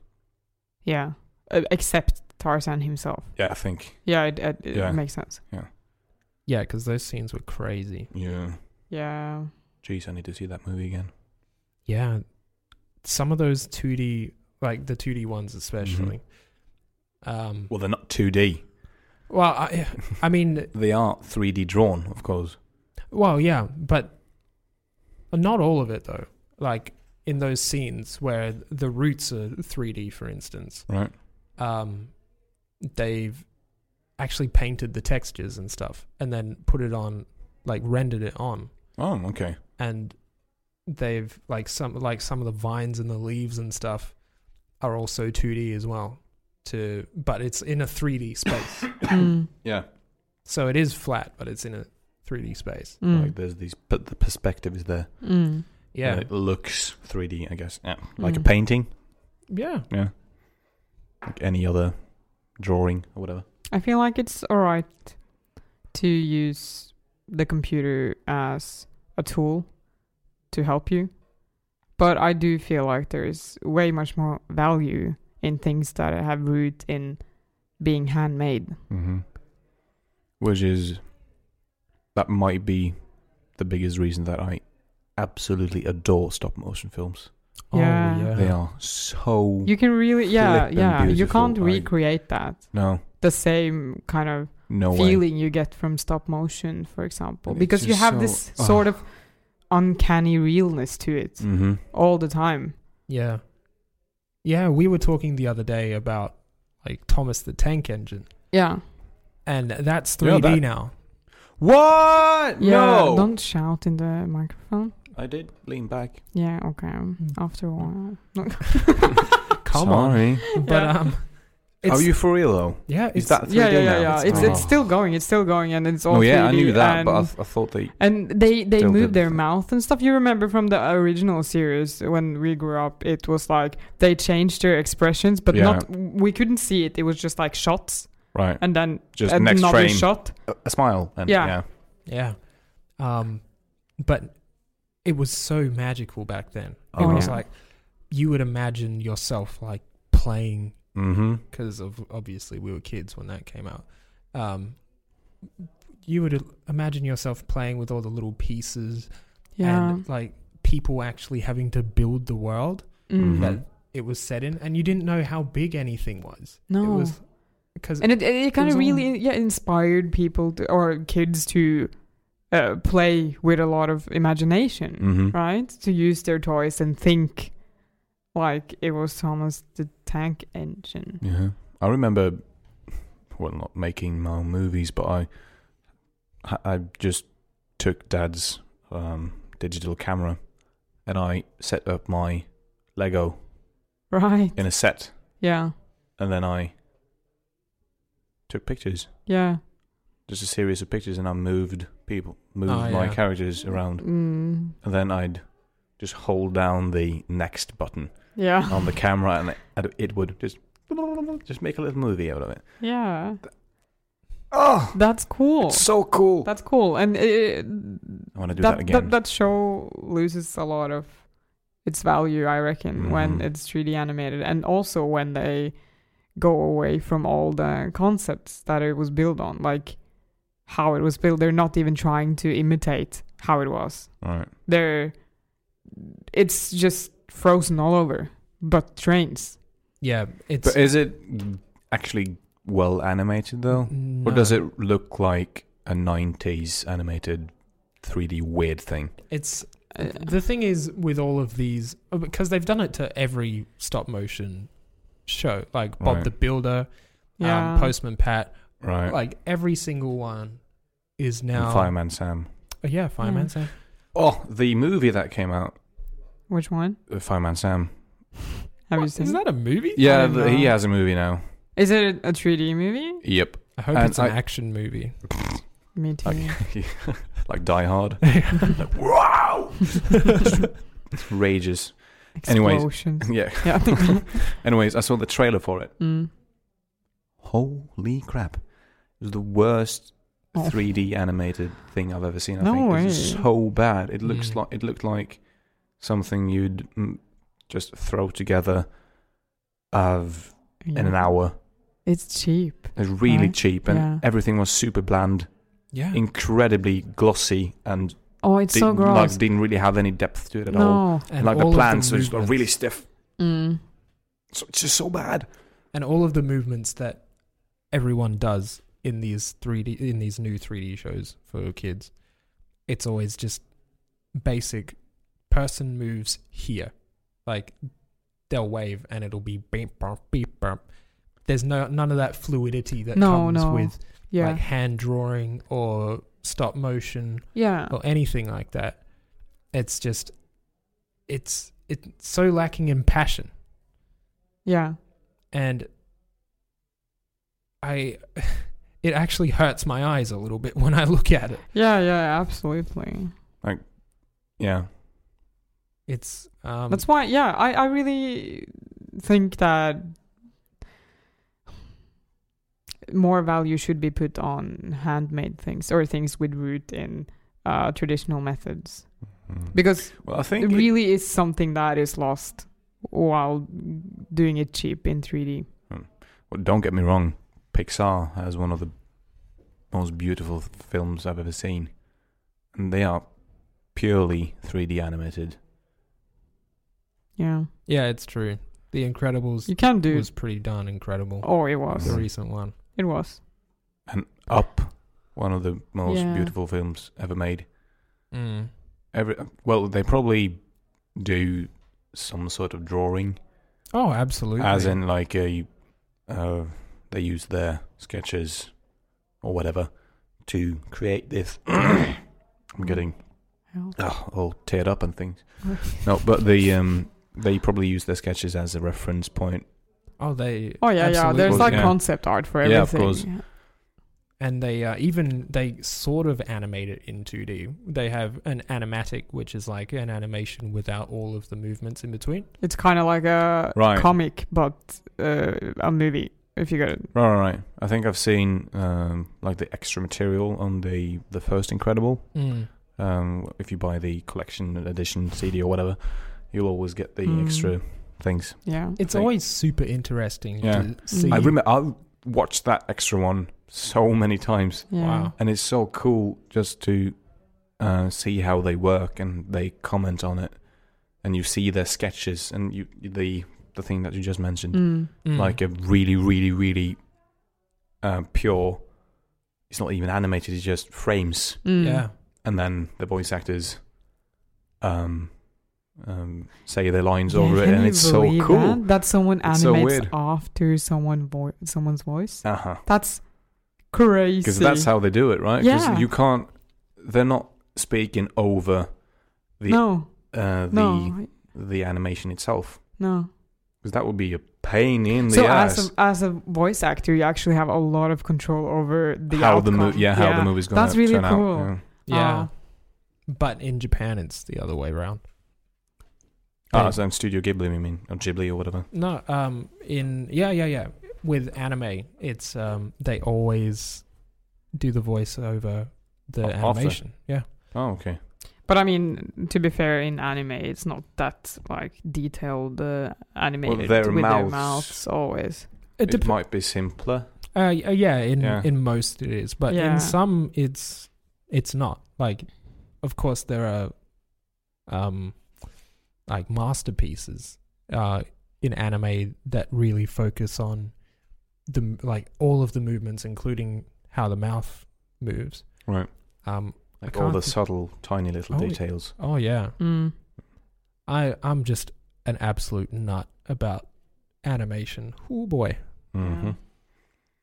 [SPEAKER 1] yeah. Uh, except Tarzan himself.
[SPEAKER 2] yeah i think
[SPEAKER 1] Yeah, it, it, it
[SPEAKER 2] Yeah.
[SPEAKER 1] makes sense.
[SPEAKER 3] yeah because those scenes were crazy.
[SPEAKER 2] yeah
[SPEAKER 1] Yeah.
[SPEAKER 2] jeez i need to see that movie again
[SPEAKER 3] Yeah, some of those two D like the two D ones especially. Um,
[SPEAKER 2] well they're not 2d
[SPEAKER 3] well, I I mean
[SPEAKER 2] they are 3d drawn of course
[SPEAKER 3] Well, yeah, but not all of it though. Like in those scenes where the roots are 3D, for instance,
[SPEAKER 2] right
[SPEAKER 3] um, they've actually painted the textures and stuff, and then put it on, like rendered it on,
[SPEAKER 2] oh okay
[SPEAKER 3] and they've like some like some of the vines and the leaves and stuff are also 2D as well. To but it's in a 3D space,
[SPEAKER 1] Mm.
[SPEAKER 2] yeah
[SPEAKER 3] so it is flat, but it's in a 3D space.
[SPEAKER 1] Mm.
[SPEAKER 2] like there's these but the perspective is there
[SPEAKER 1] mm.
[SPEAKER 3] Yeah,
[SPEAKER 2] And it looks 3d i guess yeah. like a
[SPEAKER 1] Mm.
[SPEAKER 2] painting
[SPEAKER 3] yeah.
[SPEAKER 2] like any other drawing or whatever
[SPEAKER 1] I feel like it's all right to use the computer as a tool to help you, but I do feel like there's way much more value in things that have root in being handmade.
[SPEAKER 2] Mm-hmm. Which is that might be the biggest reason that I absolutely adore stop motion films.
[SPEAKER 1] Yeah.
[SPEAKER 3] Oh, yeah.
[SPEAKER 2] They are so
[SPEAKER 1] You can really, yeah,
[SPEAKER 2] Flip and
[SPEAKER 1] yeah. You
[SPEAKER 2] beautiful,
[SPEAKER 1] can't
[SPEAKER 2] I-
[SPEAKER 1] recreate that.
[SPEAKER 2] no,
[SPEAKER 1] The same kind of
[SPEAKER 2] no way.
[SPEAKER 1] feeling you get from stop motion, for example,
[SPEAKER 2] And it's
[SPEAKER 1] because you
[SPEAKER 2] just
[SPEAKER 1] have
[SPEAKER 2] so-
[SPEAKER 1] this
[SPEAKER 2] ah.
[SPEAKER 1] sort of uncanny realness to it
[SPEAKER 2] Mm-hmm.
[SPEAKER 1] all the time.
[SPEAKER 3] Yeah. Yeah, we were talking the other day about like Thomas the Tank Engine,
[SPEAKER 1] Yeah.
[SPEAKER 3] and that's
[SPEAKER 2] Yeah,
[SPEAKER 3] 3D
[SPEAKER 2] that-
[SPEAKER 3] now.
[SPEAKER 2] What?
[SPEAKER 1] Yeah.
[SPEAKER 2] no,
[SPEAKER 1] Don't shout in the microphone.
[SPEAKER 2] I did lean back.
[SPEAKER 1] Yeah. Okay.
[SPEAKER 2] Mm.
[SPEAKER 1] After a while. No.
[SPEAKER 3] Come
[SPEAKER 2] Sorry.
[SPEAKER 3] on, but
[SPEAKER 1] Yeah.
[SPEAKER 3] um, it's,
[SPEAKER 2] Are you for real though?
[SPEAKER 3] Yeah, it's
[SPEAKER 2] Is that 3D
[SPEAKER 1] yeah, yeah, yeah,
[SPEAKER 2] now?
[SPEAKER 1] yeah. It's it's
[SPEAKER 2] Oh.
[SPEAKER 1] still going. It's still going, and it's all.
[SPEAKER 2] Oh yeah, I
[SPEAKER 1] 3D
[SPEAKER 2] knew that,
[SPEAKER 1] and,
[SPEAKER 2] but I, th- I thought they.
[SPEAKER 1] and they they
[SPEAKER 2] Still
[SPEAKER 1] move
[SPEAKER 2] did
[SPEAKER 1] their
[SPEAKER 2] the-
[SPEAKER 1] mouth and stuff. You remember from the original series when we grew up, it was like they changed their expressions, but
[SPEAKER 2] Yeah.
[SPEAKER 1] not we couldn't see it. It was just like shots,
[SPEAKER 2] Right,
[SPEAKER 1] and then
[SPEAKER 2] just
[SPEAKER 1] another
[SPEAKER 2] next frame,
[SPEAKER 1] shot.
[SPEAKER 2] a, a smile, and
[SPEAKER 1] Yeah.
[SPEAKER 2] yeah.
[SPEAKER 3] yeah, um, but it was so magical back then. It
[SPEAKER 2] Oh,
[SPEAKER 3] was
[SPEAKER 1] yeah.
[SPEAKER 3] like you would imagine yourself like playing
[SPEAKER 1] Mm.
[SPEAKER 2] Mm-hmm.
[SPEAKER 3] because of obviously we were kids when that came out. Um, you would imagine yourself playing with all the little pieces
[SPEAKER 1] Yeah,
[SPEAKER 3] and like people actually having to build the world
[SPEAKER 1] Mm.
[SPEAKER 2] Mhm.
[SPEAKER 3] that it was set in, and you didn't know how big anything was.
[SPEAKER 1] No.
[SPEAKER 3] it was because
[SPEAKER 1] and it it, kind
[SPEAKER 3] was
[SPEAKER 1] of
[SPEAKER 3] all-
[SPEAKER 1] really yeah inspired people to, or kids to uh, play with a lot of imagination.
[SPEAKER 3] Mm.
[SPEAKER 2] Mm-hmm.
[SPEAKER 1] right? To use their toys and think like it was Thomas the Tank Engine.
[SPEAKER 2] Yeah. I remember, well, not making my own movies, but I, I- I just took Dad's um, digital camera, and I set up my Lego
[SPEAKER 1] Right.
[SPEAKER 2] in a set,
[SPEAKER 1] Yeah.
[SPEAKER 2] and then I took pictures,
[SPEAKER 1] Yeah.
[SPEAKER 2] just a series of pictures, and I moved people, moved
[SPEAKER 3] Oh,
[SPEAKER 2] my
[SPEAKER 3] yeah.
[SPEAKER 2] characters around,
[SPEAKER 1] Mm.
[SPEAKER 2] and then I'd just hold down the next button
[SPEAKER 3] Uh,
[SPEAKER 1] Yeah.
[SPEAKER 2] on the camera, and it- and it would just just make a little movie out of it.
[SPEAKER 1] Yeah.
[SPEAKER 2] Oh,
[SPEAKER 1] That's cool.
[SPEAKER 2] it's so cool!
[SPEAKER 1] That's cool. And uh, it,
[SPEAKER 2] I want to do
[SPEAKER 1] that,
[SPEAKER 2] that again.
[SPEAKER 1] that that show loses a lot of its value, I reckon, when
[SPEAKER 2] Mhm.
[SPEAKER 1] it's 3D animated and also when they go away from all the concepts that it was built on, like how it was built. They're not even trying to imitate how it was.
[SPEAKER 2] All right.
[SPEAKER 1] they're it's just frozen all over but trains
[SPEAKER 3] yeah, it's
[SPEAKER 2] But is it actually well animated though? Or does it look like a 90s animated 3D weird thing?
[SPEAKER 3] It's
[SPEAKER 1] Uh,
[SPEAKER 3] the thing is with all of these oh, because they've done it to every stop motion show, like Bob
[SPEAKER 2] Right.
[SPEAKER 3] the Builder,
[SPEAKER 1] yeah
[SPEAKER 3] um, Postman Pat,
[SPEAKER 2] Right.
[SPEAKER 3] like every single one is now
[SPEAKER 2] And Fireman Sam.
[SPEAKER 3] Oh, yeah, Fireman
[SPEAKER 1] Yeah.
[SPEAKER 3] Sam.
[SPEAKER 2] Oh, the movie that came out,
[SPEAKER 1] which one
[SPEAKER 2] uh, Fireman Sam.
[SPEAKER 1] have you
[SPEAKER 3] What?
[SPEAKER 1] seen
[SPEAKER 3] Is that a movie?
[SPEAKER 2] Yeah,
[SPEAKER 1] don't
[SPEAKER 2] the, he
[SPEAKER 1] know.
[SPEAKER 2] has a movie now.
[SPEAKER 1] is it a 3d movie
[SPEAKER 2] Yep.
[SPEAKER 3] I hope
[SPEAKER 2] And
[SPEAKER 3] it's an
[SPEAKER 2] I-
[SPEAKER 3] action movie.
[SPEAKER 1] me too
[SPEAKER 2] Okay. like Die Hard.
[SPEAKER 3] like, wow.
[SPEAKER 2] Rages. Anyways.
[SPEAKER 1] explosions
[SPEAKER 2] yeah.
[SPEAKER 1] yeah
[SPEAKER 2] Anyways, I saw the trailer for it.
[SPEAKER 1] mm.
[SPEAKER 2] Holy crap. It was the worst
[SPEAKER 1] Oh.
[SPEAKER 2] 3D animated thing I've ever seen. I
[SPEAKER 1] No
[SPEAKER 2] think it's
[SPEAKER 1] way.
[SPEAKER 2] so bad. It looks
[SPEAKER 3] Mm.
[SPEAKER 2] like it looked like something you'd mm, just throw together of in an
[SPEAKER 1] Yeah.
[SPEAKER 2] hour.
[SPEAKER 1] it's cheap
[SPEAKER 2] It's really
[SPEAKER 1] Right.
[SPEAKER 2] cheap, and
[SPEAKER 1] Yeah.
[SPEAKER 2] everything was super bland,
[SPEAKER 3] Yeah.
[SPEAKER 2] incredibly glossy, and
[SPEAKER 1] oh it's so
[SPEAKER 2] didn't, like
[SPEAKER 1] gross
[SPEAKER 2] didn't really have any depth to it at all.
[SPEAKER 1] no
[SPEAKER 2] And like the
[SPEAKER 3] all of
[SPEAKER 2] plants were just were really
[SPEAKER 3] movements-
[SPEAKER 2] stiff.
[SPEAKER 1] mm.
[SPEAKER 2] So it's just so bad.
[SPEAKER 3] and all of the movements that everyone does in these 3D in these new 3D shows for kids it's always just basic person moves here like they'll wave and it'll be beep bump beep bump there's no none of that fluidity that
[SPEAKER 1] No,
[SPEAKER 3] comes
[SPEAKER 1] no.
[SPEAKER 3] with
[SPEAKER 1] yeah
[SPEAKER 3] like hand drawing or stop motion
[SPEAKER 1] yeah
[SPEAKER 2] oh.
[SPEAKER 3] or anything like that it's just it's it's so lacking in passion
[SPEAKER 1] yeah
[SPEAKER 3] and I it actually hurts my eyes a little bit when I look at it.
[SPEAKER 1] yeah yeah absolutely
[SPEAKER 2] Yeah,
[SPEAKER 3] It's um
[SPEAKER 1] That's why, yeah, I, I really think that more value should be put on handmade things or things with root in uh, traditional methods
[SPEAKER 2] Mm.
[SPEAKER 1] because
[SPEAKER 2] well, I
[SPEAKER 1] it
[SPEAKER 2] think it-
[SPEAKER 1] really is something that is lost while doing it cheap in 3D.
[SPEAKER 2] Well, don't get me wrong, Pixar has one of the most beautiful films I've ever seen. and they are purely 3D animated.
[SPEAKER 1] Yeah,
[SPEAKER 3] Yeah, it's true. The Incredibles
[SPEAKER 1] you can do.
[SPEAKER 3] was pretty darn incredible.
[SPEAKER 1] Oh, it
[SPEAKER 3] The
[SPEAKER 1] was.
[SPEAKER 3] recent one.
[SPEAKER 1] It was.
[SPEAKER 2] And Up, one of the most
[SPEAKER 1] Yeah.
[SPEAKER 2] beautiful films ever made.
[SPEAKER 3] Mm.
[SPEAKER 2] Every well, they probably do some sort of drawing,
[SPEAKER 3] Oh, absolutely.
[SPEAKER 2] as in like a uh, they use their sketches or whatever to create this. I'm getting oh, all teared up and things. No, but the um, they probably use their sketches as a reference point.
[SPEAKER 3] oh, they.
[SPEAKER 1] Oh yeah, yeah.
[SPEAKER 3] absolutely-
[SPEAKER 1] There's like
[SPEAKER 2] Yeah.
[SPEAKER 1] concept art for
[SPEAKER 2] Yeah, of
[SPEAKER 1] everything.
[SPEAKER 2] course.
[SPEAKER 3] and they uh, even they sort of animate it in 2D. They have an animatic, which is like an animation without all of the movements in between.
[SPEAKER 1] It's kind of like a
[SPEAKER 2] Right.
[SPEAKER 1] comic, but uh, a movie. If you get it.
[SPEAKER 2] Right, right, right. I think I've seen um, like the extra material on the the first Incredible. um, if you buy the collection edition CD or whatever, you'll always get the
[SPEAKER 1] Mm.
[SPEAKER 2] extra things.
[SPEAKER 1] Yeah.
[SPEAKER 3] It's
[SPEAKER 2] Like-
[SPEAKER 3] always super interesting
[SPEAKER 2] Yeah.
[SPEAKER 3] to see.
[SPEAKER 2] I remember I watched that extra one so many times,
[SPEAKER 1] Yeah.
[SPEAKER 3] Wow.
[SPEAKER 2] and it's so cool just to uh, see how they work and they comment on it, and you see their sketches and you the the thing that you just mentioned,
[SPEAKER 1] Mm.
[SPEAKER 3] Mm.
[SPEAKER 2] like a really, really, really uh, pure. It's not even animated; it's just frames.
[SPEAKER 1] Mm.
[SPEAKER 3] yeah,
[SPEAKER 2] and then the voice actors um um say their lines over it
[SPEAKER 1] can
[SPEAKER 2] and
[SPEAKER 1] you
[SPEAKER 2] it's so
[SPEAKER 1] believe
[SPEAKER 2] cool
[SPEAKER 1] that? that someone
[SPEAKER 2] It's so
[SPEAKER 1] animates
[SPEAKER 2] weird.
[SPEAKER 1] after someone vo- someone's voice.
[SPEAKER 2] uh-huh
[SPEAKER 1] That's crazy.
[SPEAKER 2] because that's how they do it right 'Cause
[SPEAKER 1] Yeah.
[SPEAKER 2] you can't they're not speaking over the
[SPEAKER 1] no,
[SPEAKER 2] uh the
[SPEAKER 1] no,
[SPEAKER 2] the animation itself
[SPEAKER 1] no.
[SPEAKER 2] because that would be a pain in the
[SPEAKER 1] So
[SPEAKER 2] ass
[SPEAKER 1] as a, as a voice actor, you actually have a lot of control over the
[SPEAKER 2] how the
[SPEAKER 1] outcome.
[SPEAKER 2] movie yeah how the movie's gonna
[SPEAKER 1] That's really
[SPEAKER 2] turn
[SPEAKER 1] cool.
[SPEAKER 2] out
[SPEAKER 3] yeah.
[SPEAKER 1] Ah.
[SPEAKER 3] but in Japan, it's the other way around.
[SPEAKER 2] yeah.
[SPEAKER 3] Yeah.
[SPEAKER 2] ah so in Studio Ghibli you mean or Ghibli or whatever
[SPEAKER 3] No, um, in yeah, yeah, yeah. With anime, it's um, they always do the voice over the
[SPEAKER 2] O- of the-
[SPEAKER 3] animation. Yeah,
[SPEAKER 2] oh okay
[SPEAKER 1] But I mean, to be fair, in anime, it's not that like detailed uh, animated
[SPEAKER 2] their
[SPEAKER 1] with their
[SPEAKER 2] mouths-
[SPEAKER 1] mouths always.
[SPEAKER 3] it,
[SPEAKER 2] it
[SPEAKER 3] depends.
[SPEAKER 2] might be simpler
[SPEAKER 3] Uh, y- uh, yeah, in
[SPEAKER 2] Yeah.
[SPEAKER 3] in most it is, but
[SPEAKER 1] Yeah.
[SPEAKER 3] in some it's it's not. Like, of course there are, um, like masterpieces, uh, in anime that really focus on the m- like all of the movements, including how the mouth moves.
[SPEAKER 2] Right.
[SPEAKER 3] Um.
[SPEAKER 2] like all
[SPEAKER 3] can't
[SPEAKER 2] the
[SPEAKER 3] think-
[SPEAKER 2] subtle tiny little
[SPEAKER 3] Oh, it-
[SPEAKER 2] details
[SPEAKER 3] Oh yeah.
[SPEAKER 1] Mm.
[SPEAKER 3] I I'm just an absolute nut about animation. Oh boy.
[SPEAKER 2] hmm
[SPEAKER 1] Yeah.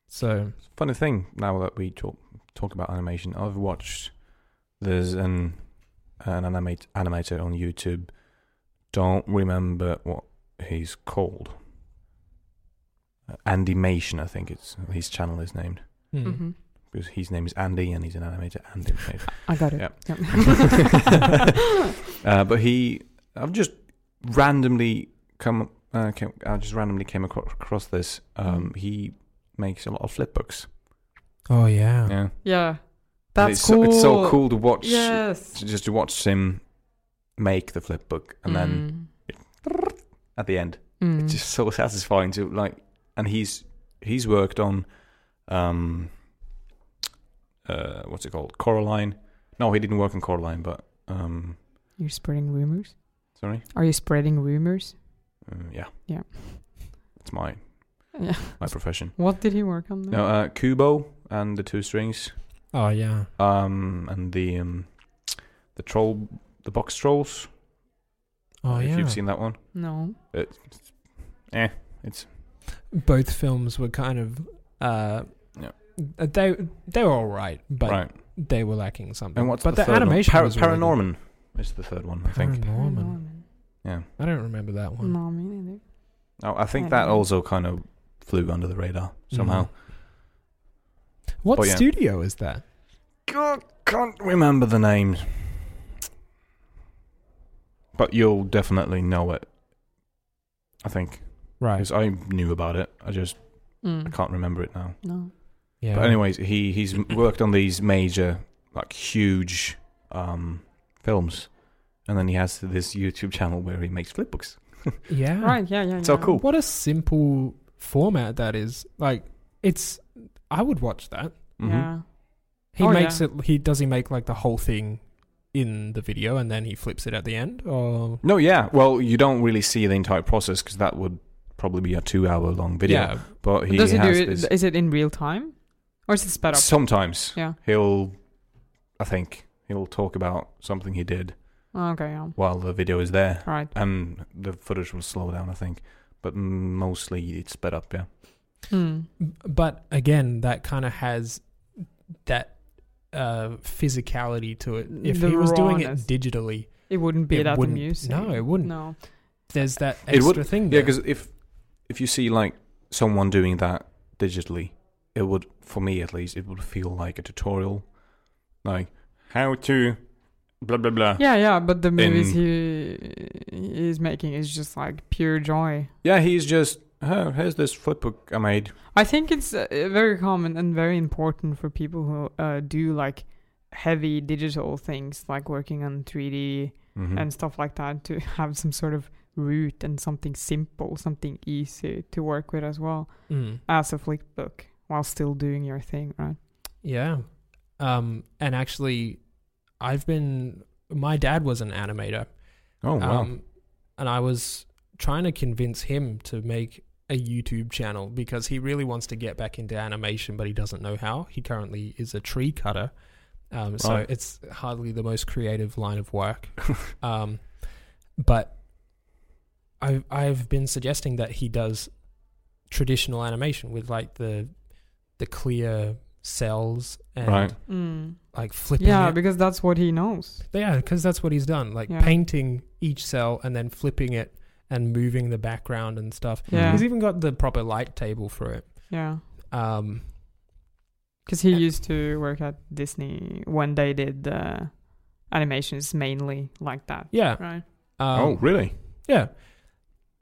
[SPEAKER 3] So
[SPEAKER 2] Funny thing, now that we talk talk about animation, I've watched there's an an animate animator on YouTube. Don't remember what he's called. Uh, Animation, I think it's his channel is named
[SPEAKER 3] hmm.
[SPEAKER 2] Mm-hmm.
[SPEAKER 1] hmm
[SPEAKER 2] because his name is Andy and he's an animator. Andy,
[SPEAKER 1] I got it.
[SPEAKER 2] Yeah.
[SPEAKER 1] Yep.
[SPEAKER 2] uh, but he, I've just randomly come, uh, came, I just randomly came acro- across this. Um, He makes a lot of flip books.
[SPEAKER 3] Oh yeah.
[SPEAKER 2] Yeah,
[SPEAKER 1] yeah,
[SPEAKER 2] And
[SPEAKER 1] that's
[SPEAKER 2] it's
[SPEAKER 1] cool.
[SPEAKER 2] So, it's so cool to watch
[SPEAKER 1] Yes.
[SPEAKER 2] to- just to watch him make the flip book and then at the end
[SPEAKER 1] Mm.
[SPEAKER 2] it's just so satisfying to like and he's he's worked on um uh what's it called coraline no he didn't work on coraline but um
[SPEAKER 1] You're spreading rumors.
[SPEAKER 2] sorry
[SPEAKER 1] Are you spreading rumors?
[SPEAKER 2] uh, yeah
[SPEAKER 1] Yeah.
[SPEAKER 2] it's my
[SPEAKER 1] Yeah. Mm.
[SPEAKER 2] my profession
[SPEAKER 1] What did he work on? then?
[SPEAKER 2] no uh kubo and the two strings
[SPEAKER 3] Oh yeah.
[SPEAKER 2] um and the um the troll the box trolls
[SPEAKER 3] Oh
[SPEAKER 2] if
[SPEAKER 3] yeah.
[SPEAKER 2] you've seen that one
[SPEAKER 1] no.
[SPEAKER 2] it's
[SPEAKER 3] Both films were kind of uh
[SPEAKER 2] Yeah.
[SPEAKER 3] uh, they they were all right, but
[SPEAKER 2] right
[SPEAKER 3] they were lacking something.
[SPEAKER 2] and what's
[SPEAKER 3] but
[SPEAKER 2] the,
[SPEAKER 3] the,
[SPEAKER 2] third
[SPEAKER 3] animation
[SPEAKER 2] one?
[SPEAKER 3] was
[SPEAKER 2] Par-
[SPEAKER 3] really good.
[SPEAKER 2] paranorman is the third one i think
[SPEAKER 3] Paranorman.
[SPEAKER 1] Norman.
[SPEAKER 3] I don't remember that one.
[SPEAKER 1] No, me neither.
[SPEAKER 2] Oh, I think
[SPEAKER 1] I
[SPEAKER 2] that
[SPEAKER 1] don't know.
[SPEAKER 2] also kind of flew under the radar
[SPEAKER 3] Mm.
[SPEAKER 2] somehow.
[SPEAKER 3] Mhm. What
[SPEAKER 2] But yeah.
[SPEAKER 3] studio is that?
[SPEAKER 2] God, can't remember the name. But you'll definitely know it. I think.
[SPEAKER 3] Right.
[SPEAKER 2] Because I knew about it. I just I
[SPEAKER 1] Mm.
[SPEAKER 2] can't remember it now.
[SPEAKER 1] No.
[SPEAKER 3] Yeah.
[SPEAKER 2] But anyways, he he's worked on these major like huge um films. And then he has this YouTube channel where he makes flip books.
[SPEAKER 3] Yeah.
[SPEAKER 1] Right. Yeah. Yeah.
[SPEAKER 2] So
[SPEAKER 1] yeah.
[SPEAKER 2] cool.
[SPEAKER 3] What a simple format that is. Like it's I would watch that.
[SPEAKER 2] Mhm.
[SPEAKER 1] Yeah.
[SPEAKER 3] He
[SPEAKER 1] Oh,
[SPEAKER 3] makes
[SPEAKER 1] yeah.
[SPEAKER 3] it. He does. He make like the whole thing in the video and then he flips it at the end? Or
[SPEAKER 2] No, yeah. Well, you don't really see the entire process because that would probably be a two-hour-long video.
[SPEAKER 3] yeah,
[SPEAKER 2] But he
[SPEAKER 1] Does it do
[SPEAKER 2] has
[SPEAKER 1] it?
[SPEAKER 2] this.
[SPEAKER 1] Is it in real time, or is it sped up?
[SPEAKER 2] Sometimes
[SPEAKER 1] Yeah.
[SPEAKER 2] he'll, I think he'll talk about something he did
[SPEAKER 1] Oh, okay. Yeah. All
[SPEAKER 2] while the video is there,
[SPEAKER 1] right.
[SPEAKER 2] and the footage will slow down. I think, but mostly it's sped up. Yeah.
[SPEAKER 1] Hmm.
[SPEAKER 3] but again, that kind of has that uh, physicality to it. If
[SPEAKER 1] The
[SPEAKER 3] he was doing it
[SPEAKER 1] rawness.
[SPEAKER 3] digitally,
[SPEAKER 1] It wouldn't be
[SPEAKER 3] It
[SPEAKER 1] that
[SPEAKER 3] wouldn't-
[SPEAKER 1] amusing.
[SPEAKER 3] no, it wouldn't.
[SPEAKER 1] No.
[SPEAKER 3] there's that
[SPEAKER 2] It
[SPEAKER 3] extra
[SPEAKER 2] would-
[SPEAKER 3] thing.
[SPEAKER 2] Yeah,
[SPEAKER 3] there.
[SPEAKER 2] because if if you see like someone doing that digitally, it would, for me at least, it would feel like a tutorial, like how to, blah blah blah.
[SPEAKER 1] Yeah, yeah. But the movies
[SPEAKER 2] In-
[SPEAKER 1] he is making is just like pure joy.
[SPEAKER 2] Yeah, he's just, oh, here's this flipbook I made.
[SPEAKER 1] I think it's uh, very common and very important for people who uh, do like heavy digital things, like working on 3D
[SPEAKER 2] Mhm.
[SPEAKER 3] Mm-hmm.
[SPEAKER 1] and stuff like that, to have some sort of root and something simple, something easy to work with as well
[SPEAKER 3] Mm.
[SPEAKER 1] as a flick book while still doing your thing, right?
[SPEAKER 3] Yeah. Um, and actually, I've been. My dad was an animator.
[SPEAKER 2] oh wow,
[SPEAKER 3] Um, and I was trying to convince him to make a YouTube channel because he really wants to get back into animation, but he doesn't know how. He currently is a tree cutter. Um, so
[SPEAKER 2] Right.
[SPEAKER 3] it's hardly the most creative line of work. um, but I've, I've been suggesting that he does traditional animation with like the the clear cells and
[SPEAKER 2] Right.
[SPEAKER 1] Mm.
[SPEAKER 3] like flipping
[SPEAKER 1] Yeah,
[SPEAKER 3] it.
[SPEAKER 1] because that's what he knows.
[SPEAKER 3] Yeah, because that's what he's done, like
[SPEAKER 1] Yeah.
[SPEAKER 3] painting each cell and then flipping it and moving the background and stuff.
[SPEAKER 1] Yeah.
[SPEAKER 3] He's even got the proper light table for it.
[SPEAKER 1] Yeah.
[SPEAKER 3] Um,
[SPEAKER 1] Because he
[SPEAKER 3] Yeah.
[SPEAKER 1] used to work at Disney when they did uh, animations mainly like that,
[SPEAKER 3] yeah.
[SPEAKER 1] right?
[SPEAKER 3] Um,
[SPEAKER 2] oh really?
[SPEAKER 3] yeah.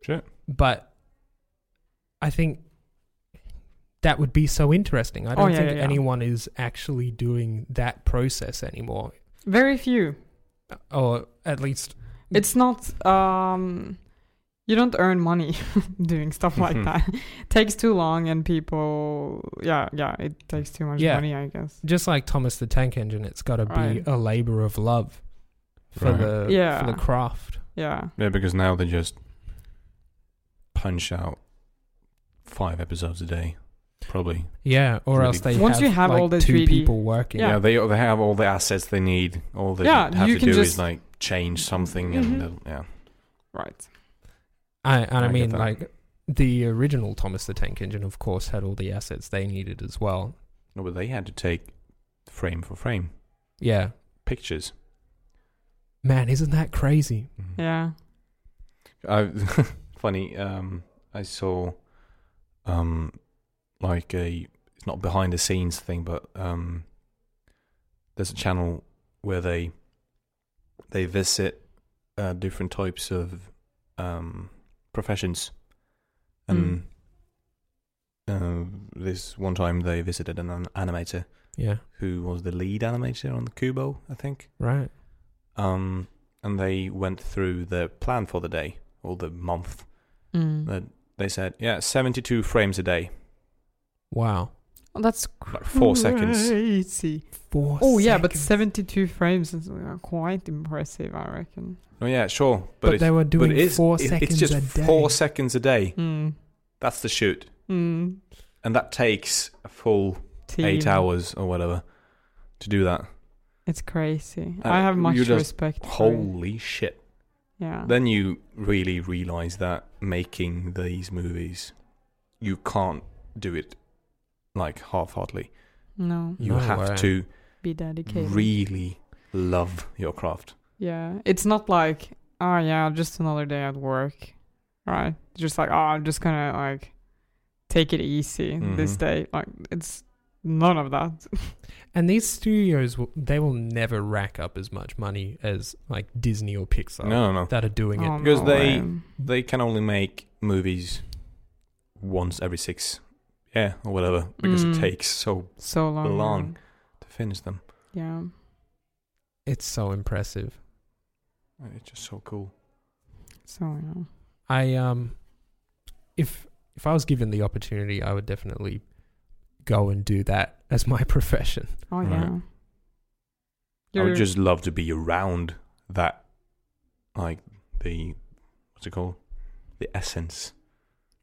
[SPEAKER 2] Shit.
[SPEAKER 3] But I think that would be so interesting. I
[SPEAKER 1] Oh,
[SPEAKER 3] don't
[SPEAKER 1] yeah,
[SPEAKER 3] think
[SPEAKER 1] yeah, yeah.
[SPEAKER 3] anyone is actually doing that process anymore,
[SPEAKER 1] Very few.
[SPEAKER 3] or at least
[SPEAKER 1] It's not. Um, you don't earn money doing stuff like
[SPEAKER 2] Mhm.
[SPEAKER 3] Mm-hmm.
[SPEAKER 1] that. takes too long, and people. Yeah, yeah. It takes too much
[SPEAKER 3] Yeah.
[SPEAKER 1] money, I guess.
[SPEAKER 3] just like Thomas the Tank Engine. It's got to
[SPEAKER 1] Right.
[SPEAKER 3] be a labor of love for
[SPEAKER 2] Right.
[SPEAKER 3] the
[SPEAKER 1] Yeah.
[SPEAKER 3] for the craft.
[SPEAKER 1] Yeah.
[SPEAKER 2] Yeah, because now they just punch out five episodes a day, probably.
[SPEAKER 3] Yeah, or
[SPEAKER 2] Really-
[SPEAKER 3] else they
[SPEAKER 1] Once
[SPEAKER 3] have,
[SPEAKER 1] you have
[SPEAKER 3] like,
[SPEAKER 1] all the
[SPEAKER 3] two
[SPEAKER 1] 3D
[SPEAKER 3] people working.
[SPEAKER 2] Yeah, they they have all the assets they need. All they
[SPEAKER 1] Yeah,
[SPEAKER 2] have
[SPEAKER 1] you
[SPEAKER 2] to
[SPEAKER 1] can
[SPEAKER 2] do
[SPEAKER 1] just-
[SPEAKER 2] is like change something,
[SPEAKER 1] Mhm.
[SPEAKER 2] and they'll- yeah.
[SPEAKER 1] Right.
[SPEAKER 3] I, and I,
[SPEAKER 2] I get
[SPEAKER 3] mean,
[SPEAKER 2] that.
[SPEAKER 3] like the original Thomas the Tank Engine, of course, had all the assets they needed as well.
[SPEAKER 2] No, but they had to take frame for frame
[SPEAKER 3] Yeah,
[SPEAKER 2] pictures.
[SPEAKER 3] man, isn't that crazy?
[SPEAKER 1] Yeah.
[SPEAKER 2] I, funny. Um, I saw, um, like a it's not behind the scenes thing, but um, there's a channel where they they visit uh, different types of um professions, and uh, this one time they visited an an- animator
[SPEAKER 3] Yeah,
[SPEAKER 2] who was the lead animator on the Kubo, I think.
[SPEAKER 3] right.
[SPEAKER 2] Um, and they went through the plan for the day or the month.
[SPEAKER 1] Mm.
[SPEAKER 2] That they said, yeah, seventy-two frames a day,
[SPEAKER 3] Wow.
[SPEAKER 1] Oh, that's
[SPEAKER 2] like four seconds.
[SPEAKER 1] crazy.
[SPEAKER 3] Four.
[SPEAKER 1] Oh yeah, but
[SPEAKER 3] seconds.
[SPEAKER 1] seventy-two frames is uh, quite impressive, I reckon.
[SPEAKER 2] Oh yeah, sure,
[SPEAKER 3] But,
[SPEAKER 2] but, it's,
[SPEAKER 3] they were
[SPEAKER 2] but
[SPEAKER 3] doing
[SPEAKER 2] it is
[SPEAKER 3] four
[SPEAKER 2] it-
[SPEAKER 3] seconds
[SPEAKER 2] It's just
[SPEAKER 3] a day.
[SPEAKER 2] four seconds a day.
[SPEAKER 1] Mm.
[SPEAKER 2] That's the shoot,
[SPEAKER 1] Mm.
[SPEAKER 2] and that takes a full eight
[SPEAKER 1] Team.
[SPEAKER 2] hours or whatever to do that.
[SPEAKER 1] It's crazy.
[SPEAKER 2] Uh,
[SPEAKER 1] I have
[SPEAKER 2] you
[SPEAKER 1] much
[SPEAKER 2] just
[SPEAKER 1] respect. for it.
[SPEAKER 2] Holy shit!
[SPEAKER 1] Yeah.
[SPEAKER 2] Then you really realize that making these movies, you can't do it like half-heartedly.
[SPEAKER 1] no.
[SPEAKER 2] You
[SPEAKER 3] No
[SPEAKER 2] have
[SPEAKER 3] way.
[SPEAKER 2] to
[SPEAKER 1] Be dedicated.
[SPEAKER 2] really love your craft.
[SPEAKER 1] Yeah, it's not like oh yeah, just another day at work, right? Just like oh, I'm just gonna like take it easy this
[SPEAKER 2] Mhm.
[SPEAKER 1] day. Like it's none of that.
[SPEAKER 3] And these studios, will, they will never rack up as much money as like Disney or Pixar
[SPEAKER 2] no, no, no.
[SPEAKER 3] that are doing it.
[SPEAKER 1] Oh,
[SPEAKER 2] Because
[SPEAKER 1] no
[SPEAKER 2] they-
[SPEAKER 1] way.
[SPEAKER 2] They can only make movies once every six, yeah, or whatever, because
[SPEAKER 1] Mm.
[SPEAKER 2] it takes so
[SPEAKER 1] so long.
[SPEAKER 2] long. to finish them.
[SPEAKER 1] Yeah.
[SPEAKER 3] It's so impressive.
[SPEAKER 2] It's just so cool.
[SPEAKER 1] So yeah.
[SPEAKER 3] I um if if I was given the opportunity, I would definitely go and do that as my profession.
[SPEAKER 1] Oh
[SPEAKER 2] Right.
[SPEAKER 1] yeah.
[SPEAKER 2] I
[SPEAKER 1] You're-
[SPEAKER 2] would just love to be around that, like the what's it called, the essence,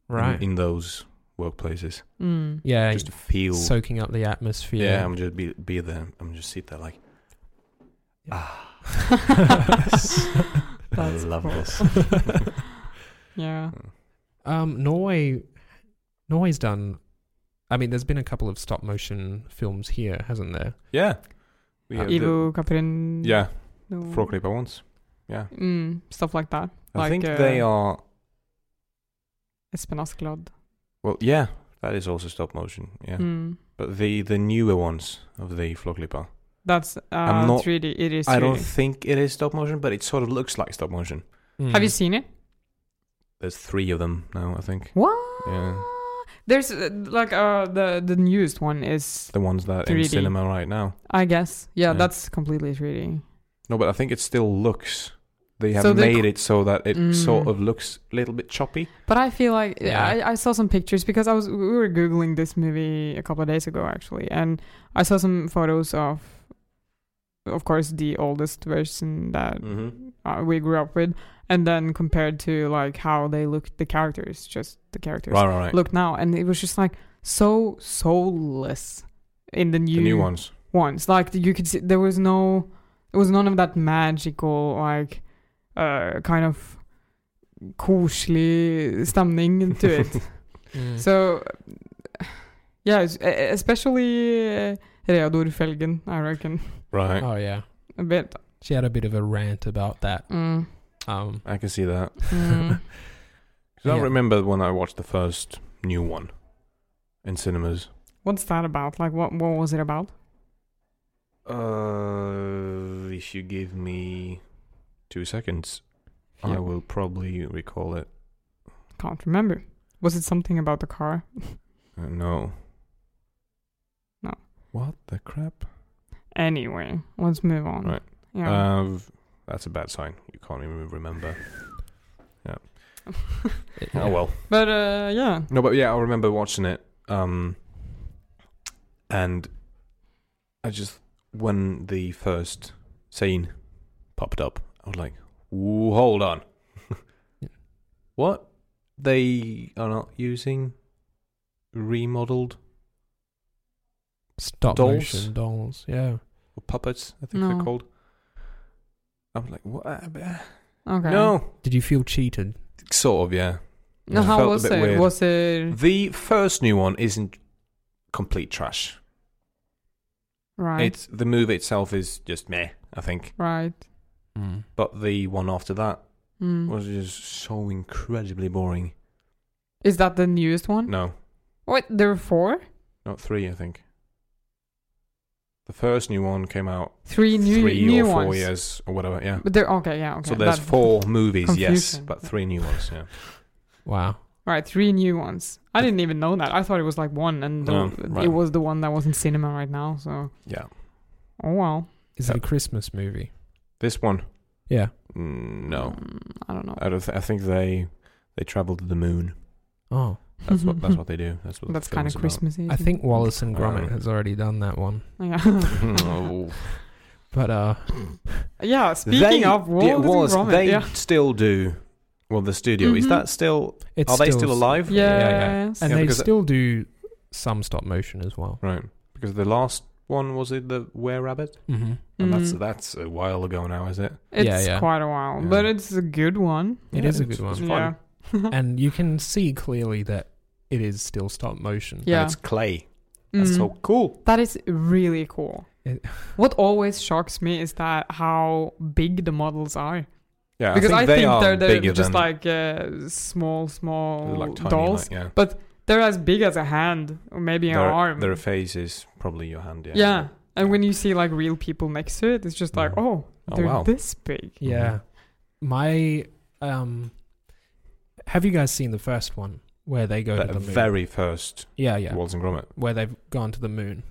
[SPEAKER 2] in-
[SPEAKER 3] right?
[SPEAKER 2] in, those workplaces.
[SPEAKER 1] Mm.
[SPEAKER 3] yeah,
[SPEAKER 2] just to feel,
[SPEAKER 3] soaking up the
[SPEAKER 2] yeah.
[SPEAKER 3] atmosphere.
[SPEAKER 2] I'm just be be there. I'm just sit there like, I
[SPEAKER 1] That's
[SPEAKER 2] love
[SPEAKER 1] cool.
[SPEAKER 2] this.
[SPEAKER 1] Yeah.
[SPEAKER 3] Um, Norway, Norway's done. I mean, there's been a couple of stop motion films here, hasn't there?
[SPEAKER 2] yeah, we have the-
[SPEAKER 1] Ivo Kaprin.
[SPEAKER 2] yeah,
[SPEAKER 1] no.
[SPEAKER 2] frog clipper ones. Yeah,
[SPEAKER 1] Mm, stuff like that.
[SPEAKER 2] I
[SPEAKER 1] like,
[SPEAKER 2] think
[SPEAKER 1] uh,
[SPEAKER 2] they are.
[SPEAKER 1] Espinasklod.
[SPEAKER 2] Well, yeah, that is also stop motion. Yeah,
[SPEAKER 1] Mm.
[SPEAKER 2] but the the newer ones of the frog clipper.
[SPEAKER 1] That's uh,
[SPEAKER 2] I'm not-
[SPEAKER 1] 3D. It is 3D.
[SPEAKER 2] I don't think it is stop motion, but it sort of looks like stop motion.
[SPEAKER 1] Have you seen it?
[SPEAKER 2] There's three of them now, I think.
[SPEAKER 1] What?
[SPEAKER 2] Yeah.
[SPEAKER 1] There's uh, like uh the the newest one is
[SPEAKER 2] The ones that are in
[SPEAKER 1] 3D.
[SPEAKER 2] cinema right now.
[SPEAKER 1] I guess yeah,
[SPEAKER 2] Yeah.
[SPEAKER 1] that's completely 3D.
[SPEAKER 2] No, but I think it still looks. They have
[SPEAKER 1] So they
[SPEAKER 2] made it so that it
[SPEAKER 1] Mm.
[SPEAKER 2] sort of looks a little bit choppy.
[SPEAKER 1] But I feel like
[SPEAKER 3] Yeah.
[SPEAKER 1] I, I saw some pictures because I was we were googling this movie a couple of days ago actually, and I saw some photos of, of course, the oldest version that
[SPEAKER 2] Mm-hmm.
[SPEAKER 1] uh, we grew up with, and then compared to like how they looked the characters, just the characters
[SPEAKER 2] Right, right, right.
[SPEAKER 1] look now, and it was just like so soulless in the new,
[SPEAKER 2] the new ones.
[SPEAKER 1] ones. Like you could see, there was no, it was none of that magical like, uh, kind of koselig stamning into it.
[SPEAKER 3] Hmm.
[SPEAKER 1] so, yeah, it's- e- especially uh, Reodor Felgen, I reckon,
[SPEAKER 2] Right.
[SPEAKER 3] Oh yeah,
[SPEAKER 1] a bit.
[SPEAKER 3] she had a bit of a rant about that.
[SPEAKER 1] Mm,
[SPEAKER 3] Um,
[SPEAKER 2] I can see that.
[SPEAKER 1] mm.
[SPEAKER 2] 'Cause I
[SPEAKER 3] Yeah.
[SPEAKER 2] remember when I watched the first new one in cinemas.
[SPEAKER 1] What's that about? Like, what what was it about?
[SPEAKER 2] Uh, if you give me two seconds, I
[SPEAKER 1] Yeah.
[SPEAKER 2] will probably recall it.
[SPEAKER 1] Can't remember. Was it something about the car?
[SPEAKER 2] Uh, no.
[SPEAKER 1] No.
[SPEAKER 2] What the crap?
[SPEAKER 1] Anyway, let's move on.
[SPEAKER 2] Right.
[SPEAKER 1] Yeah.
[SPEAKER 2] Uh, that's a bad sign. You can't even remember.
[SPEAKER 3] it-
[SPEAKER 2] Oh well.
[SPEAKER 1] but uh, yeah.
[SPEAKER 2] No, but yeah, I remember watching it. Um, and I just when the first scene popped up, I was like, "Ooh, hold on,
[SPEAKER 3] Yeah.
[SPEAKER 2] what? They are not using remodeled
[SPEAKER 3] stop
[SPEAKER 2] Dolls?
[SPEAKER 3] motion dolls. Yeah,
[SPEAKER 2] or puppets? I think
[SPEAKER 1] No.
[SPEAKER 2] they're called." I was like, "What? Uh,
[SPEAKER 1] Okay.
[SPEAKER 2] No,
[SPEAKER 3] did you feel cheated?
[SPEAKER 2] sort of, yeah."
[SPEAKER 1] No,
[SPEAKER 2] Yeah.
[SPEAKER 1] how
[SPEAKER 2] Felt a
[SPEAKER 1] was it?
[SPEAKER 2] bit weird.
[SPEAKER 1] Was it
[SPEAKER 2] The first new one isn't complete trash.
[SPEAKER 1] right?
[SPEAKER 2] It's the movie itself is just meh. I think.
[SPEAKER 1] right.
[SPEAKER 2] But the one after that
[SPEAKER 1] Mm.
[SPEAKER 2] was just so incredibly boring.
[SPEAKER 1] Is that the newest one?
[SPEAKER 2] No,
[SPEAKER 1] Wait, there were four,
[SPEAKER 2] not three, I think. The first new one came out
[SPEAKER 1] three new
[SPEAKER 2] three
[SPEAKER 1] new
[SPEAKER 2] or four
[SPEAKER 1] ones.
[SPEAKER 2] years or whatever, yeah.
[SPEAKER 1] But there, okay, yeah, okay.
[SPEAKER 2] so there's
[SPEAKER 1] that-
[SPEAKER 2] four movies, yes,
[SPEAKER 1] confusing.
[SPEAKER 2] but three new ones, yeah.
[SPEAKER 3] Wow.
[SPEAKER 1] Right, three new ones. I didn't even know that. I thought it was like one, and the-
[SPEAKER 2] No, Oh, right.
[SPEAKER 1] it was the one that was in cinema right now. So,
[SPEAKER 2] Yeah.
[SPEAKER 1] oh well.
[SPEAKER 3] Is
[SPEAKER 2] Uh,
[SPEAKER 3] it a Christmas movie?
[SPEAKER 2] This one,
[SPEAKER 3] Yeah.
[SPEAKER 2] mm, no.
[SPEAKER 1] Mm, I don't know.
[SPEAKER 2] I, don't th- I think they they travel to the moon.
[SPEAKER 3] Oh,
[SPEAKER 2] That's what that's what they do. That's what the
[SPEAKER 1] That's
[SPEAKER 2] film
[SPEAKER 1] kind
[SPEAKER 2] is
[SPEAKER 1] of
[SPEAKER 2] about.
[SPEAKER 1] Christmassy.
[SPEAKER 3] I think Wallace and Gromit
[SPEAKER 2] Um,
[SPEAKER 3] has already done that one.
[SPEAKER 1] Yeah.
[SPEAKER 2] Oh.
[SPEAKER 3] But uh,
[SPEAKER 1] yeah. Speaking
[SPEAKER 2] They-
[SPEAKER 1] of Wallace,
[SPEAKER 2] yeah, Wallace,
[SPEAKER 1] and Gromit,
[SPEAKER 2] they
[SPEAKER 1] yeah.
[SPEAKER 2] still do. Well, the studio is
[SPEAKER 1] Mhm.
[SPEAKER 2] that still?
[SPEAKER 3] it's
[SPEAKER 2] are they still alive?
[SPEAKER 1] Yes.
[SPEAKER 3] And
[SPEAKER 2] Yeah,
[SPEAKER 3] they
[SPEAKER 2] because-
[SPEAKER 3] still do some stop motion as well.
[SPEAKER 2] Right, because the last one was it the Were Rabbit,
[SPEAKER 3] Mm-hmm.
[SPEAKER 2] and that's
[SPEAKER 1] Mm.
[SPEAKER 2] that's a while ago now, is it?
[SPEAKER 1] It's
[SPEAKER 3] Yeah, yeah.
[SPEAKER 1] quite a while,
[SPEAKER 2] Yeah.
[SPEAKER 1] but it's a good one.
[SPEAKER 3] It
[SPEAKER 2] Yeah,
[SPEAKER 3] is a
[SPEAKER 2] it's-
[SPEAKER 3] good
[SPEAKER 2] it's
[SPEAKER 3] one,
[SPEAKER 2] fun.
[SPEAKER 1] yeah.
[SPEAKER 3] and you can see clearly that it is still stop motion.
[SPEAKER 1] Yeah.
[SPEAKER 2] And it's clay. That's
[SPEAKER 1] Mm.
[SPEAKER 2] so cool.
[SPEAKER 1] That is really cool.
[SPEAKER 3] It-
[SPEAKER 1] what always shocks me is that how big the models are.
[SPEAKER 2] Yeah,
[SPEAKER 1] because I think,
[SPEAKER 2] are
[SPEAKER 1] they're, they're
[SPEAKER 2] bigger
[SPEAKER 1] just
[SPEAKER 2] than
[SPEAKER 1] like uh, small, small
[SPEAKER 2] like tiny,
[SPEAKER 1] dolls.
[SPEAKER 2] Like, yeah,
[SPEAKER 1] They're as big as a hand or maybe an
[SPEAKER 2] their,
[SPEAKER 1] arm.
[SPEAKER 2] Their face is probably your hand. Yeah.
[SPEAKER 1] yeah. And when you see like real people next to it, it's just like,
[SPEAKER 2] Mhm.
[SPEAKER 1] oh,
[SPEAKER 2] Oh,
[SPEAKER 1] they're
[SPEAKER 2] wow.
[SPEAKER 1] this big.
[SPEAKER 3] Yeah. My um have you guys seen the first one where they go
[SPEAKER 2] That
[SPEAKER 3] to the moon?
[SPEAKER 2] very first
[SPEAKER 3] yeah,
[SPEAKER 2] yeah.
[SPEAKER 3] yeah.
[SPEAKER 2] Walls and Gromit.
[SPEAKER 3] Where they've gone to the moon.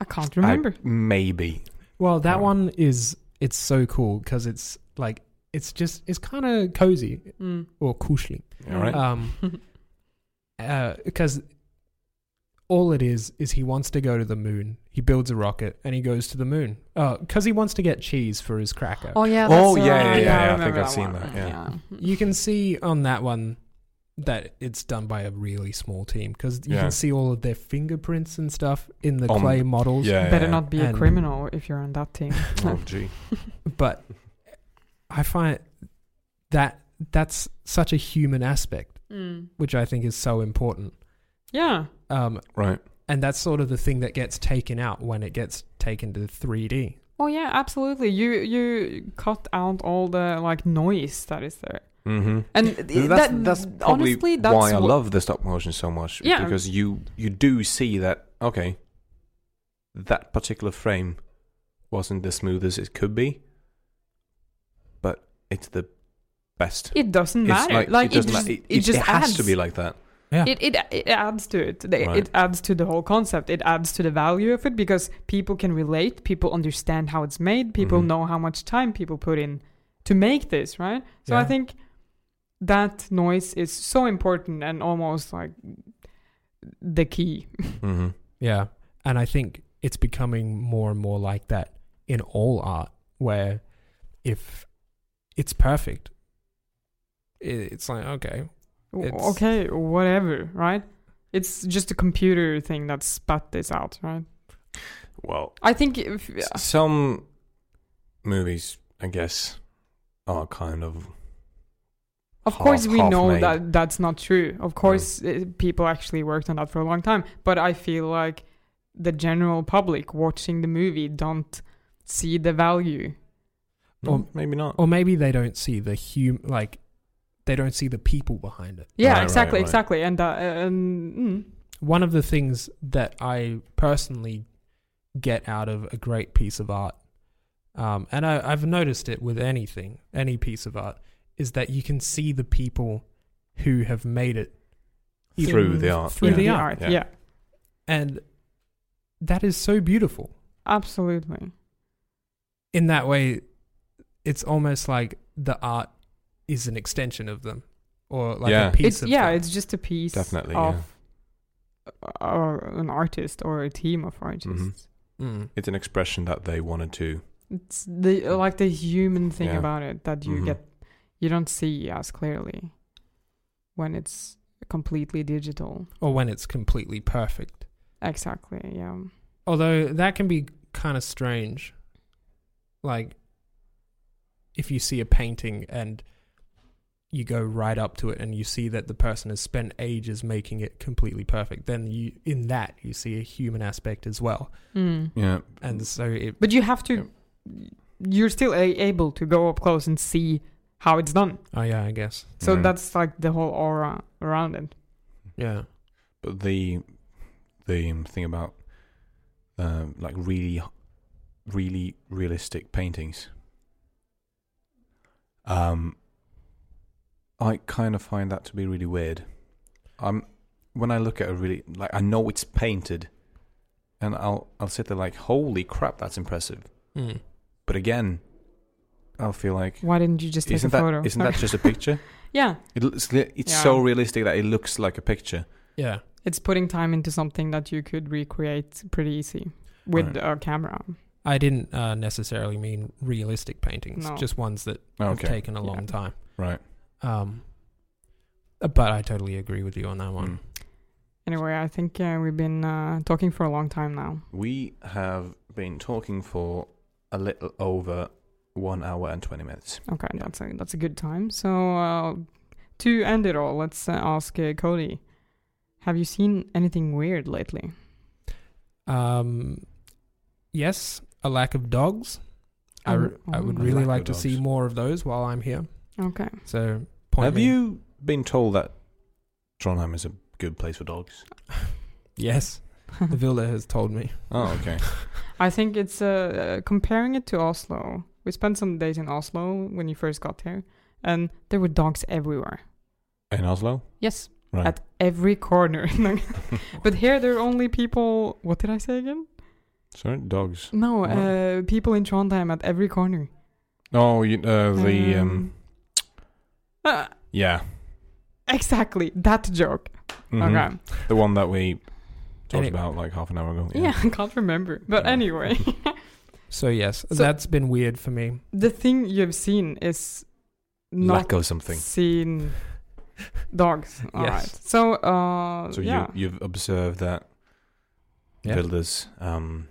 [SPEAKER 1] I can't remember.
[SPEAKER 2] I- maybe.
[SPEAKER 3] Well, that
[SPEAKER 2] Yeah.
[SPEAKER 3] one is it's so cool cuz it's like it's just it's kind of cozy
[SPEAKER 1] Mm. Uh, Um,
[SPEAKER 3] or kushly.
[SPEAKER 2] All right.
[SPEAKER 3] Um uh cuz all it is is he wants to go to the moon. He builds a rocket and he goes to the moon. Oh, because he wants to get cheese for his cracker.
[SPEAKER 1] Oh yeah.
[SPEAKER 2] Oh,
[SPEAKER 1] that's
[SPEAKER 2] yeah,
[SPEAKER 1] right.
[SPEAKER 2] yeah, yeah, yeah, I
[SPEAKER 1] remember
[SPEAKER 2] think I've
[SPEAKER 1] one.
[SPEAKER 2] seen that, yeah.
[SPEAKER 3] You can see on that one that it's done by a really small team because you
[SPEAKER 2] Yeah.
[SPEAKER 3] can see all of their fingerprints and stuff in the
[SPEAKER 2] On-
[SPEAKER 3] clay models.
[SPEAKER 2] Yeah.
[SPEAKER 1] Better not be a
[SPEAKER 3] And-
[SPEAKER 1] criminal if you're on that team.
[SPEAKER 2] Oh, gee.
[SPEAKER 3] But I find that that's such a human aspect,
[SPEAKER 1] Mm.
[SPEAKER 3] which I think is so important.
[SPEAKER 1] Yeah.
[SPEAKER 3] Um,
[SPEAKER 2] Right.
[SPEAKER 3] and that's sort of the thing that gets taken out when it gets taken to 3D.
[SPEAKER 1] Oh yeah, absolutely. You you cut out all the like noise that is there.
[SPEAKER 2] Mm-hmm.
[SPEAKER 1] And
[SPEAKER 2] that's,
[SPEAKER 1] that,
[SPEAKER 2] that's probably
[SPEAKER 1] honestly, that's
[SPEAKER 2] why I
[SPEAKER 1] what-
[SPEAKER 2] love the stop motion so much.
[SPEAKER 1] Yeah.
[SPEAKER 2] Because you you do see that okay, that particular frame wasn't the smoothest it could be, but it's the best.
[SPEAKER 1] It doesn't
[SPEAKER 2] It's
[SPEAKER 1] matter.
[SPEAKER 2] like,
[SPEAKER 1] Like,
[SPEAKER 2] it doesn't
[SPEAKER 1] just,
[SPEAKER 2] matter. It,
[SPEAKER 1] it just
[SPEAKER 2] has
[SPEAKER 1] adds.
[SPEAKER 2] to be like that.
[SPEAKER 1] It, it it adds to it. They-
[SPEAKER 2] Right.
[SPEAKER 1] It adds to the whole concept. It adds to the value of it because people can relate. People understand how it's made. People
[SPEAKER 2] Mhm.
[SPEAKER 1] know how much time people put in to make this. Right. So I
[SPEAKER 3] Yeah.
[SPEAKER 1] think that noise is so important and almost like the key.
[SPEAKER 2] Mm-hmm.
[SPEAKER 3] Yeah. And I think it's becoming more and more like that in all art, where if it's perfect, i- it's like, okay, It's-
[SPEAKER 1] okay, whatever. Right. It's just a computer thing that spat this out. Right.
[SPEAKER 2] Well,
[SPEAKER 1] I think if uh,
[SPEAKER 2] S- Some movies, I guess, are kind of
[SPEAKER 1] Of
[SPEAKER 2] half-
[SPEAKER 1] course, we
[SPEAKER 2] half
[SPEAKER 1] know
[SPEAKER 2] made.
[SPEAKER 1] that that's not true. Of course, uh people actually worked on that for a long time. But I feel like the general public watching the movie don't see the value.
[SPEAKER 2] or
[SPEAKER 3] Or-
[SPEAKER 2] maybe not.
[SPEAKER 3] or maybe they don't see the hum, like, they don't see the people behind it.
[SPEAKER 1] Yeah,
[SPEAKER 2] Right, right,
[SPEAKER 1] exactly,
[SPEAKER 2] right.
[SPEAKER 1] exactly. And uh, and mm,
[SPEAKER 3] One of the things that I personally get out of a great piece of art, um, and I, I've noticed it with anything, any piece of art, is that you can see the people who have made it
[SPEAKER 2] Through
[SPEAKER 3] even
[SPEAKER 2] the art,
[SPEAKER 3] Through
[SPEAKER 2] yeah.
[SPEAKER 3] the
[SPEAKER 1] the
[SPEAKER 3] art.
[SPEAKER 1] art,
[SPEAKER 2] yeah.
[SPEAKER 1] yeah.
[SPEAKER 3] And that is so beautiful.
[SPEAKER 1] absolutely.
[SPEAKER 3] In that way, it's almost like the art is an extension of them or like
[SPEAKER 2] Yeah.
[SPEAKER 3] a piece
[SPEAKER 1] It's
[SPEAKER 3] of
[SPEAKER 1] yeah,
[SPEAKER 3] them.
[SPEAKER 1] it's just a piece
[SPEAKER 2] Definitely,
[SPEAKER 1] of uh, or an artist or a team of artists.
[SPEAKER 2] Mm-hmm.
[SPEAKER 3] Mm.
[SPEAKER 2] It's an expression that they wanted to.
[SPEAKER 1] It's the like the human thing
[SPEAKER 2] Yeah.
[SPEAKER 1] about it that you
[SPEAKER 2] Mhm.
[SPEAKER 1] get you don't see as clearly when it's completely digital.
[SPEAKER 3] Or when it's completely perfect.
[SPEAKER 1] Exactly. Yeah.
[SPEAKER 3] Although that can be kind of strange. Like, if you see a painting and you go right up to it and you see that the person has spent ages making it completely perfect, then you, in that, you see a human aspect as well.
[SPEAKER 2] Yeah.
[SPEAKER 3] And so it
[SPEAKER 1] Hmm. But you have to. You're still a- able to go up close and see how it's done.
[SPEAKER 3] Oh yeah, I guess.
[SPEAKER 1] So
[SPEAKER 2] Mhm.
[SPEAKER 1] that's like the whole aura around it.
[SPEAKER 3] Yeah.
[SPEAKER 2] But the the um, thing about um, like really, really realistic paintings. Um, I kind of find that to be really weird. I'm when I look at a really like I know it's painted, and I'll I'll sit there like, holy crap, that's impressive.
[SPEAKER 3] Mm.
[SPEAKER 2] But again, I'll feel like
[SPEAKER 1] Why didn't you just take
[SPEAKER 2] isn't
[SPEAKER 1] a
[SPEAKER 2] that
[SPEAKER 1] photo?
[SPEAKER 2] not that
[SPEAKER 1] Okay.
[SPEAKER 2] just a picture?
[SPEAKER 1] yeah,
[SPEAKER 2] It looks li- it's
[SPEAKER 1] Yeah.
[SPEAKER 2] so realistic that it looks like a picture.
[SPEAKER 3] Yeah.
[SPEAKER 1] it's putting time into something that you could recreate pretty easy with a camera.
[SPEAKER 3] I didn't uh, necessarily mean realistic paintings,
[SPEAKER 1] No.
[SPEAKER 3] just ones that have
[SPEAKER 2] Okay,
[SPEAKER 3] taken a long
[SPEAKER 1] Yeah.
[SPEAKER 3] time.
[SPEAKER 2] right.
[SPEAKER 3] Um, uh, but I totally agree with you on that one.
[SPEAKER 2] Mm.
[SPEAKER 1] Anyway, I think uh, we've been uh, talking for a long time now.
[SPEAKER 2] We have been talking for a little over one hour and twenty minutes.
[SPEAKER 1] Okay,
[SPEAKER 2] Yeah.
[SPEAKER 1] that's a that's a good time. So uh, to end it all, let's uh, ask uh, Cody: Have you seen anything weird lately?
[SPEAKER 2] Hmm.
[SPEAKER 3] Um, yes, a lack of dogs. I,
[SPEAKER 1] Oh,
[SPEAKER 3] r- I would
[SPEAKER 1] oh.
[SPEAKER 3] really
[SPEAKER 2] Lack
[SPEAKER 3] like
[SPEAKER 2] of
[SPEAKER 3] to see
[SPEAKER 2] dogs.
[SPEAKER 3] more of those while I'm here.
[SPEAKER 1] Mm. Okay.
[SPEAKER 3] So point
[SPEAKER 2] have
[SPEAKER 3] me-
[SPEAKER 2] you been told that Trondheim is a good place for dogs?
[SPEAKER 3] Yes, the villa has told me.
[SPEAKER 2] Oh, okay.
[SPEAKER 1] I think it's uh, uh, comparing it to Oslo. We spent some days in Oslo when you first got here, and there were dogs everywhere.
[SPEAKER 2] In Oslo,
[SPEAKER 1] Yes,
[SPEAKER 2] right?
[SPEAKER 1] at every corner. but here there are only people. What did I say again?
[SPEAKER 2] Sorry, dogs.
[SPEAKER 1] No,
[SPEAKER 2] What?
[SPEAKER 1] uh, people in Trondheim at every corner.
[SPEAKER 2] Oh, you, uh, the
[SPEAKER 1] Mm.
[SPEAKER 2] um,
[SPEAKER 1] uh,
[SPEAKER 2] yeah,
[SPEAKER 1] exactly that joke.
[SPEAKER 2] Mhm.
[SPEAKER 1] Okay.
[SPEAKER 2] the one that we Talked
[SPEAKER 3] Any-
[SPEAKER 2] about like half an hour ago.
[SPEAKER 1] Yeah, I can't remember. But
[SPEAKER 2] Yeah.
[SPEAKER 1] anyway,
[SPEAKER 3] So yes,
[SPEAKER 1] So-
[SPEAKER 3] that's been weird for me.
[SPEAKER 1] the thing you've seen is not
[SPEAKER 2] Lack of something.
[SPEAKER 1] seen dogs. All right.
[SPEAKER 3] Yes.
[SPEAKER 1] So, uh,
[SPEAKER 2] So
[SPEAKER 1] yeah.
[SPEAKER 2] you you've observed that
[SPEAKER 3] Yeah.
[SPEAKER 2] Vilda's um,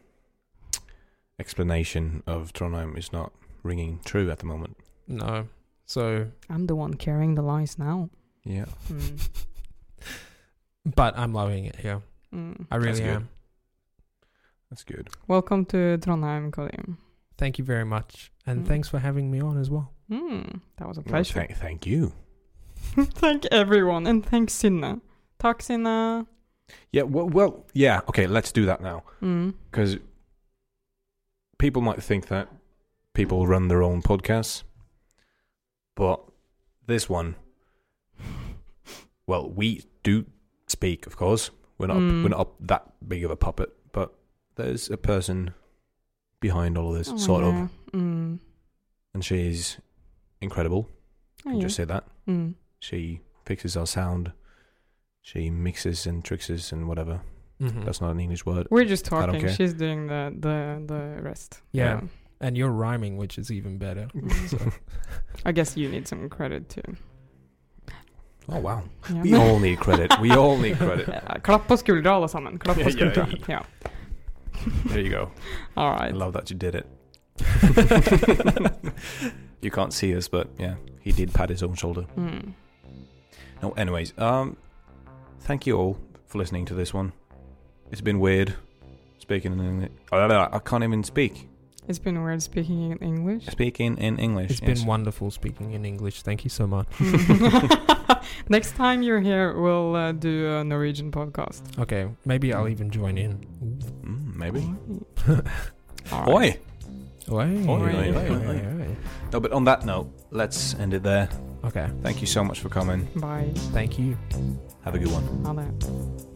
[SPEAKER 2] explanation of Trondheim is not ringing true at the moment.
[SPEAKER 3] No. So,
[SPEAKER 1] I'm the one carrying the lies now.
[SPEAKER 2] Yeah,
[SPEAKER 1] Mm,
[SPEAKER 3] but I'm loving it here.
[SPEAKER 1] mm.
[SPEAKER 3] I really
[SPEAKER 2] good.
[SPEAKER 3] am.
[SPEAKER 2] that's good.
[SPEAKER 1] Welcome to Trondheim, Colleen.
[SPEAKER 3] Thank you very much, and
[SPEAKER 1] Mm.
[SPEAKER 3] thanks for having me on as well.
[SPEAKER 1] Mm, that was a
[SPEAKER 2] Well,
[SPEAKER 1] pleasure.
[SPEAKER 2] thank, thank you.
[SPEAKER 1] Thank everyone and thank Sinna. Tack Sinna.
[SPEAKER 2] Yeah. Well, well. Yeah. Okay. Let's do that now
[SPEAKER 1] Mm.
[SPEAKER 2] because people might think that people run their own podcasts, but this one, well, we do speak, of course. We're not
[SPEAKER 1] Mm.
[SPEAKER 2] we're not that big of a puppet, but there's a person behind all of this,
[SPEAKER 1] Oh,
[SPEAKER 2] sort of.
[SPEAKER 1] yeah. Mm.
[SPEAKER 2] and she's incredible.
[SPEAKER 1] Oh,
[SPEAKER 2] I
[SPEAKER 1] yeah.
[SPEAKER 2] just say that.
[SPEAKER 1] Mm.
[SPEAKER 2] She fixes our sound. She mixes and tricks us and whatever.
[SPEAKER 3] Mhm.
[SPEAKER 2] That's not an English word.
[SPEAKER 1] We're just
[SPEAKER 2] don't
[SPEAKER 1] talking.
[SPEAKER 2] care.
[SPEAKER 1] She's doing the the the rest.
[SPEAKER 3] Yeah. and you're rhyming, which is even better.
[SPEAKER 1] Mm. I guess you need some credit too.
[SPEAKER 2] Oh wow.
[SPEAKER 1] Yeah.
[SPEAKER 2] We all need credit. We all need credit.
[SPEAKER 1] Ja, Klapp på skuldra alla sammen. Klapp på
[SPEAKER 2] Yeah, yeah,
[SPEAKER 1] skuldra. Yeah.
[SPEAKER 2] There you go.
[SPEAKER 1] All
[SPEAKER 2] I
[SPEAKER 1] right.
[SPEAKER 2] love that you did it. you can't see us, but yeah, he did pat his own shoulder.
[SPEAKER 1] Mm.
[SPEAKER 2] No, anyways, um, thank you all for listening to this one. It's been weird speaking in English. I can't even speak.
[SPEAKER 1] It's been weird speaking in English.
[SPEAKER 2] Speaking in English.
[SPEAKER 3] It's
[SPEAKER 2] yes.
[SPEAKER 3] been wonderful speaking in English. Thank you so much.
[SPEAKER 1] Mm. Next time you're here, we'll uh, do a Norwegian podcast.
[SPEAKER 3] Okay, maybe I'll even join in.
[SPEAKER 2] Mm, maybe.
[SPEAKER 1] All right.
[SPEAKER 2] Oi.
[SPEAKER 3] Oi,
[SPEAKER 2] Oi,
[SPEAKER 1] oi,
[SPEAKER 3] oi,
[SPEAKER 2] oi,
[SPEAKER 3] oi, oi.
[SPEAKER 2] No, but on that note, let's end it there.
[SPEAKER 3] Okay,
[SPEAKER 2] Thank you so much for coming.
[SPEAKER 1] Bye.
[SPEAKER 3] thank you.
[SPEAKER 2] Have a good one.
[SPEAKER 1] Ha det.